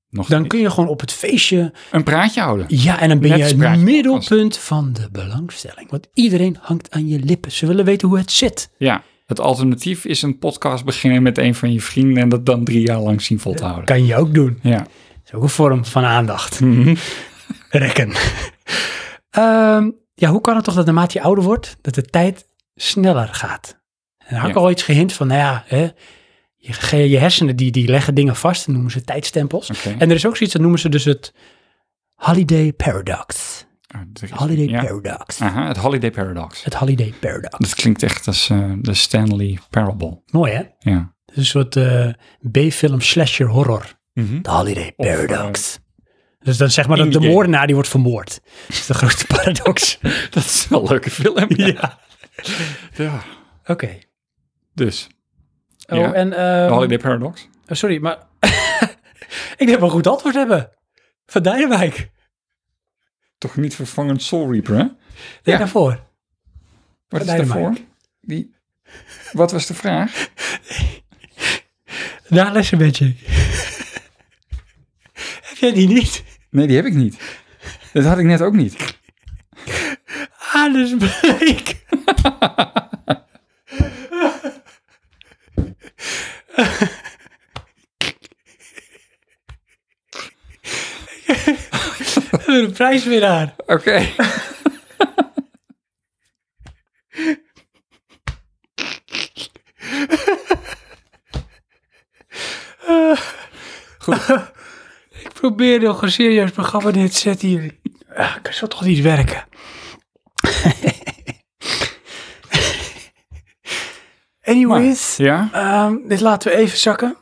C: Nog
B: Dan
C: steeds.
B: kun je gewoon op het feestje.
C: Een praatje houden.
B: Ja, en dan ben
C: Net
B: je
C: spraakje
B: het
C: podcast.
B: middelpunt van de belangstelling. Want iedereen hangt aan je lippen. Ze willen weten hoe het zit.
C: Ja. Het alternatief is een podcast beginnen met een van je vrienden en dat dan drie jaar lang zien vol te houden.
B: Kan je ook doen.
C: Ja.
B: Dat is ook een vorm van aandacht.
C: Mhm.
B: Rekken. Ehm, ja, hoe kan het toch dat naarmate je ouder wordt, dat de tijd sneller gaat? En daar had ik
C: Ja.
B: al iets gehint van, nou ja, hè, je, ge- je hersenen die, die leggen dingen vast, dat noemen ze tijdstempels.
C: Oké.
B: En er is ook zoiets, dat noemen ze dus het holiday paradox.
C: Oh, er is-
B: Holiday
C: ja.
B: paradox.
C: Aha, het Holiday Paradox.
B: Het holiday paradox.
C: Dat klinkt echt als eh, de Stanley Parable.
B: Mooi hè? Het
C: Ja.
B: is een soort eh, B-film slasher horror. De holiday
C: Mhm. Of, eh,
B: paradox. dus dan zeg maar dat de
C: Indie game.
B: moordenaar die wordt vermoord. Dat is de grote paradox.
C: Dat is wel een leuke film.
B: ja.
C: Ja.
B: Oké.
C: Dus,
B: Oh,
C: Ja.
B: en...
C: de
B: ehm,
C: Holiday Paradox.
B: Oh, sorry, maar ik denk wel een goed antwoord hebben. Van Dijnwijk. Denk
C: Toch niet vervangend Soul Reaper, hè? Ja.
B: daarvoor.
C: Wat is
B: Dynamite.
C: daarvoor? Wie? Wat was de vraag?
B: Na lessen Magic. Heb jij die niet?
C: Nee, die heb ik niet. Dat had ik net ook niet.
B: Ah, dat is bleek. We hebben een prijswinnaar.
C: Oké.
B: Ik probeer nog een serieus programma neer te zetten hier. Ah, kan zo toch niet werken? Anyways,
C: Ja?
B: ehm, dit laten we even zakken.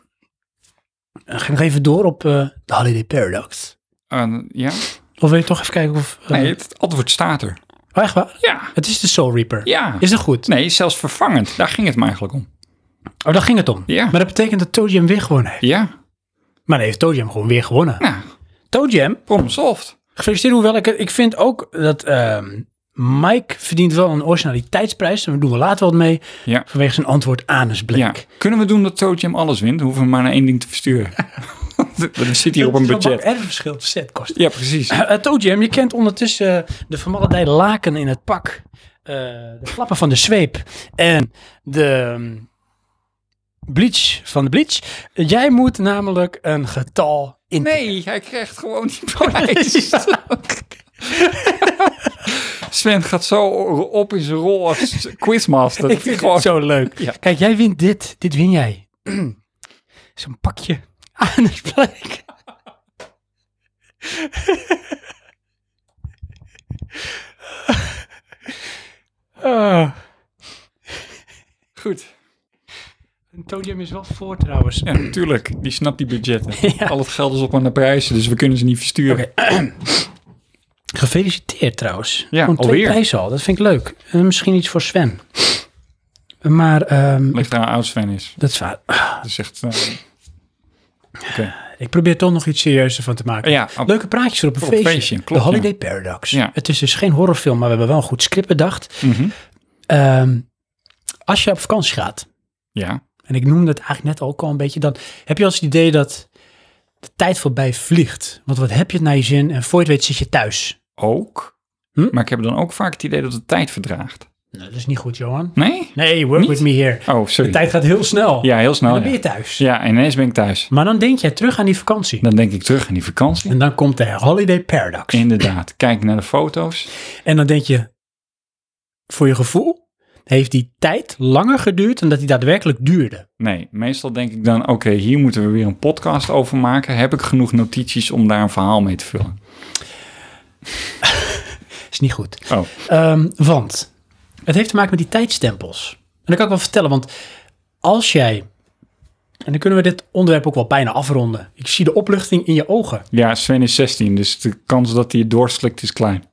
B: Dan ga ik nog even door op eh, de Holiday Paradox.
C: Eh, ja?
B: Of wil je toch even kijken of... eh,
C: Nee, het antwoord staat er.
B: oh, echt waar?
C: Ja.
B: Het is de Soul Reaper.
C: Ja.
B: Is dat goed?
C: Nee, zelfs vervangend. Daar ging het me eigenlijk om.
B: Oh, daar ging het om.
C: Ja.
B: Maar dat betekent dat Toe Jam weer gewonnen heeft.
C: Ja.
B: Maar nee, heeft Toe Jam gewoon weer gewonnen.
C: Nou,
B: Toe Jam
C: problem solved.
B: Gefeliciteerd, hoewel ik, het- ik vind ook dat ehm, Mike verdient wel een originaliteitsprijs. Daar doen we later wat mee.
C: Ja.
B: Vanwege zijn antwoord anusblik.
C: Ja. Kunnen we doen dat Toe Jam alles wint? Dan hoeven we maar naar één ding te versturen. We zit hier op een budget.
B: Er een verschil te setkosten.
C: Ja, precies.
B: Eh, eh, Toe Jam, je kent ondertussen eh, de vermaledijde laken in het pak. eh, de flappen van de zweep. En de ehm, bleach van de bleach. Jij moet namelijk een getal in.
C: Nee, hij krijgt gewoon die prijs. Sven gaat zo op in zijn rol als quizmaster.
B: Ik vind het Oh. zo leuk.
C: Ja.
B: Kijk, jij wint dit. Dit win jij. Zo'n pakje aan het plek. Oh.
C: Goed.
B: Todium is wel voor trouwens.
C: Ja, natuurlijk. Die snapt die budgetten.
B: Ja.
C: Al het geld is op aan de prijzen, dus we kunnen ze niet versturen.
B: Gefeliciteerd trouwens.
C: Ja,
B: Gewoon twee
C: alweer.
B: prijzen al. Dat vind ik leuk. En misschien iets voor Sven. Maar ehm,
C: Ligt eraan hoe oud Sven is.
B: dat is waar.
C: Dat is echt... eh,
B: Ik probeer toch nog iets serieuzer van te maken.
C: ja, ab-
B: Leuke praatjes voor op een
C: Voor een
B: feestje.
C: feestje, klopt,
B: de Holiday Paradox.
C: Ja.
B: Het is dus geen horrorfilm, maar we hebben wel een goed script bedacht.
C: mhm.
B: Ehm, als je op vakantie gaat,
C: ja.
B: en ik noemde het eigenlijk net ook al een beetje, dan heb je als het idee dat de tijd voorbij vliegt. Want wat heb je het naar je zin en voor je het weet zit je thuis.
C: Ook.
B: Hm?
C: Maar ik heb dan ook vaak het idee dat het tijd verdraagt.
B: Nou, dat is niet goed, Johan.
C: Nee?
B: Nee, work
C: Niet?
B: with me here.
C: Oh,
B: De
C: sorry.
B: tijd gaat heel snel.
C: Ja, heel
B: En
C: snel.
B: dan ben
C: Nou Ja.
B: je thuis.
C: ja, en ineens ben ik thuis.
B: Maar dan denk jij terug aan die vakantie.
C: Dan denk ik terug aan die vakantie.
B: En dan komt de Holiday Paradox.
C: Inderdaad. Kijk naar de foto's.
B: En dan denk je, voor je gevoel, heeft die tijd langer geduurd dan dat die daadwerkelijk duurde.
C: Nee, meestal denk ik dan, oké, hier moeten we weer een podcast over maken. Heb ik genoeg notities om daar een verhaal mee te vullen?
B: Is niet goed.
C: Oh,
B: Ehm, want het heeft te maken met die tijdstempels. En dat kan ik wel vertellen, want als jij... En dan kunnen we dit onderwerp ook wel bijna afronden. Ik zie de opluchting in je ogen.
C: ja, Sven is 16, dus de kans dat hij het doorslikt is klein.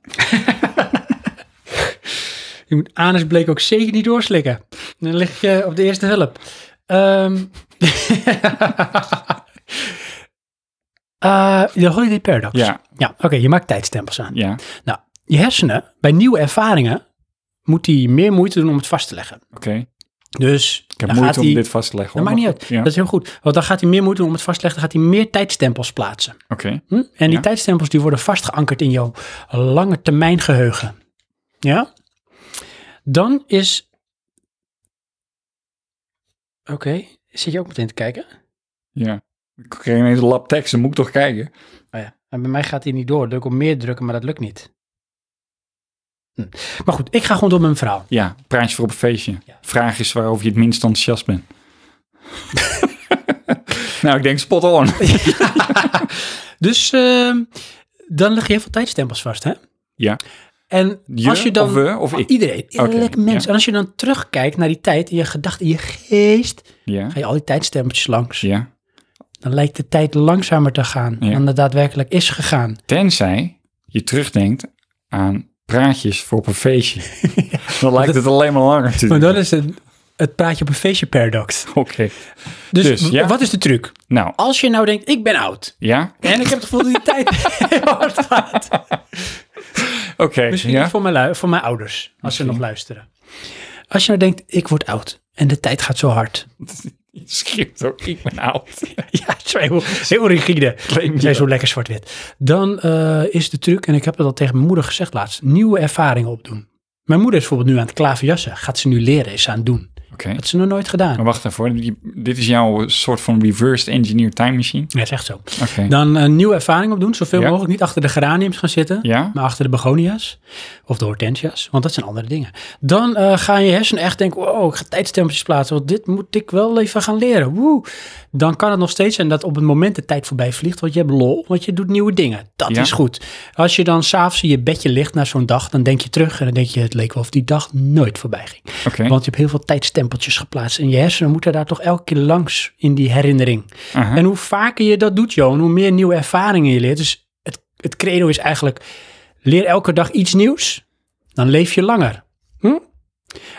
B: Je moet anusbleek ook zeker niet doorslikken. Dan lig je op de eerste hulp. Ehm Eh, de holiday paradox.
C: Ja,
B: Ja, oké, je maakt tijdstempels aan.
C: ja,
B: Nou, je hersenen, bij nieuwe ervaringen, moet die meer moeite doen om het vast te leggen.
C: oké.
B: Dus
C: Ik heb
B: dan gaat
C: moeite om
B: hij-
C: dit vast te leggen.
B: Dat
C: hoor,
B: maakt niet
C: maar
B: uit.
C: goed, ja.
B: Dat is heel goed. Want dan gaat hij meer moeite doen om het vast te leggen. Dan gaat hij meer tijdstempels plaatsen.
C: Oké.
B: Hm? En die
C: Ja.
B: tijdstempels die worden vastgeankerd in jouw lange termijn geheugen. Ja? Dan is... Oké, zit je ook meteen te kijken?
C: Ja. Ik kreeg ineens een lab tekst, dan moet ik toch kijken.
B: Oh ja, en bij mij gaat hij niet door. Druk op meer drukken, maar dat lukt niet. Hm. Maar goed, ik ga gewoon door met mijn verhaal.
C: Ja, praatje voor op een feestje.
B: Ja.
C: Vraag is waarover je het minst enthousiast bent. nou, ik denk spot on.
B: Dus ehm, dan leg je heel veel tijdstempels vast, hè?
C: Ja.
B: En
C: Je,
B: als je dan... Ah,
C: of we, of ik.
B: Iedereen, iedere
C: Oké,
B: mens.
C: ja.
B: En als je dan terugkijkt naar die tijd in je gedachten, in je geest,
C: Ja.
B: ga je al die tijdstempeltjes langs.
C: ja.
B: Dan lijkt de tijd langzamer te gaan
C: Ja.
B: dan het daadwerkelijk is gegaan.
C: Tenzij je terugdenkt aan praatjes voor op een feestje. Dan lijkt het alleen maar langer te
B: Maar
C: duren.
B: dat is het, het praatje op een feestje paradox.
C: Oké.
B: Dus,
C: Dus,
B: w-
C: ja.
B: wat is de truc?
C: Nou,
B: Als je nou denkt, ik ben oud.
C: ja.
B: En ik heb het gevoel dat die tijd heel hard gaat.
C: Oké.
B: Misschien
C: ja.
B: voor, mijn, lui- voor mijn ouders, als ze nog luisteren. Als je nou denkt, ik word oud en de tijd gaat zo hard.
C: Schrift ook, ik ben oud.
B: Ja, zo heel, heel rigide.
C: Claim je
B: Zijn zo
C: dat.
B: lekker zwart-wit. Dan eh, is de truc, en ik heb dat al tegen mijn moeder gezegd laatst, nieuwe ervaringen opdoen. Mijn moeder is bijvoorbeeld nu aan het klaverjassen. Gaat ze nu leren, is ze aan het doen.
C: Oké.
B: Dat had ze nog nooit gedaan.
C: Maar wacht daarvoor. Dit is jouw soort van reversed engineer time machine.
B: Ja, is echt zo.
C: Oké.
B: Dan een nieuwe ervaring opdoen, zoveel
C: Ja.
B: mogelijk. Niet achter de geraniums gaan zitten,
C: Ja?
B: maar achter de begonia's of de hortensia's, want dat zijn andere dingen. Dan eh gaan je hersenen echt denken, wow, ik ga tijdstempeltjes plaatsen, want dit moet ik wel even gaan leren. Woe. Dan kan het nog steeds zijn dat op het moment de tijd voorbij vliegt, want je hebt lol, want je doet nieuwe dingen. Dat
C: Ja.
B: is goed. Als je dan s'avonds in je bedje ligt na zo'n dag, dan denk je terug en dan denk je, het leek wel of die dag nooit voorbij ging.
C: Oké.
B: Want je hebt heel veel tijdstempeltjes geplaatst. En je hersenen moeten daar toch elke keer langs in die herinnering.
C: Aha.
B: En hoe vaker je dat doet, Johan, hoe meer nieuwe ervaringen je leert. Dus het, het credo is eigenlijk, leer elke dag iets nieuws, dan leef je langer.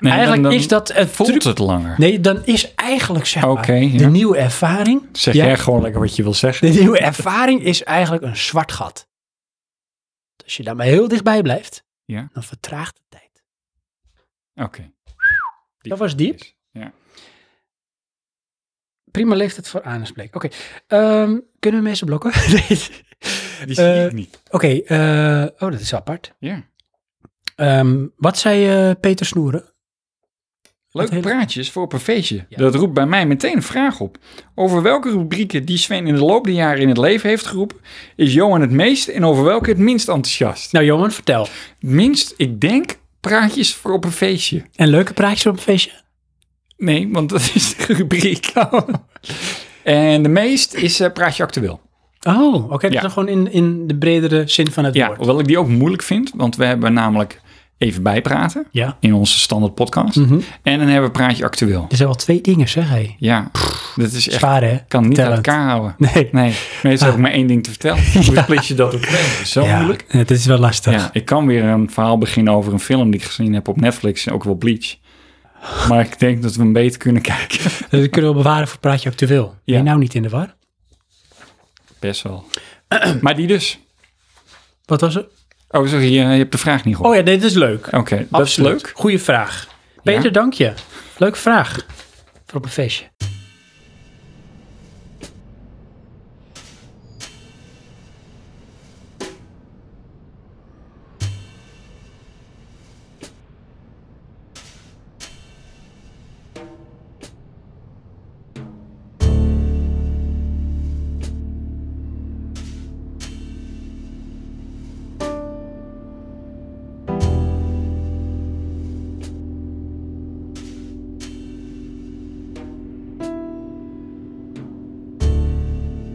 C: Nee,
B: eigenlijk
C: dan- dan
B: is dat het
C: Voelt
B: truc-
C: het langer?
B: Nee, dan is eigenlijk zeg maar,
C: Oké, ja.
B: de nieuwe ervaring.
C: Zeg
B: Ja.
C: jij gewoon lekker wat je wil zeggen.
B: De nieuwe ervaring is eigenlijk een zwart gat. Dus Als je daar maar heel dichtbij blijft,
C: Ja.
B: dan vertraagt de tijd.
C: Oké.
B: Dat was diep.
C: Ja.
B: Prima leeftijd voor anusbleek. Oké, ehm, kunnen we mensen blokken? Nee.
C: Die zie ik
B: Eh,
C: niet.
B: Oké, eh, oh, dat is apart.
C: Ja.
B: Ehm, wat zei eh, Peter Snoeren?
C: Leuke
B: hele-
C: praatjes voor op een feestje.
B: Ja.
C: Dat roept bij mij meteen een vraag op. Over welke rubrieken die Sven in de loop der jaren in het leven heeft geroepen, is Johan het meest en over welke het minst enthousiast?
B: Nou, Johan, vertel.
C: Minst, ik denk, praatjes voor op een feestje.
B: En leuke praatjes op een feestje?
C: Nee, want dat is de rubriek. en de meest is eh, praatje actueel.
B: Oh, oké. dat
C: Ja.
B: is dan gewoon in, in de bredere zin van het
C: Ja,
B: woord.
C: hoewel ik die ook moeilijk vind, want we hebben namelijk even bijpraten
B: Ja.
C: in onze standaard podcast.
B: Mhm.
C: En dan hebben we praatje actueel.
B: Er zijn wel twee dingen, zeg hij.
C: Ja, dat is echt,
B: Zwaar, hè?
C: kan niet uit
B: Talent.
C: elkaar houden.
B: Nee. Ah.
C: Nee, maar het is ook maar één ding te vertellen. Hoe split je dat op twee? Dat is Zo
B: Ja,
C: moeilijk.
B: Het is wel lastig.
C: Ja, ik kan weer een verhaal beginnen over een film die ik gezien heb op Netflix. en Ook wel Bleach. Maar ik denk dat we hem beter kunnen kijken.
B: Dat kunnen we Dus bewaren voor praatje actueel. Ben je
C: Ja.
B: nou niet in de war?
C: Best wel. Maar die dus.
B: Wat was het?
C: Oh, sorry, je, je hebt de vraag niet
B: Oh
C: gehoord.
B: ja, dit is leuk.
C: Oké, dat is
B: Absoluut.
C: leuk.
B: Goeie vraag. Peter,
C: Ja.
B: dank je. Leuke vraag. Voor op een feestje.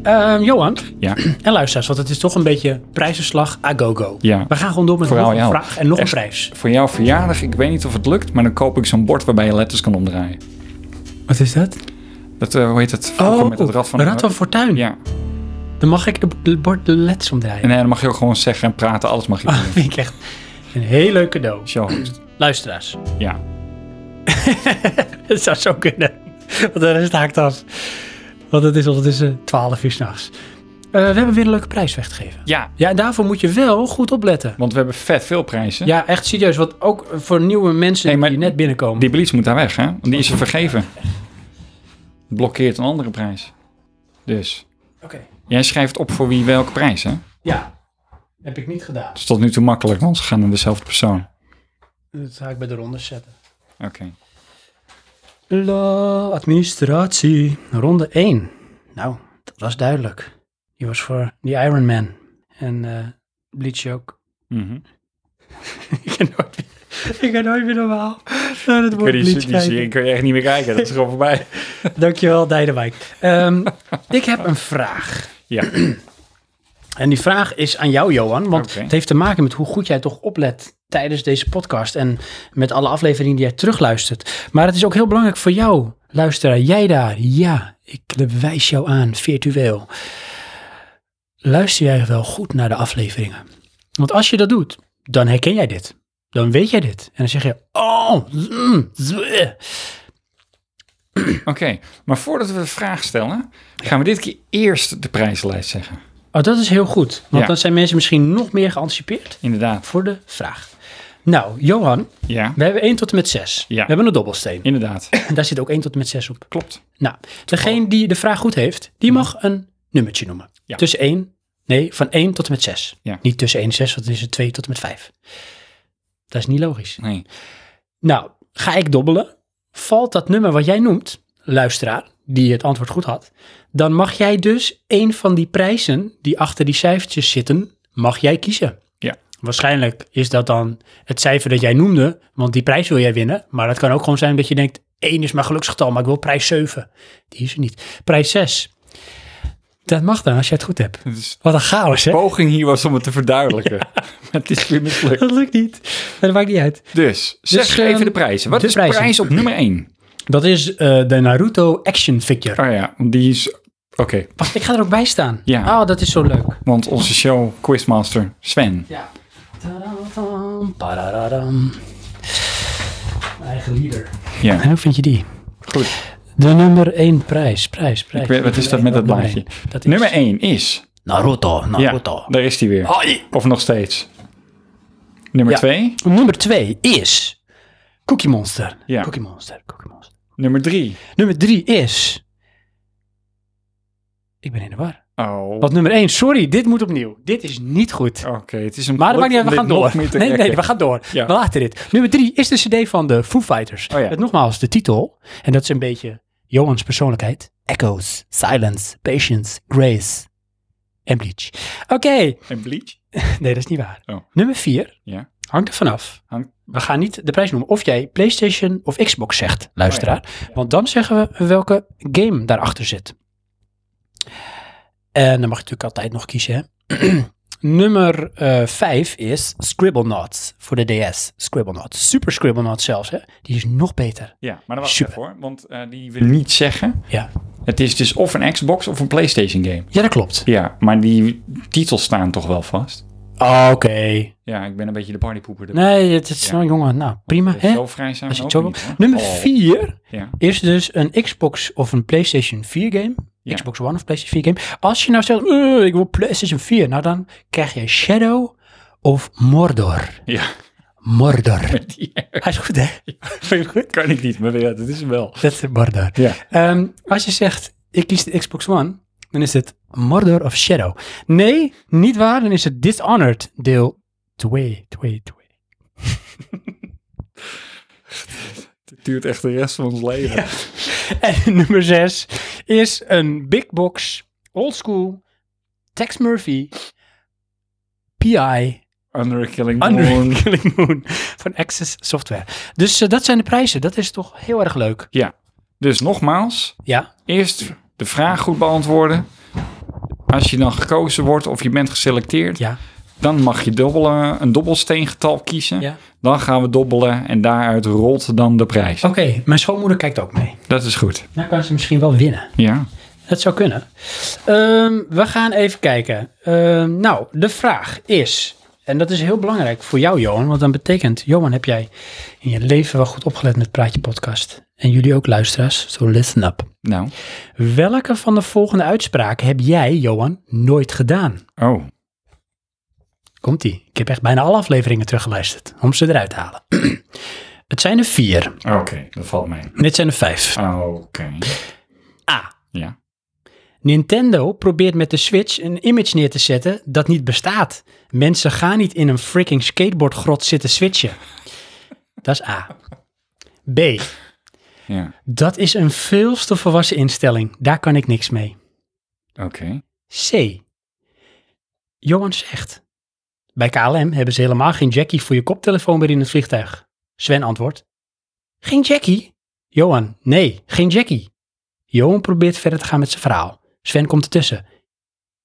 B: Ehm, Johan
C: Ja,
B: en luisteraars, want het is toch een beetje prijzenslag a go-go.
C: Ja.
B: We gaan gewoon door met
C: Vooral
B: nog een
C: jou.
B: vraag en nog
C: Echt.
B: een prijs.
C: voor jouw verjaardag, ik weet niet of het lukt, maar dan koop ik zo'n bord waarbij je letters kan omdraaien.
B: Wat is dat?
C: Dat, eh, hoe heet dat? Vroeger
B: Oh,
C: met het rad van...
B: Fortuin.
C: Ja,
B: Dan mag ik het b- bord de leds omdraaien.
C: en eh, dan mag je ook gewoon zeggen en praten, alles mag je doen.
B: Dat vind ik echt een heel leuk cadeau.
C: Showhost.
B: Luisteraars,
C: Ja.
B: het zou zo kunnen. Want de rest haakt af. Want het is ondertussen 12 uur eh, s'nachts. we hebben weer een leuke prijs weg te geven.
C: Ja,
B: Ja, en daarvoor moet je wel goed opletten.
C: want we hebben vet veel prijzen.
B: Ja, echt serieus. Want ook voor nieuwe mensen
C: Nee, maar
B: die net binnenkomen.
C: Die Blitz moet daar weg, hè? Want die is er vergeven. Blokkeert een andere prijs. Dus,
B: Oké.
C: jij schrijft op voor wie welke prijs, hè? Dat
B: Ja. Heb ik niet gedaan.
C: is tot nu toe makkelijk, want ze gaan naar dezelfde persoon.
B: Dat ga ik bij de ronde zetten.
C: Oké.
B: La, administratie. Ronde 1. Nou, dat was duidelijk. Die was voor die Iron Man. En eh Bleach ook.
C: Mhm.
B: ik ben nooit meer, ik ben nooit meer normaal naar het
C: Ik weet
B: woord
C: Die,
B: Bleach
C: die, die
B: kijken.
C: serie kun je echt niet meer kijken, dat is gewoon voorbij.
B: Dankjewel, Dijdenwijk. Ehm, ik heb een vraag.
C: Ja.
B: En die vraag is aan jou, Johan. Want
C: Oké.
B: het heeft te maken met hoe goed jij toch oplet tijdens deze podcast. En met alle afleveringen die jij terugluistert. Maar het is ook heel belangrijk voor jou, luisteraar. Jij daar, ja, ik wijs jou aan, virtueel. Luister jij wel goed naar de afleveringen? Want als je dat doet, dan herken jij dit. Dan weet jij dit. En dan zeg je, oh, mm, zweh.
C: Oké, maar voordat we de vraag stellen, gaan we dit keer eerst de prijslijst zeggen.
B: Oh, dat is heel goed. Want
C: Ja.
B: dan zijn mensen misschien nog meer geanticipeerd
C: Inderdaad.
B: voor de vraag. Nou, Johan,
C: Ja,
B: we hebben 1 tot en met 6.
C: Ja.
B: We hebben een dobbelsteen.
C: inderdaad.
B: En daar zit ook 1 tot en met 6 op.
C: Klopt.
B: Nou, degene die de vraag goed heeft, die mag een nummertje noemen.
C: Ja.
B: Tussen 1, nee, van 1 tot en met 6.
C: Ja.
B: Niet tussen 1 en 6, want dan is het 2 tot en met 5. Dat is niet logisch.
C: Nee.
B: Nou, ga ik dobbelen? Valt dat nummer wat jij noemt, luisteraar, die het antwoord goed had, dan mag jij dus een van die prijzen die achter die cijfertjes zitten, mag jij kiezen.
C: Ja.
B: Waarschijnlijk is dat dan het cijfer dat jij noemde, want die prijs wil jij winnen. Maar dat kan ook gewoon zijn dat je denkt, 1 is mijn geluksgetal, maar ik wil prijs 7. Die is er niet. Prijs 6. Dat mag dan als jij het goed hebt.
C: Dus
B: Wat een chaos,
C: de
B: hè?
C: poging hier was om het te verduidelijken. Maar het is weer mislukt.
B: Dat lukt niet. Dat maakt niet uit.
C: Dus, zeg even
B: ehm,
C: de prijzen. Wat
B: de
C: is
B: prijzen.
C: prijs op nummer 1?
B: Dat is eh, de Naruto action figure.
C: Oh ja, want die is... Oké,
B: Wacht, ik ga er ook bij staan.
C: Ja.
B: Oh, dat is zo leuk.
C: want onze show Quizmaster Sven.
B: Ja. Tadadam, padadadam. Mijn eigen leader.
C: Ja,
B: Hoe vind je die?
C: goed.
B: De nummer 1 prijs, prijs, prijs.
C: Ik weet- wat is dat met dat blaadje?
B: Dat is
C: Nummer 1 is...
B: Naruto,
C: Ja,
B: Naruto.
C: daar is die weer.
B: Hoi.
C: Of nog steeds. Nummer
B: Ja.
C: 2.
B: Nummer 2 is Cookie Monster.
C: Ja.
B: Cookie Monster, Cookie Monster.
C: Nummer 3.
B: Nummer 3 is... Ik ben in de war.
C: Oh,
B: Wat nummer 1? Sorry, dit moet opnieuw. Dit is niet goed.
C: oké. het is een
B: Maar dat maakt niet
C: geluk
B: uit, we gaan
C: om dit nog
B: door.
C: meer te
B: Nee, nee,
C: rekken.
B: we gaan door.
C: Ja.
B: We laten dit. Nummer drie is de cd van de Foo Fighters.
C: Oh ja.
B: Met nogmaals de titel, en dat is een beetje Johans persoonlijkheid. Echoes, Silence, Patience, Grace en Bleach. Oké,
C: En Bleach?
B: nee, dat is niet waar.
C: Oh.
B: Nummer vier
C: Ja.
B: hangt er vanaf.
C: Hangt-
B: We gaan niet de prijs noemen of jij PlayStation of Xbox
C: Oh
B: zegt, luisteraar. Want dan zeggen we welke game daarachter zit. En dan mag je natuurlijk altijd nog kiezen. Hè? Nummer 5 is Scribblenauts voor de DS. Scribblenauts. Super Scribblenauts zelfs, hè? Die is nog beter.
C: Ja, maar dat was
B: Super.
C: het hoor. Want eh, die wil niet zeggen.
B: Ja,
C: Het is dus of een Xbox of een PlayStation game.
B: ja dat klopt.
C: Ja, maar die titels staan toch wel vast.
B: Oké.
C: Ja, ik ben een beetje de partypoeper. erbij.
B: Nee, het is
C: Ja.
B: nou, jongen. Nou, prima, hè?
C: Zo vrij zijn
B: Als
C: we
B: je het
C: ook
B: zo wil.
C: niet, hoor.
B: Nummer
C: Oh,
B: 4
C: Ja.
B: is dus een Xbox of een PlayStation 4 game.
C: Ja.
B: Xbox One of PlayStation 4 game. Als je nou zegt, "Eh, ik wil PlayStation 4. Nou, dan krijg je Shadow of Mordor.
C: ja.
B: Mordor.
C: Die
B: Hij is goed, hè? Vind je het goed?
C: kan ik niet, maar ja, dat is hem wel.
B: Dat is Mordor.
C: Ja.
B: Ehm, als je zegt, ik kies de Xbox One, dan is het Mordor of Shadow. Nee, niet waar, dan is het Dishonored deel 2. 2, 2.
C: Het duurt echt de rest van ons leven.
B: En nummer 6 is een big box, old school, Tex Murphy, PI,
C: Under a Killing
B: Under
C: Moon.
B: the Killing Moon van Access Software. Dus eh, dat zijn de prijzen. Dat is toch heel erg leuk.
C: Ja. Dus nogmaals,
B: Ja,
C: eerst de vraag goed beantwoorden. Als je dan gekozen wordt of je bent geselecteerd,
B: ja,
C: dan mag je dobbelen, een dobbelsteengetal kiezen.
B: ja.
C: Dan gaan we dobbelen en daaruit rolt dan de prijs.
B: Oké, mijn schoonmoeder kijkt ook mee.
C: Dat is goed.
B: Dan kan ze misschien wel winnen.
C: Ja.
B: Het zou kunnen. Ehm, we gaan even kijken. Ehm, nou, de vraag is: En dat is heel belangrijk voor jou, Johan. Want dan betekent, Johan, heb jij in je leven wel goed opgelet met Praatje Podcast. En jullie ook luisteraars, so listen up.
C: Nou,
B: Welke van de volgende uitspraken heb jij, Johan, nooit gedaan?
C: oh,
B: Komt-ie. Ik heb echt bijna alle afleveringen teruggeluisterd, om ze eruit te halen. Het zijn er vier.
C: oké, dat valt mij.
B: Dit zijn er vijf.
C: Oké,
B: A.
C: ja.
B: Nintendo probeert met de Switch een image neer te zetten dat niet bestaat. Mensen gaan niet in een freaking skateboardgrot zitten switchen. Dat is A. B.
C: Ja,
B: Dat is een veel te volwassen instelling. Daar kan ik niks mee.
C: oké.
B: C. Johan zegt. Bij KLM hebben ze helemaal geen Jackie voor je koptelefoon meer in het vliegtuig. Sven antwoordt. Geen Jackie? Johan, nee, geen Jackie. Johan probeert verder te gaan met zijn verhaal. Sven komt ertussen.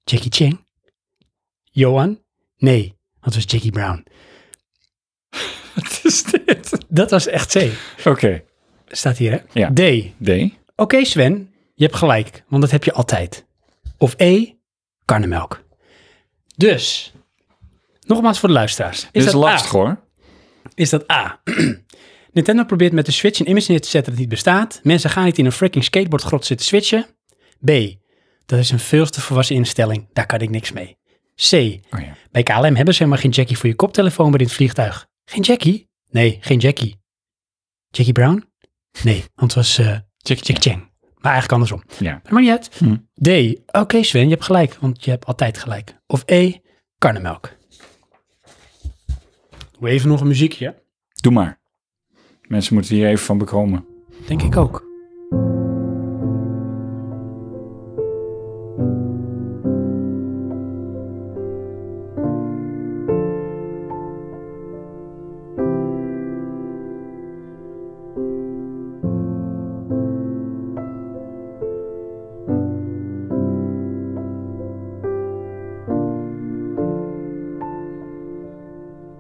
B: Jackie Chang? Johan? Nee, dat was Jackie Brown.
C: Wat is dit?
B: Dat was echt C.
C: Oké,
B: Staat hier, hè?
C: Ja.
B: D. Oké,
C: D.
B: Sven, je hebt gelijk, want dat heb je altijd. Of E. Karnemelk. Dus, nogmaals voor de luisteraars. Is
C: Dit is
B: dat A?
C: lastig hoor.
B: is dat A. Nintendo probeert met de Switch een image neer te zetten dat niet bestaat. Mensen gaan niet in een freaking skateboardgrot zitten switchen. B. Dat is een veel te volwassen instelling. Daar kan ik niks mee. C.
C: Oh ja.
B: Bij KLM hebben ze helemaal geen Jackie voor je koptelefoon bij dit vliegtuig. Geen Jackie? Nee, geen Jackie. Jackie Brown? Nee, want het was eh
C: Check,
B: Jackie Chang. Maar eigenlijk andersom.
C: Ja.
B: Maar niet uit.
C: Hm.
B: D. Oké Sven, je hebt gelijk, want je hebt altijd gelijk. Of E. Karnemelk. Doe even nog een muziekje.
C: Doe maar. Mensen moeten hier even van bekomen.
B: Denk ik ook.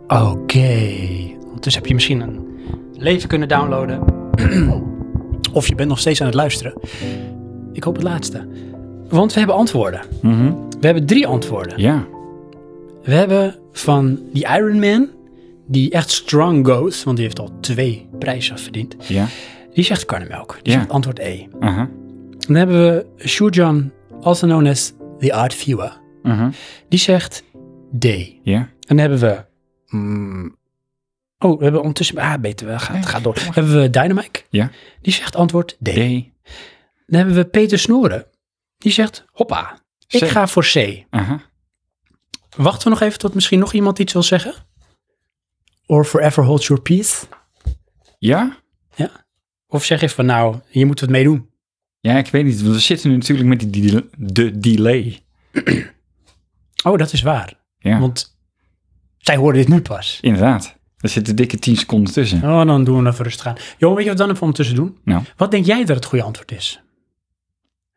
B: Oké. Ondertussen heb je misschien een leven kunnen downloaden. of je bent nog steeds aan het luisteren. Ik hoop het laatste. Want we hebben antwoorden. We hebben drie antwoorden.
C: Ja.
B: We hebben van die Iron Man, die echt strong goes, want die heeft al twee prijzen verdiend.
C: Ja.
B: Die zegt karnemelk. Die
C: Ja.
B: zegt antwoord E.
C: Aha.
B: Dan hebben we Shujan, also known as the art viewer.
C: Aha.
B: Die zegt D. En
C: Ja.
B: dan hebben we... mm, oh, we hebben ondertussen... Ah, beter, we gaan, het gaat door. Dan hebben we Dynamite.
C: Ja.
B: Die zegt antwoord D.
C: D.
B: Dan hebben we Peter Snoeren. Die zegt, hoppa, ik
C: C.
B: ga voor C.
C: Aha.
B: Wachten we nog even tot misschien nog iemand iets wil zeggen? Or forever hold your peace?
C: Ja?
B: Of zeg je van, nou, hier moeten we het mee doen.
C: Ja, ik weet niet. Want we zitten nu natuurlijk met die dile- de delay.
B: Oh, dat is waar.
C: Ja.
B: Want zij hoorden dit nu pas.
C: Inderdaad. Er zitten dikke 10 seconden tussen.
B: Oh, dan doen we even rustig aan. Johan, weet je wat we dan even ondertussen doen?
C: Nou.
B: Wat denk jij dat het goede antwoord is?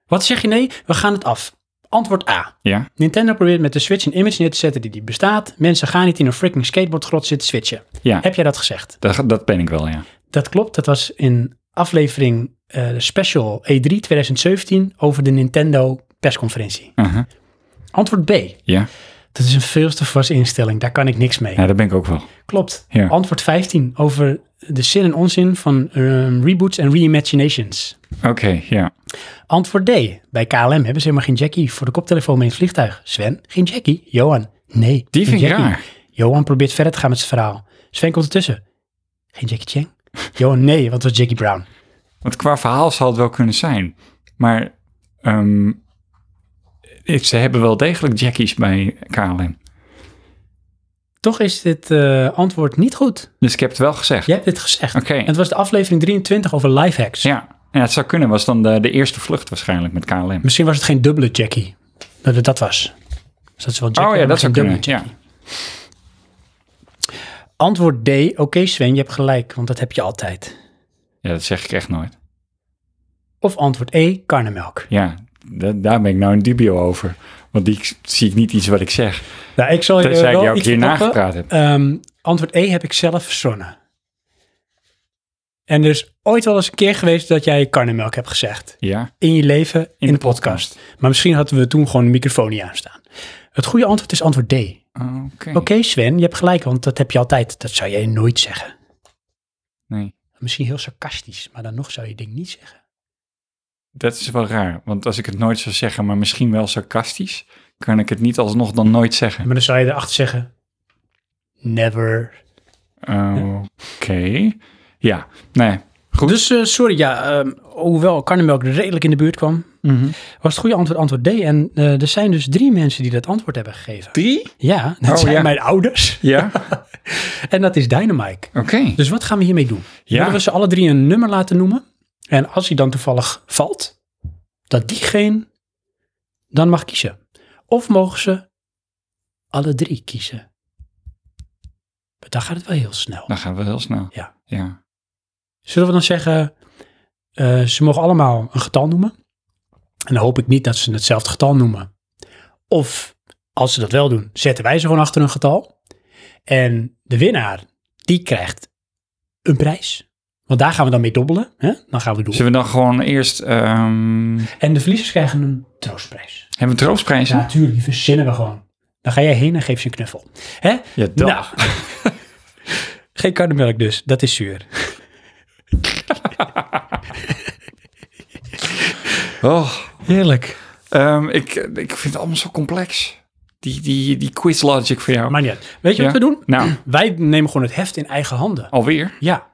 B: Wat zeg je nee? We gaan het af. Antwoord A.
C: Ja.
B: Nintendo probeert met de Switch een image neer te zetten die niet bestaat. Mensen gaan niet in een freaking skateboardgrot zitten switchen.
C: Ja.
B: Heb jij dat gezegd?
C: Dat, dat ben ik wel, ja.
B: Dat klopt, dat was in aflevering eh, special E3 2017 over de Nintendo persconferentie.
C: Aha.
B: Antwoord B.
C: Ja.
B: Dat is een veel te vaste instelling, daar kan ik niks mee.
C: Ja, dat ben ik ook wel.
B: Klopt.
C: Ja.
B: Antwoord 15 over de zin en onzin van ehm, reboots en reimaginations.
C: Oké, ja.
B: Antwoord D. Bij KLM hebben ze helemaal geen Jackie voor de koptelefoon mee in het vliegtuig. Swen, geen Jackie. Johan, nee.
C: Die
B: geen
C: vind ik
B: Jackie.
C: raar.
B: Johan probeert verder te gaan met zijn verhaal. Sven komt ertussen. Geen Jackie Chang. Johan, nee, want het was Jackie Brown.
C: Want qua verhaal zal het wel kunnen zijn. Maar ehm, ik- ze hebben wel degelijk Jackies bij KLM.
B: Toch is dit eh, antwoord niet goed.
C: Dus ik heb het wel gezegd.
B: Je hebt dit gezegd.
C: Oké.
B: En het was de aflevering 23 over lifehacks.
C: Ja. ja, het zou kunnen. Was dan de, de eerste vlucht waarschijnlijk met KLM.
B: Misschien was het geen dubbele Jackie. Dat het dat was. Dus dat is wel Jackie,
C: oh ja,
B: maar
C: dat
B: geen
C: zou
B: dubbele
C: kunnen. Ja.
B: Jackie. Antwoord D. Oké Sven, je hebt gelijk, want dat heb je altijd.
C: ja, dat zeg ik echt nooit.
B: Of antwoord E. Karnemelk.
C: Ja, da- daar ben ik nou in dubio over. Want die k- zie ik niet iets wat ik zeg.
B: Nou, ik zal je
C: Tenzij ik
B: wel
C: jou ook
B: iets
C: hier
B: verklappen.
C: nagepraat heb.
B: Ehm, antwoord E heb ik zelf verzonnen. En er is ooit wel eens een keer geweest dat jij karnemelk hebt gezegd.
C: Ja,
B: In je leven, in,
C: de
B: de podcast. Maar misschien hadden we toen gewoon een microfoon niet aanstaan. Het goede antwoord is antwoord D. Oké
C: Oké.
B: Sven, je hebt gelijk, want dat heb je altijd. Dat zou jij nooit zeggen.
C: Nee.
B: Misschien heel sarcastisch, maar dan nog zou je ding niet zeggen.
C: Dat is wel raar, want als ik het nooit zou zeggen, maar misschien wel sarcastisch, kan ik het niet alsnog dan nooit zeggen.
B: Maar dan zou je erachter zeggen, never.
C: Oké. Ja, nee. Goed.
B: Dus eh, sorry, ja, ehm, hoewel karnemelk redelijk in de buurt kwam, was het goede antwoord antwoord D. En eh, er zijn dus drie mensen die dat antwoord hebben gegeven.
C: Drie?
B: Ja, dat
C: Oh,
B: zijn
C: ja.
B: mijn ouders.
C: Ja,
B: En dat is Dynamike.
C: oké.
B: Dus wat gaan we hiermee doen?
C: Ja.
B: Willen we ze alle drie een nummer laten noemen? En als hij dan toevallig valt, dat diegene dan mag kiezen. Of mogen ze alle drie kiezen? Maar dan gaat het wel heel snel.
C: Dan gaan we heel snel.
B: Ja.
C: Ja.
B: Zullen we dan zeggen, eh, ze mogen allemaal een getal noemen. En dan hoop ik niet dat ze hetzelfde getal noemen. Of als ze dat wel doen, zetten wij ze gewoon achter een getal. En de winnaar, die krijgt een prijs. Want daar gaan we dan mee dobbelen. Hè? Dan gaan we doen.
C: Zullen we dan gewoon eerst... ehm,
B: En de verliezers krijgen een troostprijs.
C: hebben we troostprijzen?
B: natuurlijk, die verzinnen we gewoon. Dan ga jij heen en geef ze een knuffel. Hè?
C: Ja, dat.
B: Nou. Geen karnemelk dus, dat is zuur.
C: Oh,
B: Heerlijk.
C: ehm, ik, ik vind het allemaal zo complex. Die, die, die quiz logic voor jou.
B: Maar niet uit. Weet je
C: Ja?
B: wat we doen?
C: Nou,
B: Wij nemen gewoon het heft in eigen handen.
C: alweer?
B: Ja.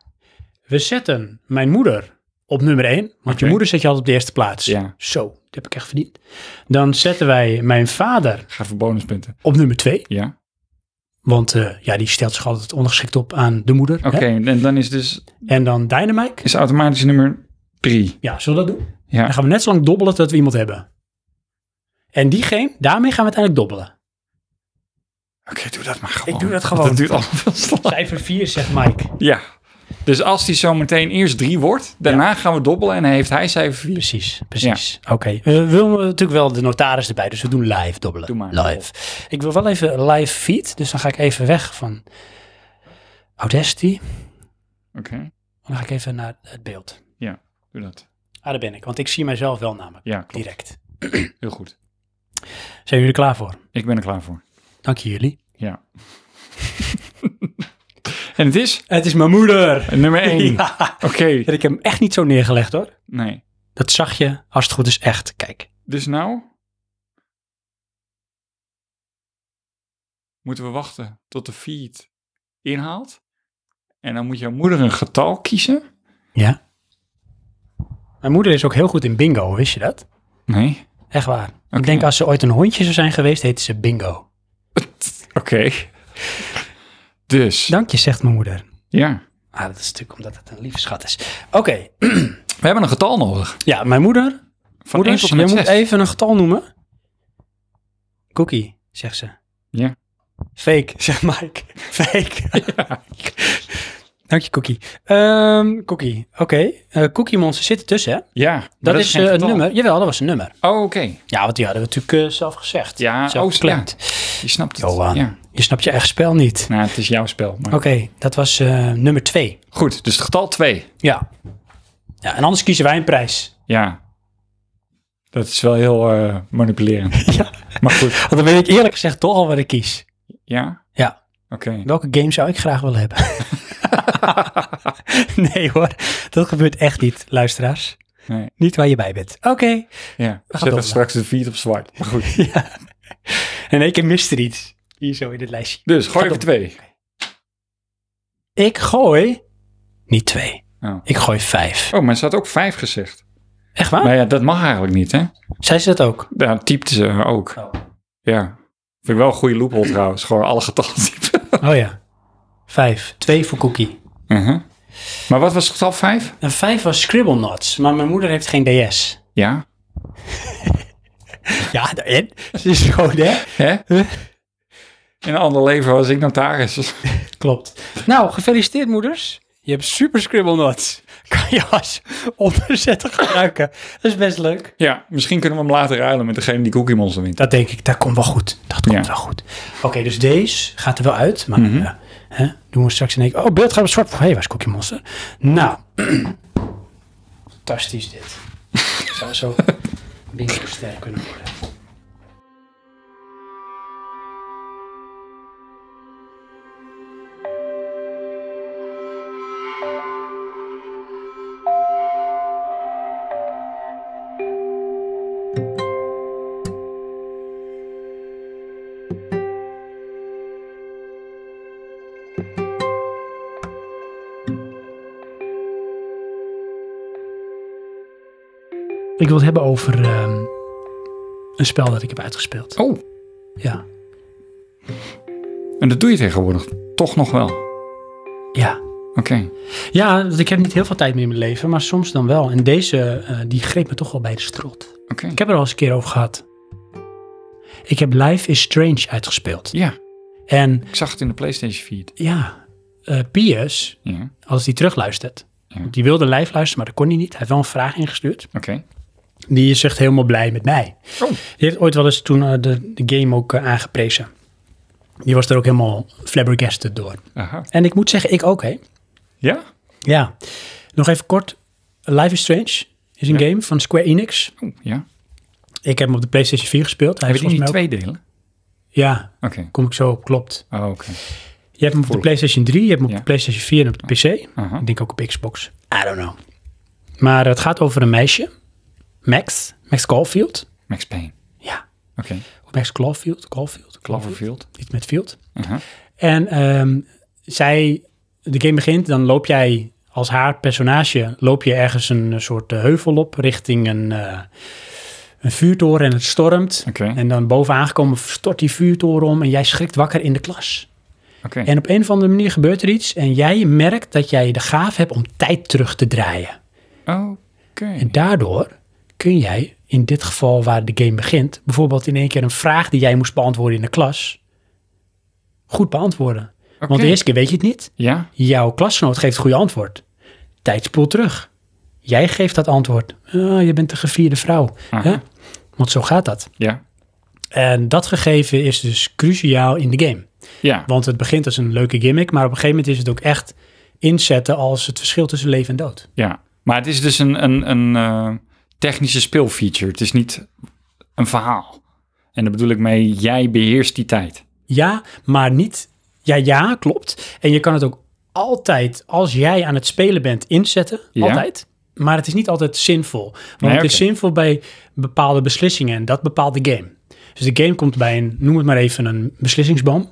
B: We zetten mijn moeder op nummer 1. Want je
C: Oké.
B: moeder zet je altijd op de eerste plaats.
C: Ja.
B: Zo, dat heb ik echt verdiend. Dan zetten wij mijn vader
C: Ga voor bonuspunten.
B: op nummer 2.
C: Ja.
B: Want eh, ja, die stelt zich altijd ondergeschikt op aan de moeder. hè?
C: Oké, en dan is dus
B: En dan Dynamite.
C: is automatisch nummer drie.
B: Ja, zullen we dat doen? Dan
C: Ja.
B: gaan we net zo lang dobbelen tot we iemand hebben. En diegene, daarmee gaan we uiteindelijk dobbelen.
C: Oké, doe dat maar gewoon.
B: doe dat
C: Want
B: gewoon.
C: Dat duurt allemaal veel te lang.
B: Cijfer 4, zegt Mike.
C: Ja. Dus als die zo meteen eerst drie wordt, daarna gaan we dobbelen en heeft hij cijfer vier.
B: Precies, precies. Oké. Eh, we willen natuurlijk wel de notaris erbij, dus we doen live dobbelen.
C: Doe maar.
B: Live. Ik wil wel even live feed, dus dan ga ik even weg van Audacity.
C: Oké,
B: Dan ga ik even naar het beeld.
C: doe dat.
B: Ah, daar ben ik, want ik zie mijzelf wel namelijk.
C: Ja, klopt.
B: Direct.
C: Heel goed.
B: Zijn jullie er klaar voor?
C: Ik ben er klaar voor.
B: Dank je jullie.
C: Ja. en het is
B: Het is mijn moeder.
C: nummer één.
B: Ja.
C: Oké.
B: Ik heb hem echt niet zo neergelegd hoor.
C: Nee.
B: Dat zag je, als het goed is, echt. Kijk.
C: Dus nou... Moeten we wachten tot de feed inhaalt. En dan moet jouw moeder een getal kiezen.
B: Ja. Mijn moeder is ook heel goed in bingo, wist je dat?
C: Nee.
B: Echt waar. Ik
C: Oké.
B: denk als ze ooit een hondje zou zijn geweest, heette ze bingo.
C: Oké. Dus.
B: Dank je, zegt mijn moeder.
C: ja.
B: Ah, dat is natuurlijk omdat het een lieve schat is. Oké,
C: We hebben een getal nodig.
B: ja, mijn moeder.
C: Van
B: Moeders,
C: 1 tot en
B: jij
C: met
B: moet
C: zes.
B: even een getal noemen. Cookie, zegt ze.
C: Ja.
B: Fake, zegt Mike. Fake. Dank je, Cookie. Ehm, cookie, oké. Eh, cookie Monster zit ertussen, hè? Dat,
C: Ja. maar
B: is,
C: geen
B: eh, een
C: getal.
B: nummer. Jawel, dat was een nummer.
C: Oh, oké.
B: Ja, want die hadden we natuurlijk eh, zelf gezegd.
C: Ja,
B: zelf
C: oh,
B: gepland.
C: Je snapt het.
B: Johan,
C: Ja.
B: je snapt je eigen spel niet.
C: Nou, het is jouw spel. Maar...
B: Oké, dat was eh, nummer twee.
C: Goed, dus het getal 2.
B: Ja. ja. En anders kiezen wij een prijs.
C: Ja. Dat is wel heel eh, manipulerend.
B: ja.
C: maar goed.
B: Want dan weet ik eerlijk gezegd toch al wat ik kies.
C: Ja?
B: Ja.
C: Oké.
B: Welke game zou ik graag willen hebben? nee hoor, dat gebeurt echt niet, luisteraars.
C: Nee.
B: Niet waar je bij bent. Oké.
C: Ja. Zet
B: dobbelen.
C: er straks de feed op zwart. Maar goed.
B: En één keer mist er iets. Hier zo in het lijstje.
C: Dus,
B: Gaat
C: gooi even
B: op.
C: 2.
B: Ik gooi... Niet twee.
C: Oh.
B: Ik gooi vijf.
C: Oh, maar ze had ook 5 gezegd.
B: Echt waar?
C: Maar ja, dat mag eigenlijk niet, hè?
B: Zei ze dat ook?
C: Daar typte ze ook.
B: Oh,
C: Ja. Vind ik wel een goede loophole trouwens. Gewoon alle getallen typen.
B: Oh ja. Vijf. Twee voor Cookie.
C: Mhm. Maar wat was het getal 5?
B: En vijf was Scribble Knots, maar mijn moeder heeft geen DS.
C: Ja.
B: Ja, en? Ze is gewoon, hè?
C: Hè? In een ander leven was ik notaris.
B: Klopt. Nou, gefeliciteerd moeders. Je hebt super Scribble Knots. Kan je als onderzetter gebruiken. Dat is best leuk.
C: ja, misschien kunnen we hem later ruilen met degene die Cookie Monster wint.
B: Dat denk ik, dat komt wel goed. Dat komt
C: Ja.
B: wel goed. Oké, dus deze gaat er wel uit. Maar eh, hè, doen we straks in één keer. Oh, beeld gaat op zwart. Hé, hey, waar is Cookie Monster? Nou. Fantastisch dit. Zou zo winkelster kunnen worden. Ik wil het hebben over ehm, een spel dat ik heb uitgespeeld.
C: Oh,
B: Ja,
C: en dat doe je tegenwoordig toch nog wel. Oké.
B: ja. Ja, want ik heb niet heel veel tijd meer in mijn leven, maar soms dan wel. En deze, eh, die greep me toch wel bij de strot.
C: Oké.
B: Ik heb er al eens een keer over gehad. Ik heb Life is Strange uitgespeeld.
C: Ja,
B: En
C: ik zag het in de PlayStation feed.
B: ja, eh Piers,
C: Ja,
B: als die terugluistert.
C: Ja.
B: Want die wilde live luisteren, maar dat kon hij niet. Hij heeft wel een vraag ingestuurd.
C: oké.
B: Die is echt helemaal blij met mij.
C: Oh.
B: Die heeft ooit wel eens toen eh, de, de game ook eh, aangeprezen. Die was er ook helemaal flabbergasted door.
C: Aha.
B: En ik moet zeggen, ik ook, hè.
C: Ja?
B: Ja. Nog even kort. Life is Strange is een game van Square Enix.
C: Oh, ja.
B: Ik heb hem op de PlayStation 4 gespeeld. Hij
C: Hebben
B: heeft
C: die
B: volgens
C: niet
B: mij ook...
C: twee delen?
B: Ja,
C: Oké.
B: kom ik zo op, klopt.
C: Oh, oké.
B: Je hebt hem op de
C: Voel.
B: PlayStation 3, je hebt hem op
C: Ja.
B: de PlayStation 4 en op de PC.
C: Aha.
B: Ik denk ook op Xbox. I don't know. Maar het gaat over een meisje. Max. Max Caulfield.
C: Max Payne.
B: Ja.
C: Oké.
B: Max Caulfield. Caulfield.
C: Cloverfield.
B: Iets met field.
C: Aha.
B: En ehm, zij, de game begint, dan loop jij als haar personage, loop je ergens een eh, soort eh, heuvel op richting een, eh, een vuurtoren en het stormt.
C: Oké.
B: En dan bovenaan gekomen stort die vuurtoren om en jij schrikt wakker in de klas.
C: Oké.
B: En op een of andere manier gebeurt er iets en jij merkt dat jij de gaaf hebt om tijd terug te draaien.
C: Oké. Hm.
B: En daardoor kun jij, in dit geval waar de game begint, bijvoorbeeld in één keer een vraag die jij moest beantwoorden in de klas, goed beantwoorden. Want
C: Oké.
B: de eerste keer weet je het niet.
C: Ja?
B: Jouw klasgenoot geeft het goede antwoord. Tijd spoelt terug. Jij geeft dat antwoord. Ah, je bent de gevierde vrouw.
C: Aha.
B: Hè? Want zo gaat dat.
C: Ja.
B: En dat gegeven is dus cruciaal in de game.
C: Ja.
B: Want het begint als een leuke gimmick, maar op een gegeven moment is het ook echt inzetten als het verschil tussen leven en dood.
C: Ja, maar het is dus een, een, een eh, technische speelfeature. Het is niet een verhaal. En daar bedoel ik mee, jij beheerst die tijd.
B: Ja, maar niet. Ja, ja, klopt. En je kan het ook altijd, als jij aan het spelen bent, inzetten.
C: Ja.
B: Altijd. Maar het is niet altijd zinvol. Want
C: Nee,
B: het is
C: oké.
B: zinvol bij bepaalde beslissingen en dat bepaalt de game. Dus de game komt bij een, noem het maar even, een beslissingsboom.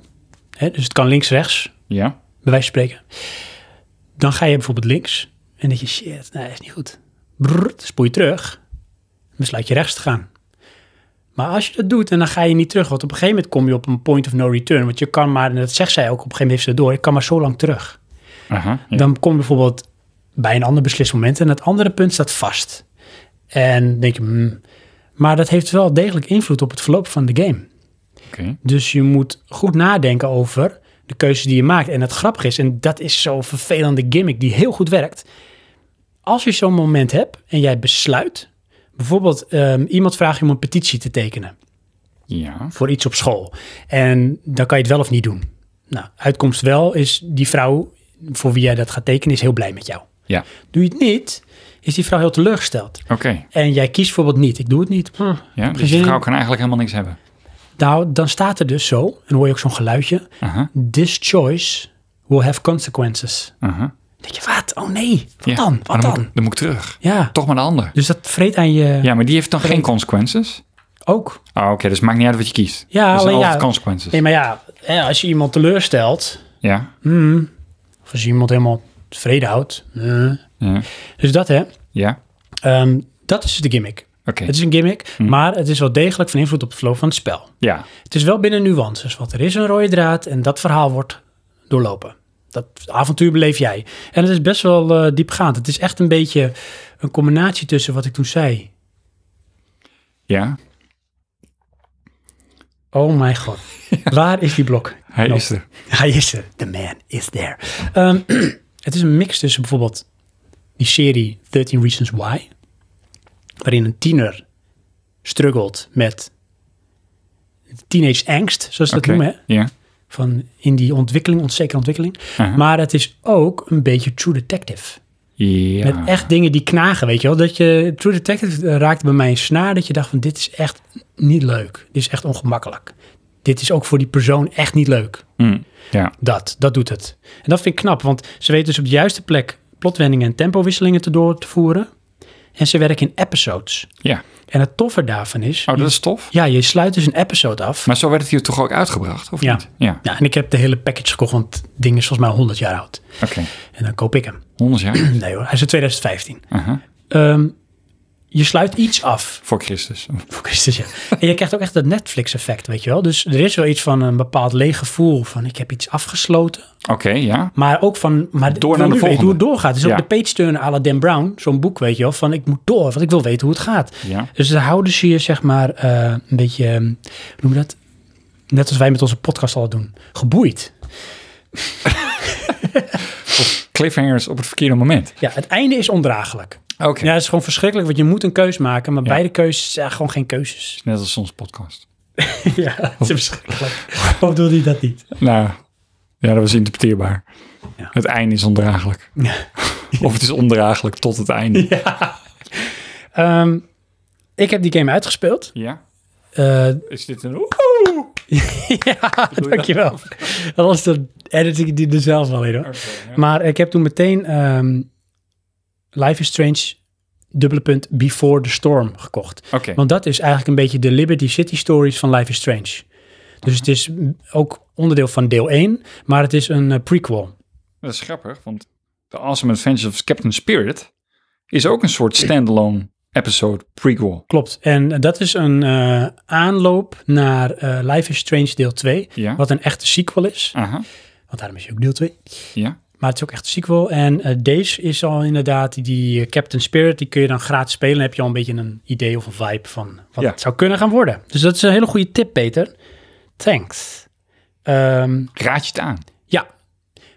B: Hè, dus het kan links-rechts,
C: Ja,
B: bij wijze van spreken. Dan ga je bijvoorbeeld links en denk je, shit, nee, dat is niet goed. Brrr, spoel je terug, besluit je rechts te gaan. Maar als je dat doet en dan ga je niet terug, want op een gegeven moment kom je op een point of no return. Want je kan maar, en dat zegt zij ook, op een gegeven moment heeft ze dat door, ik kan maar zo lang terug.
C: aha. Ja.
B: Dan kom je bijvoorbeeld bij een ander beslismoment en dat andere punt staat vast. En denk je, hmm, maar dat heeft wel degelijk invloed op het verloop van de game.
C: Oké,
B: Dus je moet goed nadenken over de keuzes die je maakt. En het grappige is, en dat is zo'n vervelende gimmick die heel goed werkt. Als je zo'n moment hebt en jij besluit, bijvoorbeeld ehm, iemand vraagt je om een petitie te tekenen
C: ja,
B: voor iets op school. En dan kan je het wel of niet doen. Nou, uitkomst wel is die vrouw voor wie jij dat gaat tekenen is heel blij met jou.
C: ja,
B: Doe je het niet, is die vrouw heel teleurgesteld.
C: oké.
B: En jij kiest bijvoorbeeld niet, ik doe het niet. Hm,
C: Ja,
B: geen
C: dus
B: zin
C: die
B: in.
C: vrouw kan eigenlijk helemaal niks hebben.
B: Nou, dan staat er dus zo, en dan hoor je ook zo'n geluidje.
C: Aha,
B: This choice will have consequences.
C: aha.
B: Dan denk je, wat? Oh nee, wat
C: Ja.
B: dan?
C: Maar
B: Wat dan?
C: Moet ik, dan moet ik terug.
B: Ja,
C: Toch maar de ander.
B: dus dat vreet aan je
C: Ja, maar die heeft dan geen consequences?
B: ook.
C: Oh, oké, dus het maakt niet uit wat je kiest.
B: Ja,
C: er zijn
B: alleen
C: altijd
B: ja.
C: consequences.
B: Nee, maar ja, hè, als je iemand teleurstelt, hmm,
C: Ja,
B: of als je iemand helemaal tevreden houdt. eh.
C: ja,
B: Dus dat hè,
C: ja,
B: Ehm, dat is de gimmick.
C: oké. Hmm.
B: Het is een gimmick, maar het is wel degelijk van invloed op het verloop van het spel.
C: Ja,
B: Het is wel binnen nuances, want er is een rode draad en dat verhaal wordt doorlopen. Dat avontuur beleef jij. En het is best wel eh, diepgaand. Het is echt een beetje een combinatie tussen wat ik toen zei.
C: ja,
B: Oh mijn god. Waar is die blok?
C: hij
B: Nou,
C: is er.
B: Hij is er. The man is there. Ehm, het is een mix tussen bijvoorbeeld die serie 13 Reasons Why, waarin een tiener struggelt met teenage angst, zoals ze
C: Oké,
B: dat noemen. Hè?
C: Ja,
B: Van in die ontwikkeling, onzekere ontwikkeling.
C: Aha.
B: Maar het is ook een beetje True Detective.
C: ja.
B: Met echt dingen die knagen, weet je wel. Dat je, True Detective eh, raakte bij mij een snaar dat je dacht van dit is echt niet leuk. Dit is echt ongemakkelijk. Dit is ook voor die persoon echt niet leuk.
C: Hm, Ja,
B: Dat, dat doet het. En dat vind ik knap, want ze weten dus op de juiste plek plotwendingen en tempowisselingen te door te voeren. En ze werken in episodes.
C: ja.
B: En het toffe daarvan is,
C: Oh, dat is tof.
B: ja, je sluit dus een episode af.
C: Maar zo werd het hier toch ook uitgebracht, of
B: Ja.
C: niet? Ja.
B: Ja, en ik heb de hele package gekocht, want het ding is volgens mij 100 jaar oud.
C: Oké.
B: En dan koop ik hem.
C: 100 jaar.
B: Nee hoor, hij is uit 2015.
C: Aha.
B: Ehm, je sluit iets af.
C: Voor Christus.
B: Voor Christus, ja. En je krijgt ook echt dat Netflix-effect, weet je wel. Dus er is wel iets van een bepaald leeg gevoel van ik heb iets afgesloten.
C: Oké, ja.
B: Maar ook van, maar ik
C: Door
B: wil
C: naar de
B: nu weten hoe het
C: volgende.
B: doorgaat. Het is
C: Ja.
B: ook de page turner à la Dan Brown, zo'n boek, weet je wel. Van ik moet door, want ik wil weten hoe het gaat.
C: Ja.
B: Dus dan houden ze je, zeg maar, eh, een beetje, ehm, hoe noem je dat? Net als wij met onze podcast al doen. Geboeid.
C: Cliffhangers op het verkeerde moment.
B: Ja, het einde is ondraaglijk.
C: Oké.
B: Ja, het is gewoon verschrikkelijk, want je moet een keus maken. Maar beide keuzes zijn gewoon geen keuzes.
C: Net als soms podcast.
B: ja, het is verschrikkelijk. Of bedoelde je dat niet?
C: Nou, ja, dat was interpreteerbaar.
B: Ja.
C: Het einde is ondraaglijk. Of het is ondraaglijk tot het einde. Ja.
B: Ehm, ik heb die game uitgespeeld. Eh
C: Is dit een oeh?
B: ja, dankjewel. Dat was de edit ik die er zelf wel in hoor. Maar ik heb toen meteen ehm, Life is Strange, dubbele punt, Before the Storm gekocht.
C: Oké.
B: Want dat is eigenlijk een beetje de Liberty City Stories van Life is Strange. Dus het is mm, ook onderdeel van deel 1, maar het is een eh, prequel.
C: Dat is grappig, want The Awesome Adventures of Captain Spirit is ook een soort standalone episode prequel.
B: Klopt. En eh, dat is een eh, aanloop naar eh, Life is Strange deel 2,
C: Ja.
B: wat een echte sequel is.
C: Aha.
B: Want daarom is hij ook deel 2.
C: Ja.
B: Maar het is ook echt een sequel. En eh, deze is al inderdaad, die eh, Captain Spirit, die kun je dan gratis spelen. Dan heb je al een beetje een idee of een vibe van wat
C: Ja.
B: het zou kunnen gaan worden. Dus dat is een hele goede tip, Peter. Thanks. Ehm,
C: Raad je het aan?
B: ja,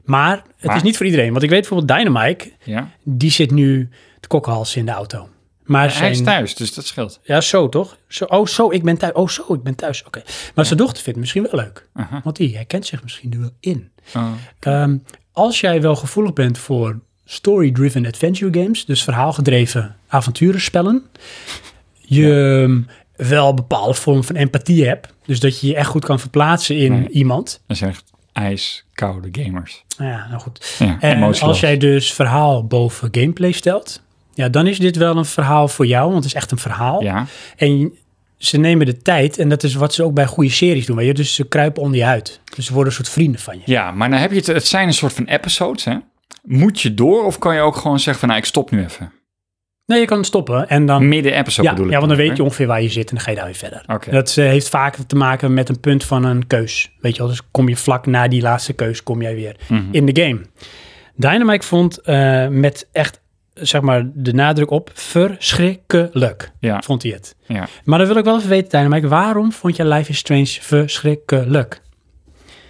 B: maar het
C: Maar?
B: is niet voor iedereen. Want ik weet bijvoorbeeld Dynamite,
C: Ja.
B: die zit nu de kokkenhals in de auto. Maar
C: Hij is
B: zijn-
C: thuis, dus dat scheelt.
B: Ja, zo toch? Zo, oh, zo, ik ben thuis. Oh, zo, ik ben thuis. Oké. Maar zijn dochter vindt het misschien wel leuk.
C: Aha.
B: Want die herkent zich misschien er wel in.
C: Oh,
B: Ehm, als jij wel gevoelig bent voor story-driven adventure games, dus verhaalgedreven avonturenspellen, je ehm, wel een bepaalde vorm van empathie hebt, dus dat je je echt goed kan verplaatsen in
C: Nee.
B: iemand.
C: dat zijn echt ijskoude gamers.
B: Ja, nou goed.
C: Ja,
B: En als
C: emotieloos.
B: jij dus verhaal boven gameplay stelt, ja, dan is dit wel een verhaal voor jou, want het is echt een verhaal.
C: Ja,
B: En ze nemen de tijd, en dat is wat ze ook bij goede series doen, weet je? dus ze kruipen onder je huid. Dus ze worden een soort vrienden van je.
C: ja, maar dan heb je het, het zijn een soort van episodes, hè? Moet je door of kan je ook gewoon zeggen van, nou, ik stop nu even?
B: Nee, je kan stoppen en dan
C: Midden episode
B: Ja,
C: bedoel ik.
B: ja, want dan weet
C: ook,
B: je ongeveer waar je zit en dan ga je daar weer verder.
C: hè? Oké.
B: Dat eh, heeft vaak te maken met een punt van een keus. Weet je wel, dus kom je vlak na die laatste keus, kom jij weer
C: Mhm.
B: in de game. Dynamite vond eh, met echt, zeg maar, de nadruk op verschrikkelijk,
C: Ja,
B: vond hij het.
C: ja.
B: Maar dan wil ik wel even weten, Dynamite, waarom vond je Life is Strange verschrikkelijk?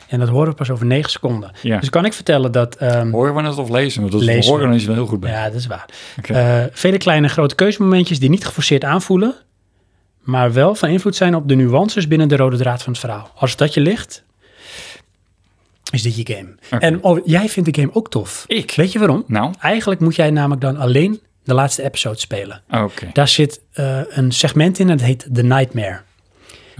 B: En dat horen we pas over negen seconden.
C: Ja.
B: Dus kan ik vertellen dat... ehm,
C: Horen we het of lezen? Want als we
B: Lezen.
C: horen, dan is het wel heel goed bij.
B: ja, dat is waar.
C: Oké.
B: Eh, vele kleine en grote keuzemomentjes die niet geforceerd aanvoelen, maar wel van invloed zijn op de nuances binnen de rode draad van het verhaal. Als dat je ligt, is dit je game.
C: Oké.
B: En oh, jij vindt de game ook tof.
C: Ik?
B: Weet je waarom?
C: Nou,
B: Eigenlijk moet jij namelijk dan alleen de laatste episode spelen.
C: oké.
B: Daar zit eh, een segment in, dat heet The Nightmare.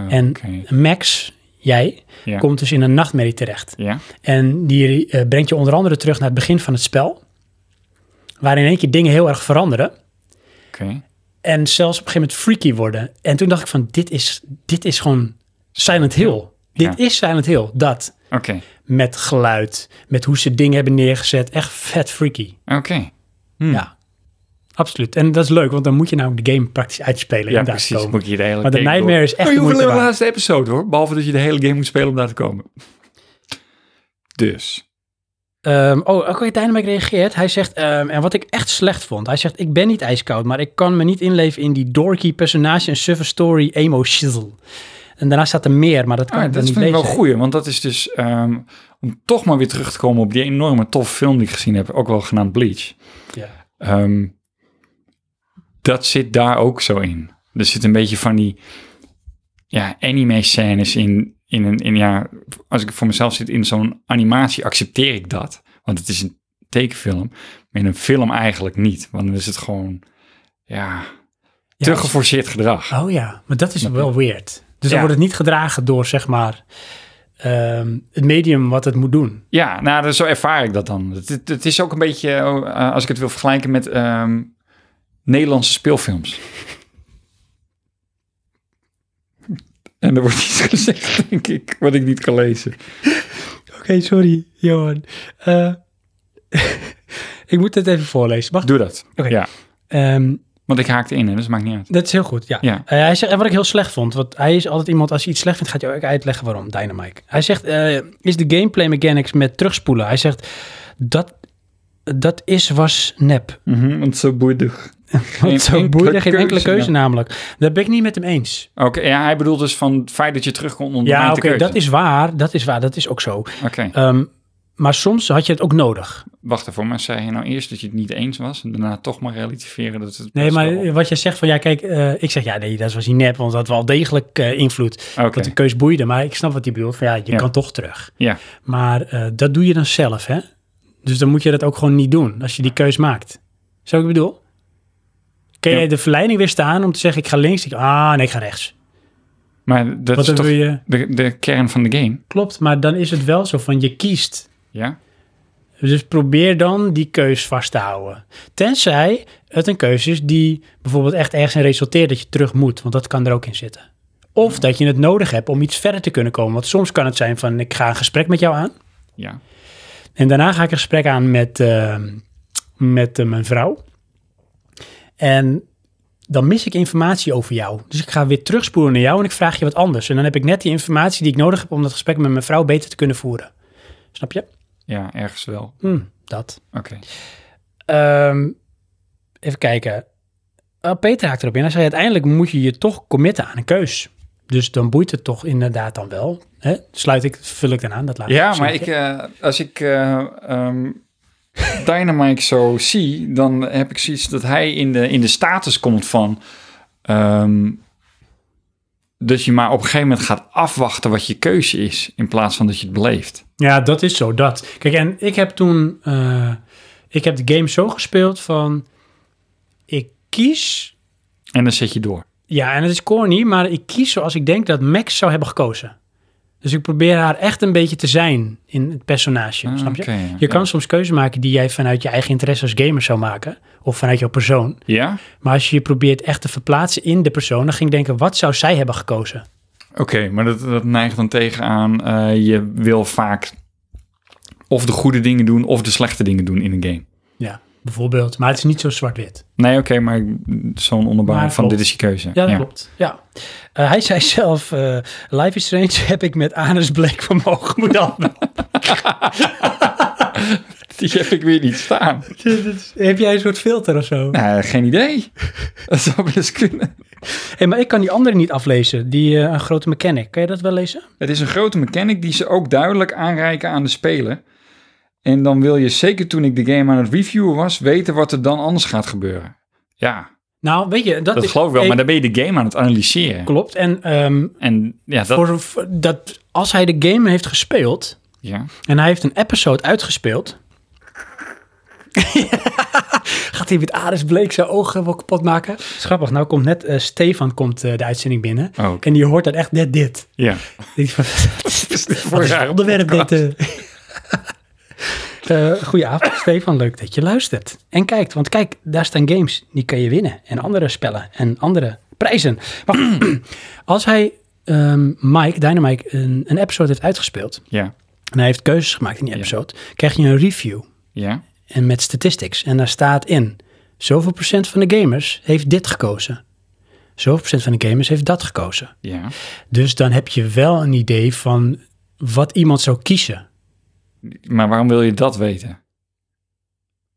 B: En
C: Oké.
B: Max, jij,
C: Ja.
B: komt dus in een nachtmerrie terecht.
C: Ja,
B: En die eh, brengt je onder andere terug naar het begin van het spel. Waar in één keer dingen heel erg veranderen.
C: oké.
B: En zelfs op een gegeven moment freaky worden. En toen dacht ik van, dit is, dit is gewoon Silent Hill. Dit
C: Ja.
B: is Silent Hill. Dat.
C: Oké,
B: Met geluid. Met hoe ze dingen hebben neergezet. Echt vet freaky.
C: oké. Hmm.
B: Ja. Absoluut. En dat is leuk, want dan moet je namelijk de game praktisch uitspelen.
C: Ja,
B: en daar
C: precies.
B: komen.
C: Moet je de hele
B: Maar de
C: game
B: Nightmare
C: door.
B: is echt
C: Maar Oh, je
B: de
C: hoeft
B: moeite
C: alleen de
B: waard.
C: laatste episode hoor. Behalve dat je de hele game moet spelen om daar te komen. Dus.
B: Ehm, oh, oké, uiteindelijk reageert. Hij zegt, ehm, en wat ik echt slecht vond. Hij zegt, ik ben niet ijskoud, maar ik kan me niet inleven in die dorky personage en suffer story emo shizzle. En daarna staat er meer, maar dat kan
C: Ah,
B: ik
C: dat
B: dan niet
C: vind ik wel
B: lezen.
C: goeie. Want dat is dus... ehm, om toch maar weer terug te komen op die enorme toffe film die ik gezien heb. Ook wel genaamd Bleach.
B: Ja.
C: Ehm, dat zit daar ook zo in. Er zit een beetje van die ja, anime-scènes in. In een, in, ja, als ik voor mezelf zit in zo'n animatie, accepteer ik dat. Want het is een tekenfilm. Maar in een film eigenlijk niet. Want dan is het gewoon ja, te
B: Ja,
C: geforceerd gedrag.
B: Oh ja, maar dat is wel weird. Dus dan
C: Ja.
B: wordt het niet gedragen door, zeg maar, ehm, het medium wat het moet doen.
C: Ja, nou, dat- zo ervaar ik dat dan. Het, het, het is ook een beetje, eh, als ik het wil vergelijken met ehm, Nederlandse speelfilms. En er wordt iets gezegd, denk ik, wat ik niet kan lezen.
B: Oké, sorry, Johan. Eh, ik moet het even voorlezen. Mag
C: Doe dat.
B: Oké.
C: Ja.
B: Ehm,
C: Want ik haakte in, hè, dus maakt niet uit.
B: Dat is heel goed, ja.
C: Ja.
B: Eh, hij zegt, en wat ik heel slecht vond, want hij is altijd iemand, als je iets slecht vindt, gaat hij ook uitleggen waarom, Dynamite. Hij zegt, eh, is de gameplay mechanics met terugspoelen? Hij zegt, dat, dat is, was nep.
C: Want zo boeidig.
B: Want zo boeide geen enkele keuze namelijk. Daar ben ik niet met hem eens.
C: Oké, ja, hij bedoelt dus van het feit dat je terugkomt onder
B: Ja,
C: mijn
B: oké,
C: keuze.
B: dat is waar, dat is waar, dat is ook zo.
C: Oké,
B: Ehm, maar soms had je het ook nodig.
C: wacht even. Maar zei hij nou eerst dat je het niet eens was en daarna toch maar relativeren dat het...
B: Nee,
C: best wel-
B: maar wat je zegt van, ja kijk, eh, ik zeg, ja nee, dat was niet nep, want dat had wel degelijk eh, invloed.
C: Oké,
B: Dat de keus boeide, maar ik snap wat hij bedoelt. Van, ja, je
C: Ja.
B: kan toch terug.
C: ja.
B: Maar eh, dat doe je dan zelf, hè? Dus dan moet je dat ook gewoon niet doen als je die keus maakt. Zo ik bedoel? Kun
C: Ja.
B: jij de verleiding weer staan om te zeggen, ik ga links. Ik, ah, nee, ik ga rechts.
C: Maar dat
B: Wat
C: is
B: dan
C: toch
B: wil je...
C: de, de kern van de game?
B: Klopt, maar dan is het wel zo van, je kiest.
C: Ja?
B: Dus probeer dan die keus vast te houden. Tenzij het een keuze is die bijvoorbeeld echt ergens in resulteert dat je terug moet. Want dat kan er ook in zitten. Of dat je het nodig hebt om iets verder te kunnen komen. Want soms kan het zijn van, ik ga een gesprek met jou aan.
C: Ja.
B: En daarna ga ik een gesprek aan met, eh, met eh, mijn vrouw. En dan mis ik informatie over jou. Dus ik ga weer terugspoelen naar jou en ik vraag je wat anders. En dan heb ik net die informatie die ik nodig heb om dat gesprek met mijn vrouw beter te kunnen voeren. Snap je?
C: Ja, ergens wel.
B: Hm, dat.
C: Oké.
B: Ehm, even kijken. Ah, Peter haakt erop in. Hij zei, uiteindelijk moet je je toch committen aan een keus. Dus dan boeit het toch inderdaad dan wel. Hè? Sluit ik, vul ik dan aan, dat laatste.
C: Ja, maar ik,
B: zinnetje.
C: eh, als ik eh ehm, Dynamite zo zie, dan heb ik zoiets dat hij in de, in de status komt van. ehm, dat je maar op een gegeven moment gaat afwachten wat je keuze is, in plaats van dat je het beleeft.
B: Ja, dat is zo, dat. Kijk, en ik heb toen... eh, ik heb de game zo gespeeld van... Ik kies...
C: En dan zet je door.
B: Ja, en het is corny, maar ik kies zoals ik denk dat Max zou hebben gekozen. Dus ik probeer haar echt een beetje te zijn in het personage,
C: Ah,
B: snap je?
C: oké, ja.
B: Je kan soms keuzes maken die jij vanuit je eigen interesse als gamer zou maken. Of vanuit jouw persoon.
C: Ja?
B: Maar als je je probeert echt te verplaatsen in de persoon... dan ging ik denken, wat zou zij hebben gekozen?
C: Oké, maar dat, dat neigt dan tegenaan. eh, je wil vaak of de goede dingen doen of de slechte dingen doen in een game.
B: Ja, bijvoorbeeld. Maar het is niet zo zwart-wit.
C: Nee, oké, maar zo'n onderbouwing
B: Maar
C: van
B: klopt.
C: dit is je keuze.
B: Ja, dat klopt. Ja. Eh, hij zei zelf, eh, Life is Strange heb ik met Anus Blake van mogen moet hebben.
C: Die heb ik weer niet staan.
B: Heb jij een soort filter of zo?
C: Nou, geen idee. Dat zou best kunnen.
B: Hey, maar ik kan die andere niet aflezen, die eh, een grote mechanic. Kan je dat wel lezen?
C: Het is een grote mechanic die ze ook duidelijk aanreiken aan de speler. En dan wil je zeker toen ik de game aan het reviewen was, weten wat er dan anders gaat gebeuren. Ja,
B: Nou, weet je, dat,
C: dat
B: is-
C: geloof ik wel,
B: eh,
C: maar dan ben je de game aan het analyseren.
B: klopt. En ehm,
C: En ja, dat...
B: voor, voor- dat, als hij de game heeft gespeeld
C: Ja,
B: en hij heeft een episode uitgespeeld... Gaat hij met Aris Blake zijn ogen wel kapot maken? Schappig, nou komt net eh, Stefan komt, eh, de uitzending binnen.
C: Oh, oké.
B: En die hoort dat echt net dit.
C: ja.
B: Ik van,
C: voor
B: wat is
C: raar
B: het onderwerp dit? eh? Eh, goedenavond, Stefan. Leuk dat je luistert. En kijkt, want kijk, daar staan games. Die kan je winnen. En andere spellen. En andere prijzen. Maar goed, als hij ehm, Mike, Dynamite, een, een episode heeft uitgespeeld.
C: Ja,
B: En hij heeft keuzes gemaakt in die
C: Ja.
B: episode. Krijg je een review.
C: ja.
B: En met statistics. En daar staat in. Zoveel procent van de gamers heeft dit gekozen. Zoveel procent van de gamers heeft dat gekozen.
C: Ja,
B: Dus dan heb je wel een idee van wat iemand zou kiezen.
C: maar waarom wil je dat weten?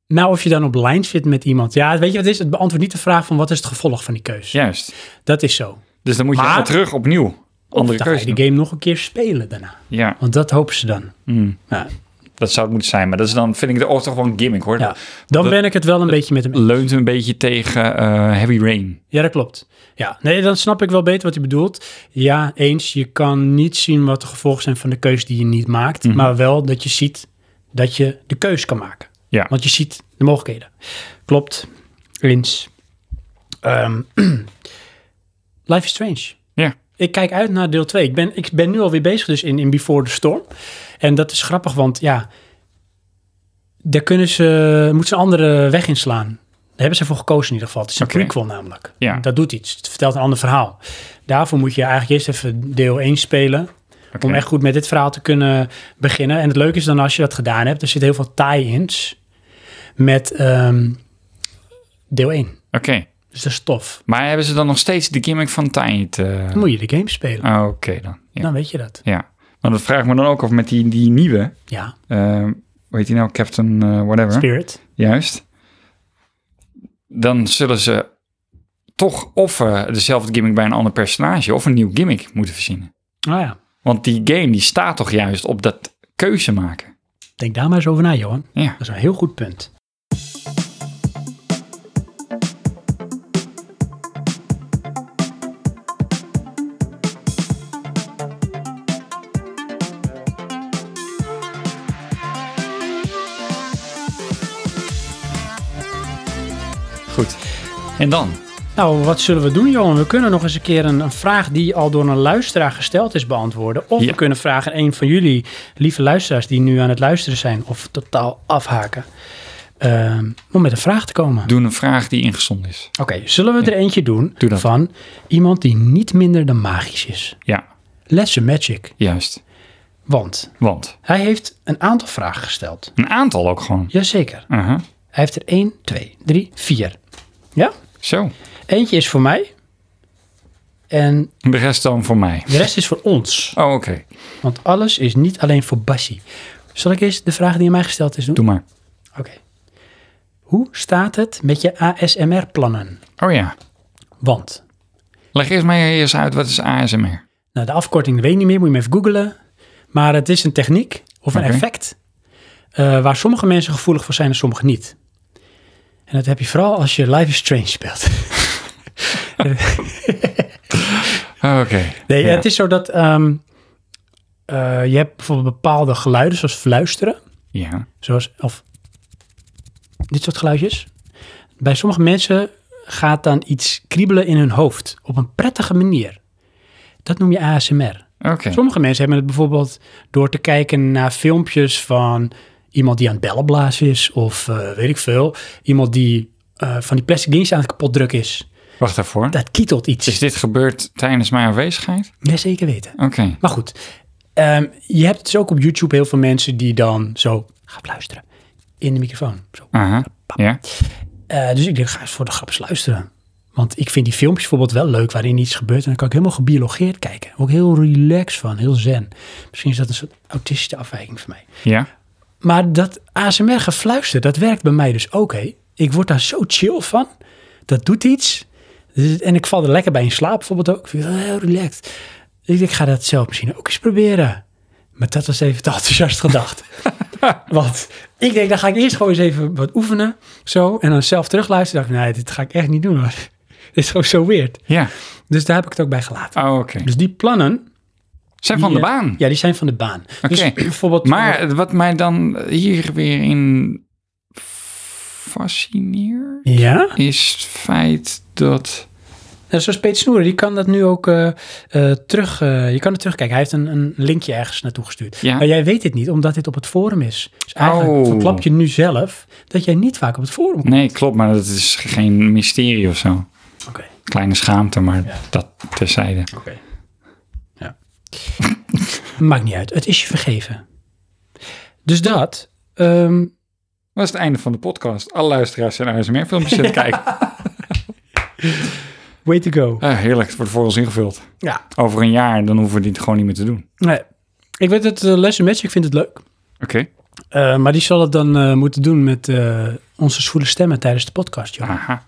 B: Nou, of je dan op lijn zit met iemand. Ja, weet je wat het is? Het beantwoordt niet de vraag van wat is het gevolg van die keuze.
C: Juist.
B: Dat is zo.
C: Dus dan moet je
B: Maar-
C: maar terug opnieuw. Andere
B: of dan ga
C: keuze
B: je de
C: doen.
B: game nog een keer spelen daarna.
C: Ja,
B: Want dat hopen ze dan.
C: mm,
B: Nou,
C: dat zou het moeten zijn. Maar dat is dan, vind ik, de oh, toch wel een gimmick, hoor.
B: ja. Dan ben ik het wel een beetje met hem eens.
C: leunt een beetje tegen eh, Heavy Rain.
B: Ja, dat klopt. Ja, nee, dan snap ik wel beter wat hij bedoelt. Ja, eens, je kan niet zien wat de gevolgen zijn van de keuze die je niet maakt. Maar wel dat je ziet dat je de keuze kan maken.
C: Ja.
B: Want je ziet de mogelijkheden. Klopt. Lins. Ehm, Life is Strange.
C: Ja.
B: Ik kijk uit naar deel 2. Ik ben, ik ben nu alweer bezig dus in, in Before the Storm. En dat is grappig, want ja... Daar kunnen ze, moeten ze een andere weg inslaan. Daar hebben ze voor gekozen in ieder geval. Het is een
C: Oké.
B: prequel namelijk.
C: Ja.
B: Dat doet iets. Het vertelt een ander verhaal. Daarvoor moet je eigenlijk eerst even deel 1 spelen.
C: Oké.
B: Om echt goed met dit verhaal te kunnen beginnen. En het leuke is dan als je dat gedaan hebt, er zit heel veel tie-ins met ehm, deel 1.
C: Oké.
B: Dus dat is tof.
C: Maar hebben ze dan nog steeds de gimmick van tijd? eh?
B: Dan moet je de game spelen.
C: Ah, Oké dan. Ja.
B: Dan weet je dat.
C: ja. Maar dat vraagt me dan ook af met die, die nieuwe.
B: Ja,
C: eh, hoe heet die nou? Captain eh, whatever.
B: Spirit.
C: Juist. Dan zullen ze toch of eh, dezelfde gimmick bij een ander personage of een nieuw gimmick moeten verzinnen.
B: Nou ja,
C: Want die game die staat toch juist op dat keuze maken.
B: denk daar maar eens over na, Johan.
C: Ja.
B: Dat is een heel goed punt.
C: Goed. En dan?
B: Nou, wat zullen we doen, Johan? We kunnen nog eens een keer een, een vraag die al door een luisteraar gesteld is beantwoorden. Of
C: Ja.
B: we kunnen vragen aan een van jullie, lieve luisteraars, die nu aan het luisteren zijn of totaal afhaken, ehm, om met een vraag te komen.
C: Doen een vraag die ingezonden is.
B: Oké, zullen we er eentje doen
C: Doe dat.
B: van iemand die niet minder dan magisch is?
C: Ja,
B: Let's Magic.
C: juist.
B: Want
C: Want
B: hij heeft een aantal vragen gesteld.
C: een aantal ook gewoon.
B: Jazeker.
C: Aha.
B: Hij heeft er 1, 2, 3, 4. Ja?
C: Zo.
B: Eentje is voor mij. En
C: De rest dan voor mij.
B: de rest is voor ons.
C: Oh, oké.
B: Want alles is niet alleen voor Bassie. Zal ik eerst de vraag die aan mij gesteld is doen?
C: Doe maar.
B: Oké. Hoe staat het met je ASMR-plannen?
C: Oh ja.
B: Want,
C: Leg eerst maar eerst uit wat is ASMR.
B: nou de afkorting weet ik niet meer, moet je hem even googlen. Maar het is een techniek of een
C: Oké.
B: effect eh, waar sommige mensen gevoelig voor zijn en sommige niet. En dat heb je vooral als je Life is Strange speelt.
C: Oké.
B: Nee,
C: Ja.
B: het is zo dat ehm, eh, je hebt bijvoorbeeld bepaalde geluiden zoals fluisteren.
C: Ja.
B: Zoals, of dit soort geluidjes. Bij sommige mensen gaat dan iets kriebelen in hun hoofd op een prettige manier. Dat noem je ASMR.
C: Oké.
B: Sommige mensen hebben het bijvoorbeeld door te kijken naar filmpjes van iemand die aan het bellenblaas is of eh, weet ik veel. Iemand die eh, van die plastic dienst aan het kapot druk is.
C: Wacht daarvoor.
B: Dat kietelt
C: Is
B: iets.
C: dit gebeurd tijdens mijn aanwezigheid?
B: Ja, zeker weten.
C: Oké.
B: Maar goed, ehm, je hebt dus ook op YouTube heel veel mensen die dan zo gaan fluisteren in de microfoon. Zo.
C: Aha. Ja.
B: Eh, dus ik denk, ga eens voor de grap eens luisteren. Want ik vind die filmpjes bijvoorbeeld wel leuk waarin iets gebeurt. En dan kan ik helemaal gebiologeerd kijken. Ook heel relaxed van, heel zen. Misschien is dat een soort autistische afwijking voor mij.
C: Ja.
B: Maar dat ASMR gefluister, dat werkt bij mij dus ook. Hè? Ik word daar zo chill van. Dat doet iets. Dus- En ik val er lekker bij in slaap bijvoorbeeld ook. Ik vind het heel relaxed. Dus ik denk, ik ga dat zelf misschien ook eens proberen. Maar dat was even te enthousiast gedacht. Want ik denk, dan ga ik eerst gewoon eens even wat oefenen. Zo. En dan zelf terugluisteren. dacht ik, nee, dit ga ik echt niet doen hoor. Dit is gewoon zo weird.
C: Ja.
B: Dus daar heb ik het ook bij gelaten.
C: Oh, oké.
B: Dus die plannen...
C: Zijn van de
B: die, eh,
C: baan.
B: Ja, die zijn van de baan. Dus
C: Oké.
B: bijvoorbeeld...
C: Maar wat mij dan hier weer in fascineert,
B: Ja?
C: is het feit dat...
B: Nou, zoals Peter Snoeren, die kan dat nu ook eh, eh, terug... eh, je kan het terugkijken. Hij heeft een, een linkje ergens naartoe gestuurd.
C: Ja.
B: Maar jij weet dit niet, omdat dit op het forum is. Dus eigenlijk
C: Oh.
B: verklap je nu zelf dat jij niet vaak op het forum komt.
C: Nee, klopt, maar dat is geen mysterie of zo.
B: Oké,
C: Kleine schaamte, maar
B: Ja.
C: dat terzijde.
B: oké. Ja.
C: Mm.
B: Maakt niet uit. Het is je vergeven. Dus dat... ehm,
C: Dat is het einde van de podcast. Alle luisteraars zijn ASMR-filmpjes aan het kijken.
B: way to go.
C: Ah, heerlijk, het wordt voor ons ingevuld.
B: Ja.
C: Over een jaar, dan hoeven we dit gewoon niet meer te doen.
B: Nee. Ik weet het, uh, Lesson Magic vindt het leuk.
C: Oké.
B: Eh, maar die zal het dan eh, moeten doen met eh, onze zwoele stemmen tijdens de podcast, joh.
C: Aha.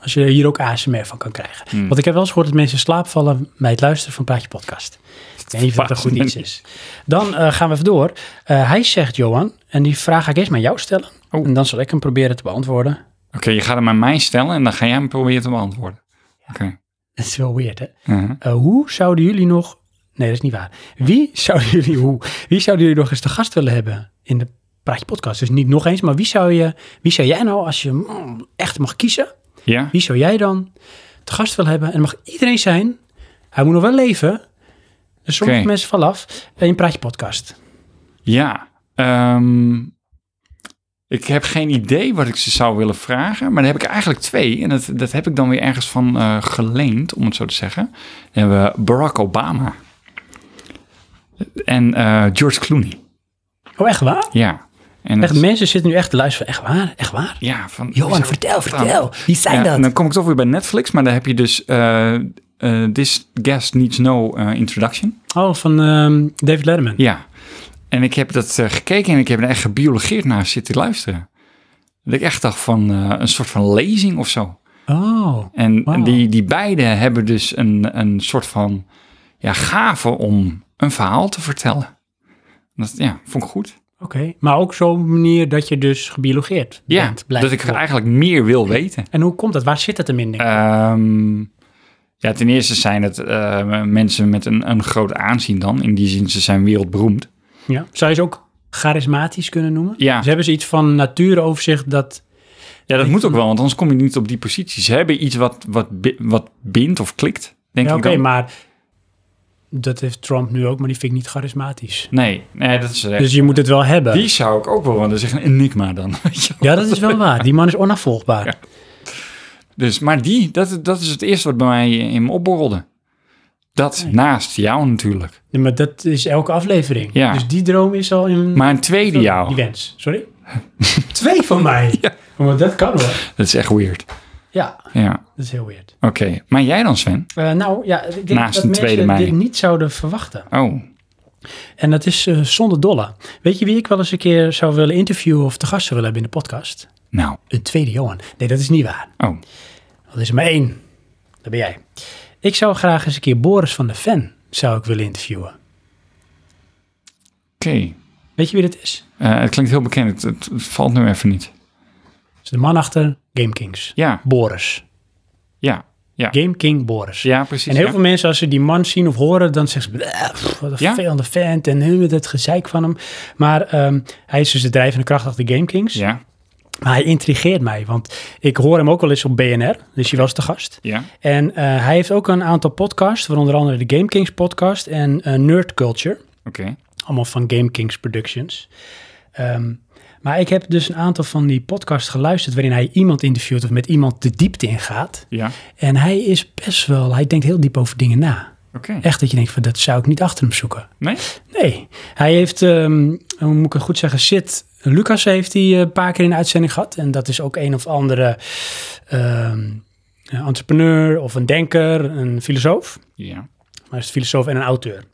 B: Als je hier ook ASMR van kan krijgen.
C: Hmm.
B: Want ik heb wel eens gehoord dat mensen in slaap vallen bij het luisteren van Praatje Podcast. Ik weet niet of dat een
C: verbaast
B: goed
C: me
B: iets is. Dan eh, gaan we even door. Eh, hij zegt, Johan, en die vraag ga ik eerst maar jou stellen.
C: Oh.
B: En dan zal ik hem proberen te beantwoorden.
C: Oké, je gaat hem aan mij stellen en dan ga jij hem proberen te beantwoorden. Oké.
B: Dat is wel weird, hè?
C: Aha.
B: Eh, hoe zouden jullie nog... Nee, dat is niet waar. Wie zouden jullie, hoe, wie zouden jullie nog eens te gast willen hebben in de Praatje Podcast? Dus niet nog eens, maar wie zou, je, wie zou jij nou, als je mm, echt mag kiezen,
C: Ja?
B: Wie zou jij dan te gast willen hebben? En er mag iedereen zijn. Hij moet nog wel leven. Dus sommige
C: Oké.
B: mensen vallen af. En je praat je podcast.
C: Ja. ehm, ik heb geen idee wat ik ze zou willen vragen. Maar dan heb ik eigenlijk twee. En dat, dat heb ik dan weer ergens van eh, geleend, om het zo te zeggen. Dan hebben we Barack Obama. En eh, George Clooney.
B: Oh, echt waar?
C: Ja. En
B: Echt,
C: het-
B: mensen zitten nu echt te luisteren. Echt waar? Echt waar?
C: ja, van, wie
B: Johan,
C: zou-
B: vertel,
C: vertel.
B: vertel. Wie zijn
C: Ja, en
B: dat?
C: Dan kom ik toch weer bij Netflix, maar daar heb je dus eh, eh, This Guest Needs No eh, Introduction.
B: Oh, van ehm, David Letterman.
C: Ja. En ik heb dat eh, gekeken en ik heb er echt gebiologeerd naar zitten luisteren. Dat ik echt dacht van eh, een soort van lezing of zo.
B: Oh,
C: En
B: Wauw.
C: die, die beiden hebben dus een, een soort van ja, gave om een verhaal te vertellen. Dat ja, vond ik goed.
B: oké. Maar ook zo'n manier dat je dus gebiologeerd
C: Ja,
B: bent.
C: dat ik
B: blijkbaar.
C: eigenlijk meer wil weten.
B: En hoe komt dat? Waar zit het hem in? denk ik?
C: Ehm, ja, ten eerste zijn het eh, mensen met een, een groot aanzien dan. In die zin, ze zijn wereldberoemd.
B: ja. Zou je ze ook charismatisch kunnen noemen?
C: Ja.
B: Ze hebben ze iets van natuuroverzicht dat...
C: Ja, dat moet ook wel, want anders kom je niet op die positie. Ze hebben iets wat, wat, bi- wat bindt of klikt, denk
B: Ja,
C: ik
B: oké,
C: dan.
B: maar dat heeft Trump nu ook, maar die vind ik niet charismatisch.
C: Nee, nee, dat is echt.
B: Dus je moet het wel hebben.
C: Die zou ik ook wel willen zeggen, een enigma dan. weet je wel.
B: Ja, dat is wel waar. Die man is onafvolgbaar.
C: Ja. Dus, maar die, dat, dat is het eerste wat bij mij in me opborrelde. Dat naast jou natuurlijk.
B: Ja, maar dat is elke aflevering.
C: Ja.
B: Dus die droom is al in...
C: Maar een tweede jou.
B: Die wens, sorry. Twee van mij. Oh,
C: Ja.
B: Maar dat kan hoor.
C: Dat is echt weird.
B: Ja,
C: Ja,
B: dat is heel weird.
C: oké. Maar jij dan, Sven?
B: Eh, nou ja, ik denk
C: Naast
B: dat
C: een
B: mensen
C: tweede mei.
B: dit niet zouden verwachten.
C: Oh,
B: En dat is eh, zonder dolle. Weet je wie ik wel eens een keer zou willen interviewen of te gast zou willen hebben in de podcast?
C: nou.
B: Een tweede Johan. Nee, dat is niet waar.
C: Oh,
B: Dat is er maar één. Dat ben jij. Ik zou graag eens een keer Boris van de Ven zou ik willen interviewen.
C: oké.
B: Weet je wie dat is?
C: Eh, het klinkt heel bekend. Het, het- het valt nu even niet.
B: Dat is de man achter Game Kings.
C: Ja,
B: Boris.
C: ja, ja.
B: Game King Boris.
C: Ja, precies.
B: En heel
C: ja.
B: veel mensen, als ze die man zien of horen, dan zeggen ze, "Bleh, pff, wat een
C: Ja?
B: vervelende vent en eh, dat gezeik van hem. Maar ehm, hij is dus de drijvende kracht achter Game Kings.
C: Ja,
B: Maar hij intrigeert mij, want ik hoor hem ook wel eens op BNR, dus hij was te gast.
C: ja.
B: En eh, hij heeft ook een aantal podcasts, waaronder andere de Game Kings podcast en eh, Nerd Culture.
C: Oké.
B: Allemaal van Game Kings Productions. Ehm, maar ik heb dus een aantal van die podcasts geluisterd waarin hij iemand interviewt of met iemand de diepte ingaat.
C: Ja,
B: En hij is best wel, hij denkt heel diep over dingen na.
C: oké.
B: Echt dat je denkt van dat zou ik niet achter hem zoeken.
C: Nee?
B: Nee, hij heeft, ehm, hoe moet ik het goed zeggen, Sid Lucas heeft hij eh, een paar keer in de uitzending gehad. En dat is ook een of andere ehm, een entrepreneur of een denker, een filosoof.
C: Ja.
B: Maar hij is een filosoof en een auteur.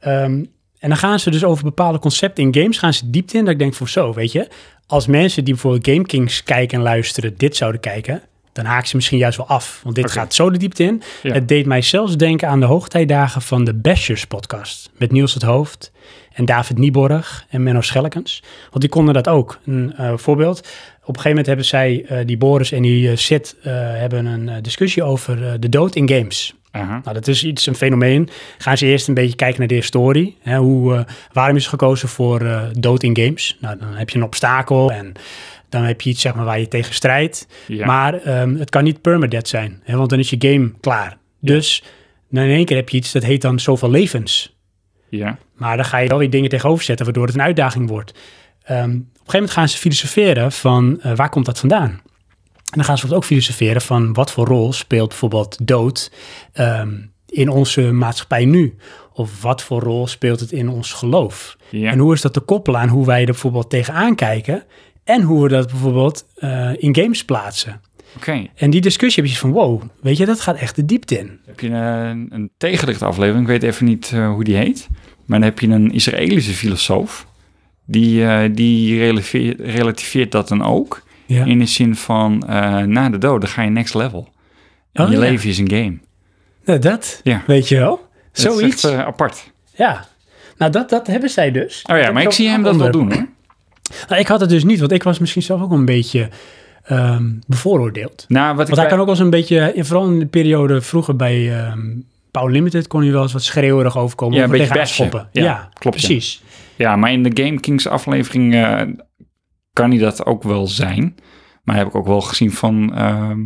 B: Ehm, en dan gaan ze dus over bepaalde concepten in games, gaan ze diepte in. Dat ik denk voor zo, weet je. Als mensen die bijvoorbeeld Game Kings kijken en luisteren, dit zouden kijken... dan haak ze misschien juist wel af. Want dit
C: Oké.
B: gaat zo de diepte in.
C: Ja.
B: Het deed mij zelfs denken aan de hoogtijdagen van de Bashers podcast. Met Niels het Hoofd en David Nieborg en Menno Schellekens. Want die konden dat ook. Een eh, voorbeeld. Op een gegeven moment hebben zij, eh, die Boris en die eh, Sid... eh, hebben een eh, discussie over eh, de dood in games.
C: Aha.
B: Nou, dat is iets, een fenomeen. Gaan ze eerst een beetje kijken naar de historie. Hè, hoe, eh, waarom is gekozen voor eh, dood in games? Nou, dan heb je een obstakel en dan heb je iets zeg maar, waar je tegen strijdt.
C: Ja.
B: Maar ehm, het kan niet permadeath zijn, hè, want dan is je game klaar. Dus dan in één keer heb je iets dat heet dan zoveel levens.
C: Ja.
B: Maar dan ga je wel weer dingen tegenover zetten, waardoor het een uitdaging wordt. Ehm, op een gegeven moment gaan ze filosoferen van eh, waar komt dat vandaan? En dan gaan ze bijvoorbeeld ook filosoferen van wat voor rol speelt bijvoorbeeld dood ehm, in onze maatschappij nu? Of wat voor rol speelt het in ons geloof?
C: Ja.
B: En hoe is dat te koppelen aan hoe wij er bijvoorbeeld tegenaan kijken? En hoe we dat bijvoorbeeld eh, in games plaatsen?
C: Oké.
B: En die discussie heb je van, wow, weet je, dat gaat echt de diepte in.
C: Heb je een, een tegenlicht aflevering? Ik weet even niet eh, hoe die heet. Maar dan heb je een Israëlische filosoof. Die, eh, die releve- relativeert dat dan ook.
B: Ja.
C: In de zin van, eh, na de dood, dan ga je next level. En
B: Oh,
C: je
B: ja.
C: leven is een game.
B: Nou, dat,
C: Ja.
B: weet je wel.
C: Dat is echt,
B: Zoiets,
C: eh, apart.
B: ja. Nou, dat, dat hebben zij dus.
C: Oh ja, maar ik zie hem dat wel
B: doen.
C: doen hoor.
B: Nou, ik had het dus niet, want ik was misschien zelf ook wel een beetje ehm, bevooroordeeld.
C: Nou, wat ik
B: Want hij
C: bij-
B: kan ook wel eens een beetje, in- vooral in de periode vroeger bij ehm Power Limited, kon hij wel eens wat schreeuwerig overkomen.
C: Ja,
B: of
C: een
B: er
C: beetje
B: tegenaan
C: bashen.
B: schoppen.
C: Ja,
B: Ja,
C: klopt, ja.
B: Precies.
C: Ja, maar in de Game Kings aflevering eh, kan hij dat ook wel zijn. Maar heb ik ook wel gezien van ehm,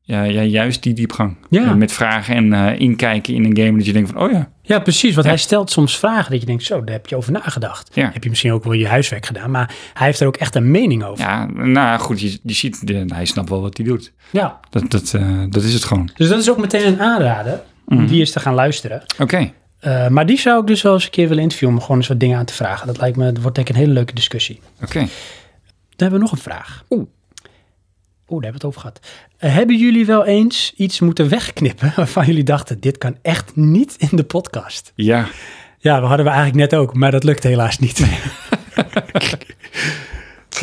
C: ja, ja, juist die diepgang.
B: Ja.
C: Eh, met vragen en eh, inkijken in een game dat je denkt van, oh ja,
B: Ja, precies. Want
C: Ja.
B: hij stelt soms vragen dat je denkt, zo, daar heb je over nagedacht.
C: Ja.
B: Heb je misschien ook wel je huiswerk gedaan, maar hij heeft er ook echt een mening over.
C: ja nou goed, je, je ziet, de- hij snapt wel wat hij doet.
B: Ja.
C: Dat, dat, eh, dat is het gewoon. Mhm.
B: Dus dat is ook meteen een aanrader om die eens te gaan luisteren.
C: Oké,
B: Eh, maar die zou ik dus wel eens een keer willen interviewen om gewoon eens wat dingen aan te vragen. Dat lijkt me, dat wordt denk ik een hele leuke discussie.
C: Oké.
B: Dan hebben we nog een vraag.
C: Oeh.
B: Oeh, daar hebben we het over gehad. Eh, hebben jullie wel eens iets moeten wegknippen waarvan jullie dachten, dit kan echt niet in de podcast?
C: Ja.
B: Ja, dat hadden we eigenlijk net ook, maar dat lukt helaas niet.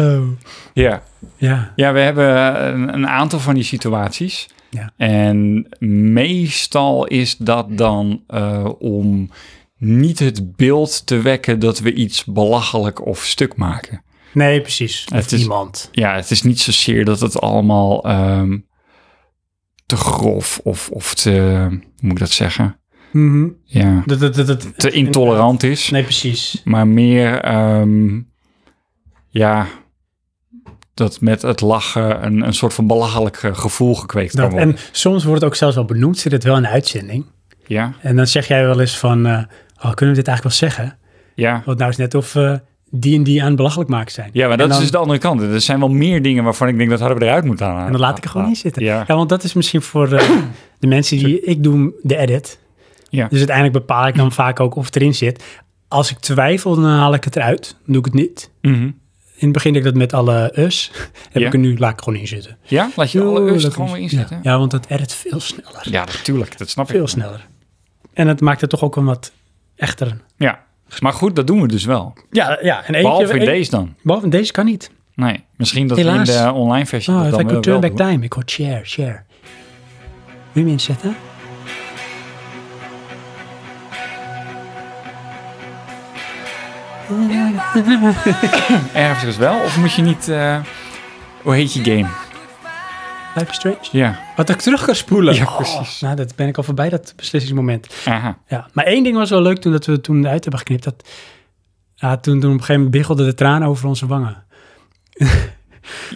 B: oh,
C: Ja.
B: ja.
C: Ja, we hebben eh, een, een aantal van die situaties.
B: Ja.
C: En meestal is dat dan eh, om niet het beeld te wekken dat we iets belachelijk of stuk maken.
B: Nee, precies.
C: Het
B: Of
C: is-
B: iemand.
C: Ja, het is niet zozeer dat het allemaal ehm, te grof of, of te, hoe moet ik dat zeggen?
B: Mhm.
C: Ja,
B: Dat- dat- dat- dat-
C: te intolerant is.
B: Nee, precies.
C: Maar meer, ehm, ja, dat met het lachen een, een soort van belachelijk eh, gevoel gekweekt kan
B: Dat.
C: worden.
B: En soms wordt het ook zelfs wel benoemd, zit het wel in de uitzending.
C: Ja,
B: En dan zeg jij wel eens van, eh, oh, kunnen we dit eigenlijk wel zeggen?
C: ja.
B: Want nou is net of eh, die en die aan het belachelijk maken zijn.
C: Ja, maar
B: En
C: dat
B: dan-
C: is dus de andere kant. Er zijn wel meer dingen waarvan ik denk dat hadden we eruit moeten halen.
B: En dan laat ik er gewoon in zitten.
C: Ah, Ja.
B: Ja, want dat is misschien voor eh, de mensen die... Ik doe de edit.
C: Ja.
B: Dus uiteindelijk bepaal ik dan vaak ook of het erin zit. Als ik twijfel, dan haal ik het eruit. Dan doe ik het niet.
C: Mhm.
B: In het begin deed ik dat met alle us. Heb
C: Ja.
B: ik er nu, laat ik gewoon in zitten.
C: Ja, laat je alle
B: Oeh,
C: rust
B: dat
C: gewoon
B: is-
C: weer
B: Ja,
C: inzetten. Ja,
B: ja, want dat edit veel sneller.
C: natuurlijk. Dat snap
B: Veel
C: ik.
B: sneller. En het maakt het toch ook een wat echter...
C: Ja. Maar goed, dat doen we dus wel.
B: Ja, ja. En eentje,
C: Behalve in
B: een-
C: deze dan.
B: Behalve in deze kan niet.
C: Nee, misschien dat
B: Helaas.
C: we in de online versie
B: Oh,
C: dat
B: if I
C: dan wel,
B: could turn
C: wel
B: back
C: doen.
B: time, ik hoor share, share. Wil je hem inzetten?
C: Ergens wel, of moet je niet... eh, hoe heet je game?
B: Life is Strange?
C: Ja,
B: Wat ik terug kan spoelen.
C: Ja,
B: Oh,
C: precies.
B: nou, dat ben ik al voorbij, dat beslissingsmoment.
C: aha.
B: Ja. Maar één ding was wel leuk toen dat we het toen uit hebben geknipt. Dat, ja, toen, toen op een gegeven moment biggelden de tranen over onze wangen.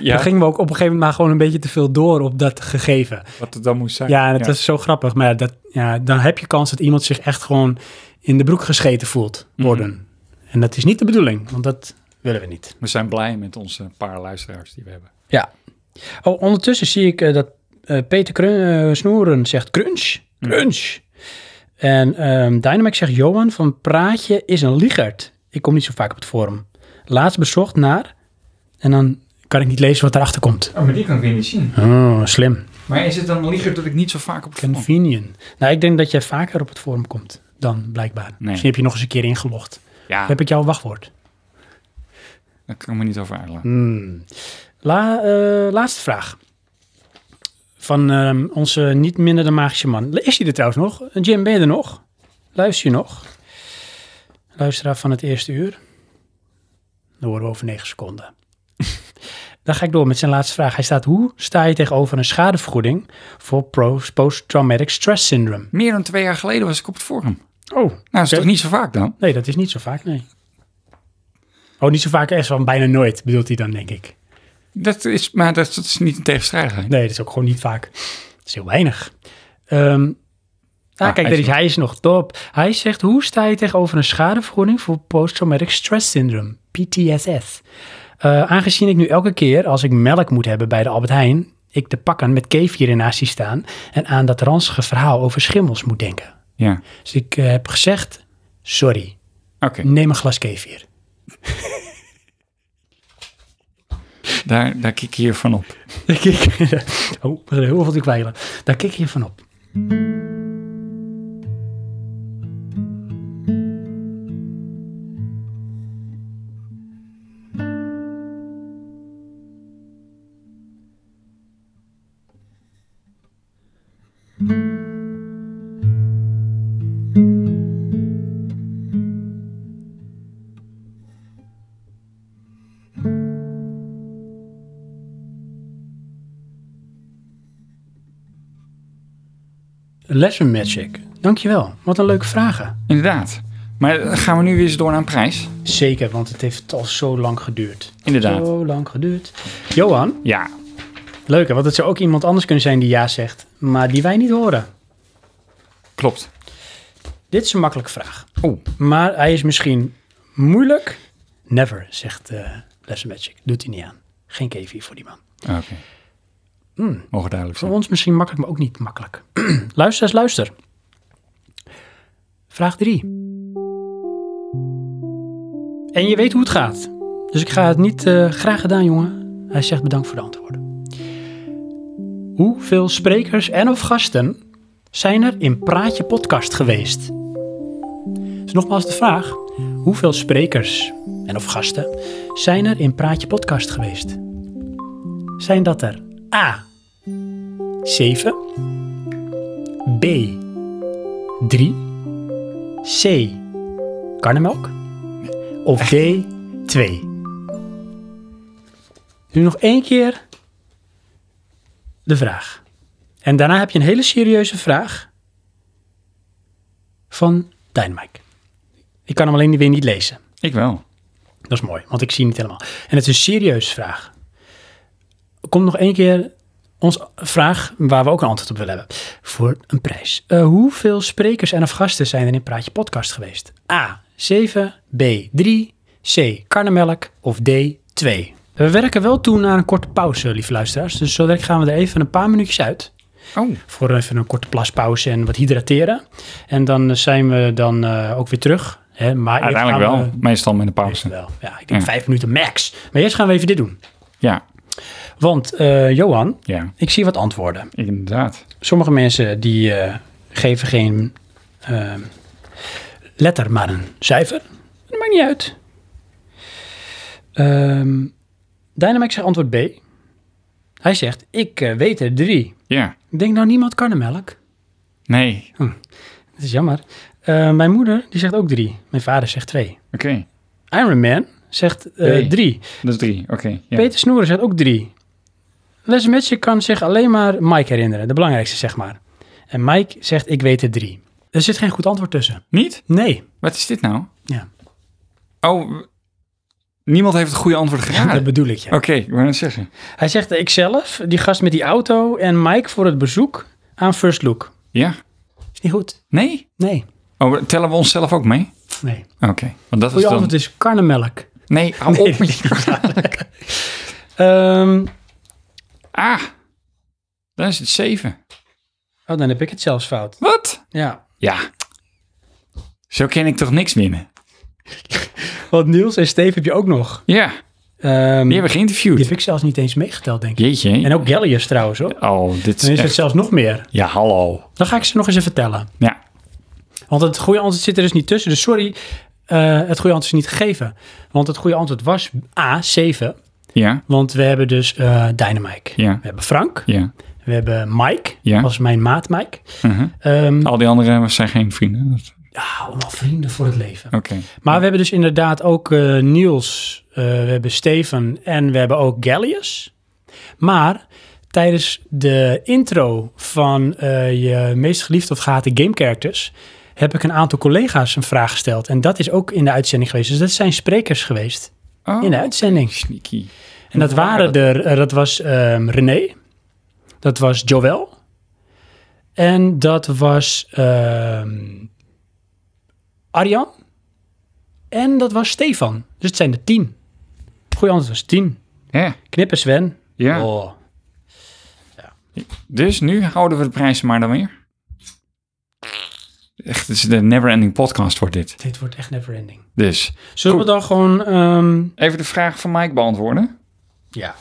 C: Ja,
B: Toen gingen we ook op een gegeven moment maar gewoon een beetje te veel door op dat gegeven.
C: wat het dan moest zijn.
B: Ja, en het is zo grappig. Maar ja, dat, ja, dan heb je kans dat iemand zich echt gewoon in de broek gescheten voelt worden. En dat is niet de bedoeling, want dat willen we niet.
C: We zijn blij met onze paar luisteraars die we hebben.
B: Ja. Oh, ondertussen zie ik eh, dat eh, Peter Krun- eh, Snoeren zegt crunch. Crunch. En ehm Dynamic zegt Johan van Praatje is een liegert. Ik kom niet zo vaak op het forum. Laatst bezocht naar... En dan kan ik niet lezen wat erachter komt.
C: Oh, maar die kan ik weer niet zien.
B: Oh, slim.
C: Maar is het dan liever dat ik niet zo vaak op het
B: Convenient. Nou, ik denk dat jij vaker op het forum komt dan blijkbaar.
C: Nee.
B: Misschien heb je nog eens een keer ingelogd.
C: Ja,
B: Heb ik jouw wachtwoord?
C: daar kan ik me niet over uitlaten.
B: Hmm. La, eh, laatste vraag. Van ehm, onze niet minder dan magische man. Is hij er trouwens nog? Jim, ben je er nog? Luister je nog? Luisteraar van het eerste uur. Dan horen we over negen seconden. Dan ga ik door met zijn laatste vraag. Hij staat, hoe sta je tegenover een schadevergoeding voor pro- post-traumatic stress syndrome?
C: Meer dan twee jaar geleden was ik op het forum.
B: Oh,
C: Nou, is
B: Oké.
C: toch niet zo vaak dan?
B: nee, dat is niet zo vaak, nee. Oh, niet zo vaak, echt van bijna nooit, bedoelt hij dan, denk ik.
C: Dat is, maar dat, dat is niet een tegenstrijdigheid.
B: Nee, dat is ook gewoon niet vaak. Dat is heel weinig. Ehm, ah,
C: Ah,
B: kijk,
C: hij
B: hij
C: is
B: is, hij is nog top. Hij zegt, hoe sta je tegenover een schadevergoeding voor posttraumatic stress syndrome, PTSS? Eh, aangezien ik nu elke keer als ik melk moet hebben bij de Albert Heijn, ik de pakken met kefir ernaast zie staan en aan dat ranzige verhaal over schimmels moet denken.
C: Ja,
B: Dus ik eh, heb gezegd, sorry,
C: oké.
B: neem een glas kefir.
C: Daar, daar kik ik hiervan op.
B: Daar kik Oh, er zijn heel veel te kwijlen. Daar kik je van op. Lesson Magic. Dankjewel. Wat een leuke vragen.
C: Inderdaad. Maar eh, gaan we nu weer eens door naar een prijs?
B: Zeker, want het heeft al zo lang geduurd.
C: Inderdaad.
B: Zo lang geduurd. Johan,
C: Ja.
B: leuk hè, want het zou ook iemand anders kunnen zijn die ja zegt, maar die wij niet horen.
C: Klopt.
B: Dit is een makkelijke vraag,
C: Oeh.
B: maar hij is misschien moeilijk. Never, zegt eh Lesson Magic. Doet hij niet aan. Geen KV voor die man.
C: Oké.
B: Hmm.
C: Mogen duidelijk
B: Voor
C: zijn.
B: ons misschien makkelijk, maar ook niet makkelijk. luister eens, luister. Vraag 3. En je weet hoe het gaat. Dus ik ga het niet eh, graag gedaan, jongen. Hij zegt bedankt voor de antwoorden. Hoeveel sprekers en of gasten zijn er in Praatje Podcast geweest? Dus nogmaals de vraag. Hoeveel sprekers en of gasten zijn er in Praatje Podcast geweest? Zijn dat er A. 7 B. 3 C. Karnemelk of D. 2 Nu nog één keer de vraag. En daarna heb je een hele serieuze vraag van Dynamite. Ik kan hem alleen weer niet lezen.
C: Ik wel.
B: Dat is mooi, want ik zie niet helemaal. En het is een serieuze vraag. Komt nog één keer onze vraag waar we ook een antwoord op willen hebben. Voor een prijs. Eh, hoeveel sprekers en of gasten zijn er in Praatje Podcast geweest? A. 7. B. 3. C. Karnemelk. Of D. 2. We werken wel toe naar een korte pauze, lieve luisteraars. Dus zo direct gaan we er even een paar minuutjes uit.
C: Oh,
B: Voor even een korte plaspauze en wat hydrateren. En dan eh, zijn we dan eh, ook weer terug. Hè, maar eerst
C: uiteindelijk
B: gaan
C: wel.
B: we-
C: Meestal met een pauze.
B: wel. Ja, ik denk
C: Ja.
B: vijf minuten max. Maar eerst gaan we even dit doen.
C: Ja,
B: Want eh, Johan,
C: ja,
B: ik zie wat antwoorden.
C: inderdaad.
B: Sommige mensen die eh, geven geen eh, letter, maar een cijfer. Dat maakt niet uit. Ehm Dynamic zegt antwoord B. Hij zegt, ik eh, weet er drie.
C: Ja,
B: Ik denk nou niemand karnemelk.
C: nee,
B: Dat is jammer. Eh, mijn moeder, die zegt ook drie. Mijn vader zegt twee.
C: oké.
B: Iron Man zegt eh,
C: B.
B: drie.
C: Dat is drie, oké. ja.
B: Peter Snoeren zegt ook drie. Les Magic kan zich alleen maar Mike herinneren, de belangrijkste zeg maar. En Mike zegt ik weet er drie. Er zit geen goed antwoord tussen.
C: Niet?
B: Nee.
C: Wat is dit nou?
B: Ja,
C: Oh, w- niemand heeft het goede antwoord
B: dat
C: geraden.
B: bedoel ik ja.
C: Oké, ik wou net zeggen.
B: Hij zegt ikzelf, die gast met die auto en Mike voor het bezoek aan First Look.
C: Ja,
B: Is niet goed.
C: nee?
B: Nee.
C: Oh, tellen we onszelf ook mee?
B: Nee.
C: Oké, want dat is
B: Goede
C: dan...
B: antwoord is karnemelk.
C: Nee, hou
B: Nee,
C: op met je
B: Ehm,
C: Ah, dan is het zeven.
B: oh, dan heb ik het zelfs fout.
C: Wat?
B: Ja.
C: Ja. Zo ken ik toch niks winnen?
B: Want Niels en Steve heb je ook nog.
C: Ja,
B: Ehm,
C: die hebben we
B: die
C: geïnterviewd.
B: heb ik zelfs niet eens meegeteld, denk ik.
C: Jeetje.
B: En ook Gellius trouwens, hoor.
C: Oh, dit
B: Dan
C: is
B: is het
C: echt...
B: zelfs nog meer.
C: Ja, hallo.
B: Dan ga ik ze nog eens even vertellen.
C: Ja,
B: Want het goede antwoord zit er dus niet tussen. Dus sorry, eh, het goede antwoord is niet gegeven. Want het goede antwoord was A, 7.
C: ja,
B: Want we hebben dus eh Dynamite.
C: Ja.
B: We hebben Frank.
C: ja.
B: We hebben Mike.
C: Ja.
B: Dat is mijn maat Mike.
C: Mhm.
B: Ehm,
C: Al die anderen zijn geen vrienden. Dat-
B: ja, allemaal vrienden voor het leven.
C: Oké.
B: Maar we hebben dus inderdaad ook eh, Niels. eh, we hebben Steven. En we hebben ook Gallius. Maar tijdens de intro van eh, je meest geliefde of gehate game characters heb ik een aantal collega's een vraag gesteld. En dat is ook in de uitzending geweest. Dus dat zijn sprekers geweest
C: Oh,
B: in de uitzending.
C: sneaky.
B: En dat
C: waar
B: waren
C: dat-
B: er, eh, dat was ehm, René, dat was Joël en dat was ehm, Arjan en dat was Stefan. Dus het zijn er tien. Goeie antwoord was tien.
C: Ja,
B: Knippen Sven.
C: ja.
B: Oh.
C: Dus nu houden we de prijzen maar dan weer. Echt, het is de never-ending podcast wordt dit.
B: Dit wordt echt never ending.
C: Dus,
B: Zullen we dan gewoon... ehm,
C: even de vraag van Mike beantwoorden.
B: ja.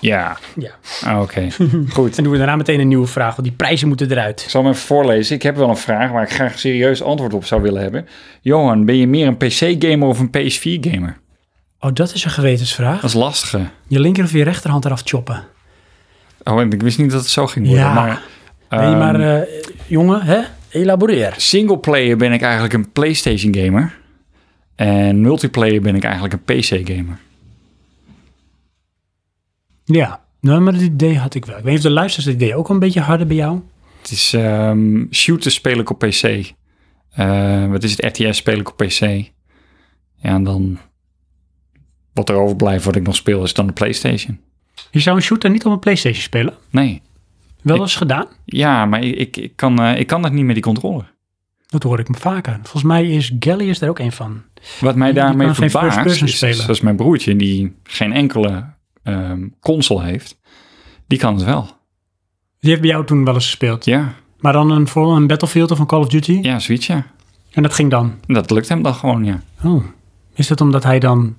C: Ja.
B: ja.
C: Ah, Oké, goed.
B: En doen we daarna meteen een nieuwe vraag, want die prijzen moeten eruit.
C: Ik zal hem even voorlezen. Ik heb wel een vraag waar ik graag serieus antwoord op zou willen hebben. Johan, ben je meer een PC-gamer of een PS4-gamer?
B: Oh, dat is een gewetensvraag.
C: Dat is lastige.
B: Je linker of je rechterhand eraf choppen.
C: Oh, en ik wist niet dat het zo ging worden.
B: Ja.
C: Maar,
B: nee,
C: ehm,
B: maar eh, jongen, hè? elaboreer.
C: Singleplayer ben ik eigenlijk een PlayStation-gamer. En multiplayer ben ik eigenlijk een PC-gamer.
B: Ja, nou, maar dat idee had ik wel. Ik weet niet of de luisteraars het idee ook een beetje harder bij jou.
C: Het is ehm shooters speel ik op PC. Eh, wat is het? RTS speel ik op PC. Ja, en dan... Wat er overblijft wat ik nog speel is dan de PlayStation.
B: Je zou een shooter niet op een PlayStation spelen.
C: Nee.
B: Wel eens gedaan.
C: Ja, maar ik, ik, ik kan, eh, ik kan dat niet met die controller.
B: Dat hoor ik me vaker. Volgens mij is Gallius daar ook een van.
C: Wat mij
B: Die- die
C: daarmee
B: kan geen
C: verbaast,
B: first-person
C: is,
B: spelen.
C: zoals mijn broertje, die geen enkele ehm, console heeft, die kan het wel.
B: Die heeft bij jou toen wel eens gespeeld.
C: Ja,
B: Maar dan een, vooral een Battlefield of een Call of Duty.
C: Ja, zoiets, ja.
B: En dat ging dan.
C: Dat lukt hem dan gewoon, ja.
B: Oh. Is dat omdat hij dan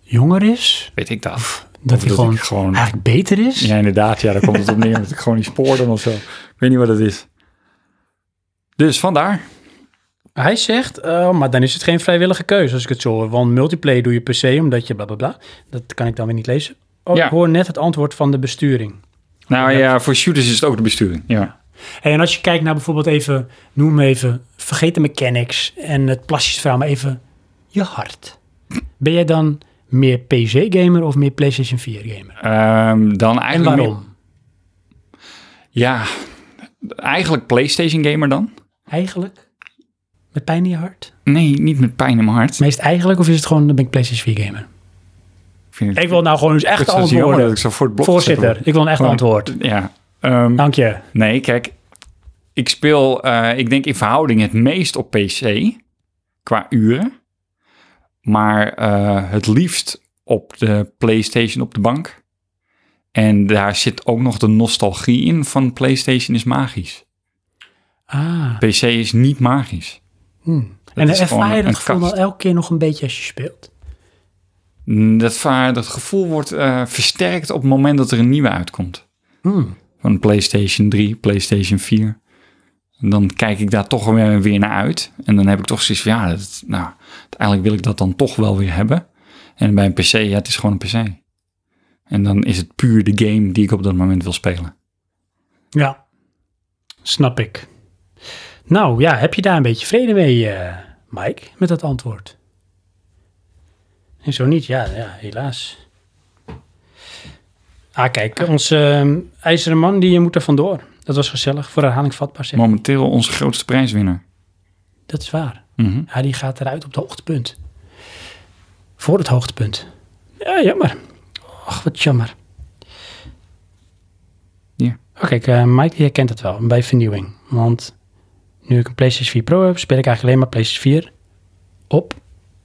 B: jonger is?
C: Weet ik dat.
B: Dat
C: Of
B: hij
C: dat
B: gewoon,
C: ik gewoon-
B: eigenlijk beter is?
C: Ja, inderdaad. Ja, daar komt het op neer. Dat ik gewoon niet spoor dan of zo. Ik weet niet wat het is. Dus vandaar.
D: Hij zegt, eh, maar dan is het geen vrijwillige keuze als ik het zo hoor. Want multiplayer doe je per se omdat je bla bla bla. Dat kan ik dan weer niet lezen. Oh,
C: Ja.
D: ik hoor net het antwoord van de besturing.
C: Nou ja, voor shooters is het ook de besturing. Ja.
B: Hey, en als je kijkt naar bijvoorbeeld even, noem even, vergeet de mechanics en het plastische verhaal, maar even je hart. Ben jij dan meer PC-gamer of meer PlayStation 4-gamer?
C: Ehm, dan
B: En
C: eigenlijk... meer-
B: waarom?
C: Ja, eigenlijk PlayStation gamer dan.
B: Eigenlijk? Met pijn in je hart?
C: Nee, niet met pijn in mijn hart.
B: Meest eigenlijk of is het gewoon, dan ben ik PlayStation 4-gamer?
C: Ik vind het
B: Ik wil nou gewoon eens echt
C: het is jammer dat ik
B: antwoorden.
C: zo voor het blok
B: Voorzitter,
C: gezet
B: ik wil een echt
C: Gewoon-
B: antwoord.
C: word. Ja. Ehm,
B: Dank je.
C: nee, kijk. Ik speel, eh, ik denk in verhouding het meest op PC. Qua uren. Maar eh, het liefst op de PlayStation op de bank. En daar zit ook nog de nostalgie in van PlayStation is magisch.
B: Ah.
C: PC is niet magisch.
B: En
C: is gewoon
B: ervaar je dat
C: een
B: gevoel
C: kast.
B: wel elke keer nog een beetje als je speelt?
C: Mm, Dat, va- dat gevoel wordt eh, versterkt op het moment dat er een nieuwe uitkomt.
B: Hmm.
C: Van PlayStation 3, PlayStation 4. En dan kijk ik daar toch weer, weer naar uit. En dan heb ik toch zoiets van, ja, dat, nou, uiteindelijk wil ik dat dan toch wel weer hebben. En bij een PC, ja, het is gewoon een PC. En dan is het puur de game die ik op dat moment wil spelen.
B: Ja, snap ik. Nou ja, heb je daar een beetje vrede mee, eh, Mike, met dat antwoord? En zo niet, ja, ja helaas. Ah, kijk, onze eh, ijzeren man, die eh, moet er vandoor. Dat was gezellig, voor herhaling vatbaar zeg.
C: Momenteel onze grootste prijswinnaar.
B: Dat is waar.
C: Mhm.
B: Ja, die gaat eruit op het hoogtepunt. Voor het hoogtepunt. Ja, jammer. Ach, wat jammer.
C: Ja.
B: Oké, kijk, eh, Mike die herkent het wel bij vernieuwing. Want nu ik een PlayStation 4 Pro heb, speel ik eigenlijk alleen maar PlayStation 4 op.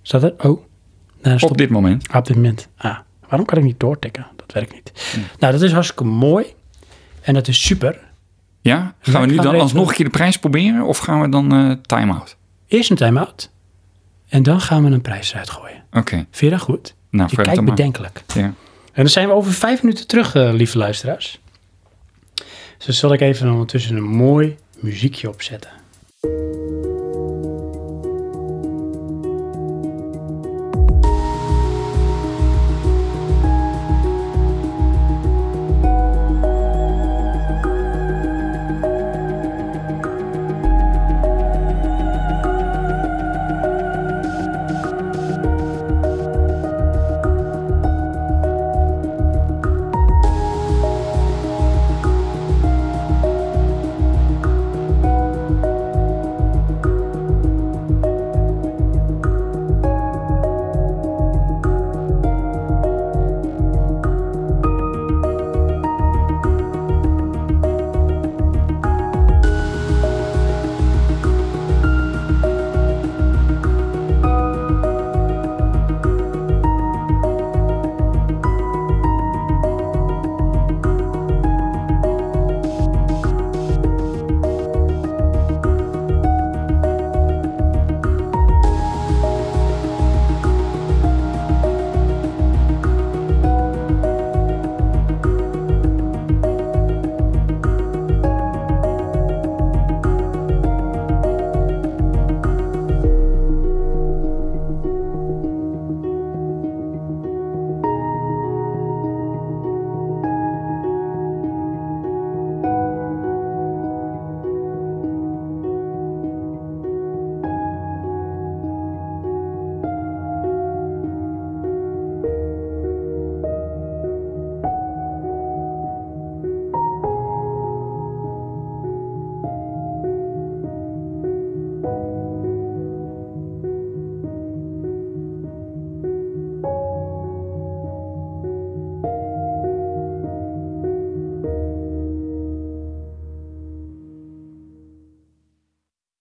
B: Staat er? Oh, daar
C: Op
B: stop
C: dit moment.
B: Ah, op dit moment. Ah, waarom kan ik niet doortikken? Dat werkt niet.
C: Hm.
B: Nou, dat is hartstikke mooi. En dat is super.
C: Ja? Gaan we
B: ik ga
C: nu dan
B: er even-
C: alsnog een keer de prijs proberen? Of gaan we dan eh time-out?
B: Eerst een time-out. En dan gaan we een prijs eruit gooien.
C: Oké.
B: Vind je dat goed?
C: Nou,
B: Je
C: vertel
B: kijkt
C: maar.
B: bedenkelijk.
C: Ja.
B: En dan zijn we over vijf minuten terug, eh, lieve luisteraars. Dus dan zal ik even ondertussen een mooi muziekje opzetten.